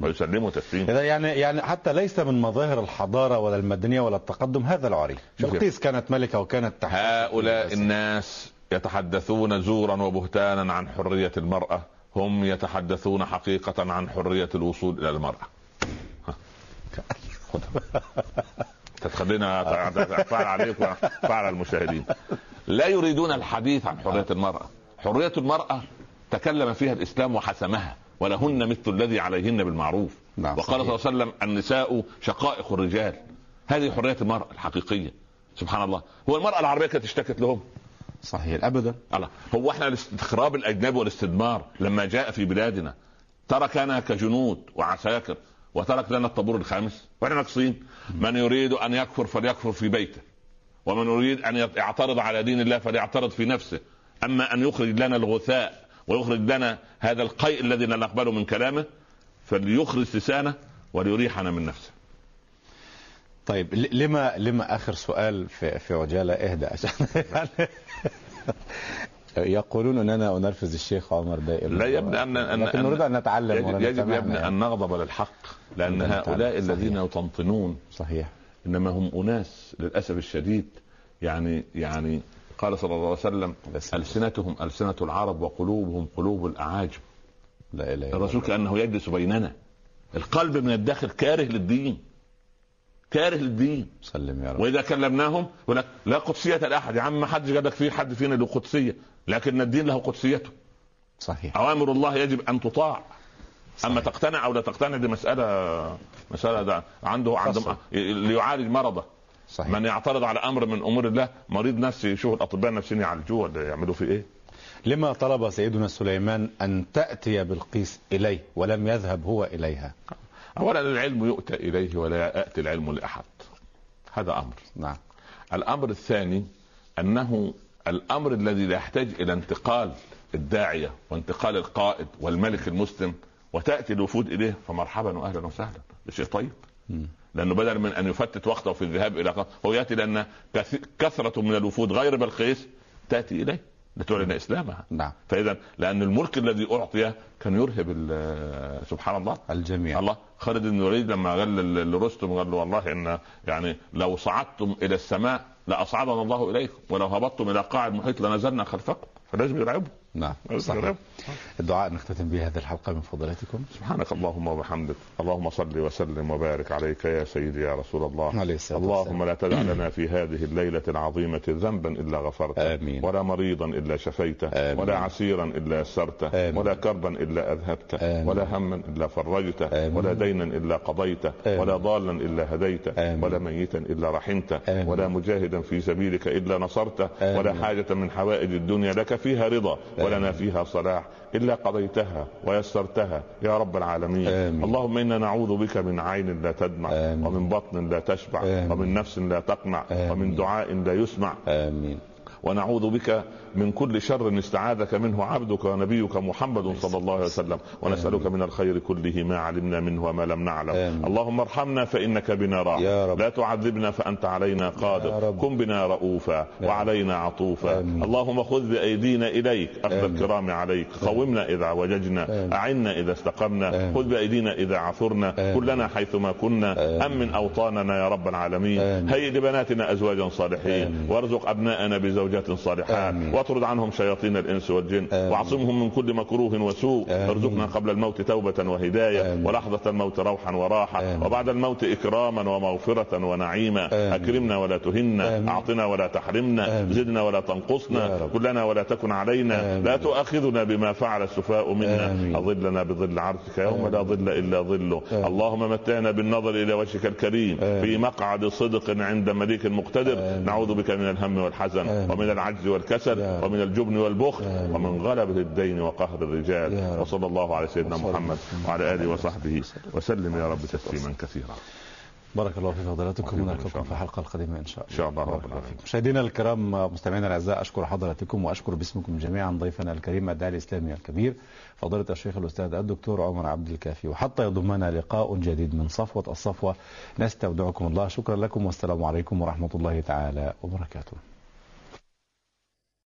B: ويسلموا تسليما
A: إذا يعني يعني حتى ليس من مظاهر الحضارة ولا المدنية ولا التقدم هذا العري
B: شوف يا-
A: بلقيس كانت ملكة وكانت تحت
B: هؤلاء الناس يتحدثون زورا وبهتانا عن حرية المرأة هم يتحدثون حقيقة عن حرية الوصول إلى المرأة ها. خدها. تتخلينا فعل عليك وفعل المشاهدين لا يريدون الحديث عن حرية المرأة حرية المرأة تكلم فيها الإسلام وحسمها ولهن مثل الذي عليهن بالمعروف
A: نعم،
B: وقال صلى الله عليه وسلم النساء شقائق الرجال هذه حرية المرأة الحقيقية سبحان الله هو المرأة العربية كانت اشتكت لهم
A: صحيح أبدا
B: الله هو احنا الاستخراب الاجنبي والاستدمار لما جاء في بلادنا تركنا كجنود وعساكر وترك لنا الطابور الخامس واحنا ناقصين من يريد ان يكفر فليكفر في بيته ومن يريد ان يعترض على دين الله فليعترض في نفسه اما ان يخرج لنا الغثاء ويخرج لنا هذا القيء الذي لا نقبله من كلامه فليخرج لسانه وليريحنا من نفسه
A: طيب ل- لما لما آخر سؤال في في عجالة اهدى عشان يعني يقولون أننا أنرفز الشيخ عمر دائما
B: لا يا ابني أن- أن-
A: لكن
B: أن-
A: نريد أن نتعلم
B: يجب,
A: ولا
B: يجب يا
A: نتمعن
B: ابني
A: يعني.
B: ان نغضب للحق لان
A: نتعلم.
B: هؤلاء الذين يتنطنون
A: صحيح
B: انما هم اناس للاسف الشديد يعني يعني قال صلى الله عليه وسلم
A: بس-
B: السنتهم السنه العرب وقلوبهم قلوب الاعاجم
A: لا إله إلا
B: الرسول كانه يجلس بيننا القلب من الداخل كاره للدين كاره للدين
A: سلم يا رب
B: واذا كلمناهم يقول لك لا قدسيه لاحد يا عم ما حدش قال لك في حد فينا له قدسيه لكن الدين له قدسيته
A: صحيح
B: اوامر الله يجب ان تطاع اما تقتنع او لا تقتنع دي مساله مساله ده عنده عنده
A: خاصة.
B: ليعالج مرضه
A: صحيح
B: من يعترض على امر من امور الله مريض نفسي يشوف الاطباء النفسيين يعالجوه ولا يعملوا فيه ايه؟
A: لما طلب سيدنا سليمان أن تأتي بلقيس إليه ولم يذهب هو إليها
B: اولا العلم يؤتى اليه ولا ياتي العلم لاحد هذا امر
A: نعم
B: الامر الثاني انه الامر الذي لا يحتاج الى انتقال الداعيه وانتقال القائد والملك المسلم وتاتي الوفود اليه فمرحبا واهلا وسهلا ده شيء طيب لانه بدل من ان يفتت وقته في الذهاب الى قا- هو ياتي لان كث- كثره من الوفود غير بلقيس تاتي اليه لتعلن اسلامها
A: نعم
B: فاذا لان الملك الذي اعطي كان يرهب ال- سبحان الله
A: الجميع
B: الله خالد بن الوليد لما قال ل- لرستم قال له والله ان يعني لو صعدتم الى السماء لاصعدنا الله اليكم ولو هبطتم الى قاع المحيط لنزلنا خلفكم فلازم يرعبوا
A: نعم
B: لازم
A: صحيح
B: يرعبوا
A: الدعاء نختتم به هذه الحلقة من فضلاتكم
B: سبحانك اللهم وبحمدك اللهم صل وسلم وبارك عليك يا سيدي يا رسول الله
A: عليه الصلاة والسلام
B: اللهم لا تدع لنا في هذه الليلة العظيمة ذنبا إلا غفرته
A: آمين.
B: ولا مريضا إلا شفيته
A: آمين.
B: ولا عسيرا إلا يسرته
A: آمين.
B: ولا كربا إلا أذهبته
A: آمين.
B: ولا هما إلا فرجته
A: آمين.
B: ولا دينا إلا قضيته
A: آمين.
B: ولا ضالا إلا هديته
A: آمين.
B: ولا ميتا إلا رحمته
A: آمين.
B: ولا مجاهدا في سبيلك إلا نصرته
A: آمين.
B: ولا حاجة من حوائج الدنيا لك لك فيها رضا ولنا فيها صلاح إلا قضيتها ويسرتها يا رب العالمين آمين. اللهم إنا نعوذ بك من عين لا تدمع آمين. ومن بطن لا تشبع آمين. ومن نفس لا تقنع آمين. ومن دعاء لا يسمع
A: آمين
B: ونعوذ بك من كل شر استعاذك منه عبدك ونبيك محمد صلى الله عليه وسلم ونسألك من الخير كله ما علمنا منه وما لم نعلم آمين. اللهم ارحمنا فإنك بنا راح لا تعذبنا فأنت علينا قادر كن بنا رؤوفا وعلينا عطوفا آمين. اللهم خذ بأيدينا إليك أخذ الكرام عليك قومنا إذا وججنا أعنا إذا استقمنا خذ بأيدينا إذا عثرنا كلنا حيثما كنا أمن أوطاننا يا رب العالمين هيئ لبناتنا أزواجا صالحين وارزق أبناءنا بزوجين زوجات صالحات واطرد عنهم شياطين الانس والجن آمين. واعصمهم من كل مكروه وسوء آمين. ارزقنا قبل الموت توبه وهدايه آمين. ولحظه الموت روحا وراحه آمين. وبعد الموت اكراما ومغفره ونعيما آمين. اكرمنا ولا تهنا آمين. اعطنا ولا تحرمنا آمين. زدنا ولا تنقصنا كلنا ولا تكن علينا آمين. لا تؤاخذنا بما فعل السفاء منا آمين. اظلنا بظل عرشك يوم آمين. لا ظل الا ظله آمين. اللهم متعنا بالنظر الى وجهك الكريم آمين. في مقعد صدق عند مليك مقتدر آمين. نعوذ بك من الهم والحزن آمين. ومن العجز والكسل ومن الجبن والبخل ومن غلبة الدين وقهر الرجال وصلى الله على سيدنا محمد وعلى آله وصحبه وسلم يا رب تسليما كثيرا
A: بارك الله في فضيلتكم ونلقاكم في الحلقه القادمه ان شاء الله.
B: ان شاء الله رب العالمين.
A: مشاهدينا الكرام مستمعينا الاعزاء اشكر حضراتكم واشكر باسمكم جميعا ضيفنا الكريم الداعي الاسلامي الكبير فضيله الشيخ الاستاذ الدكتور عمر عبد الكافي وحتى يضمنا لقاء جديد من صفوه الصفوه نستودعكم الله شكرا لكم والسلام عليكم ورحمه الله تعالى وبركاته.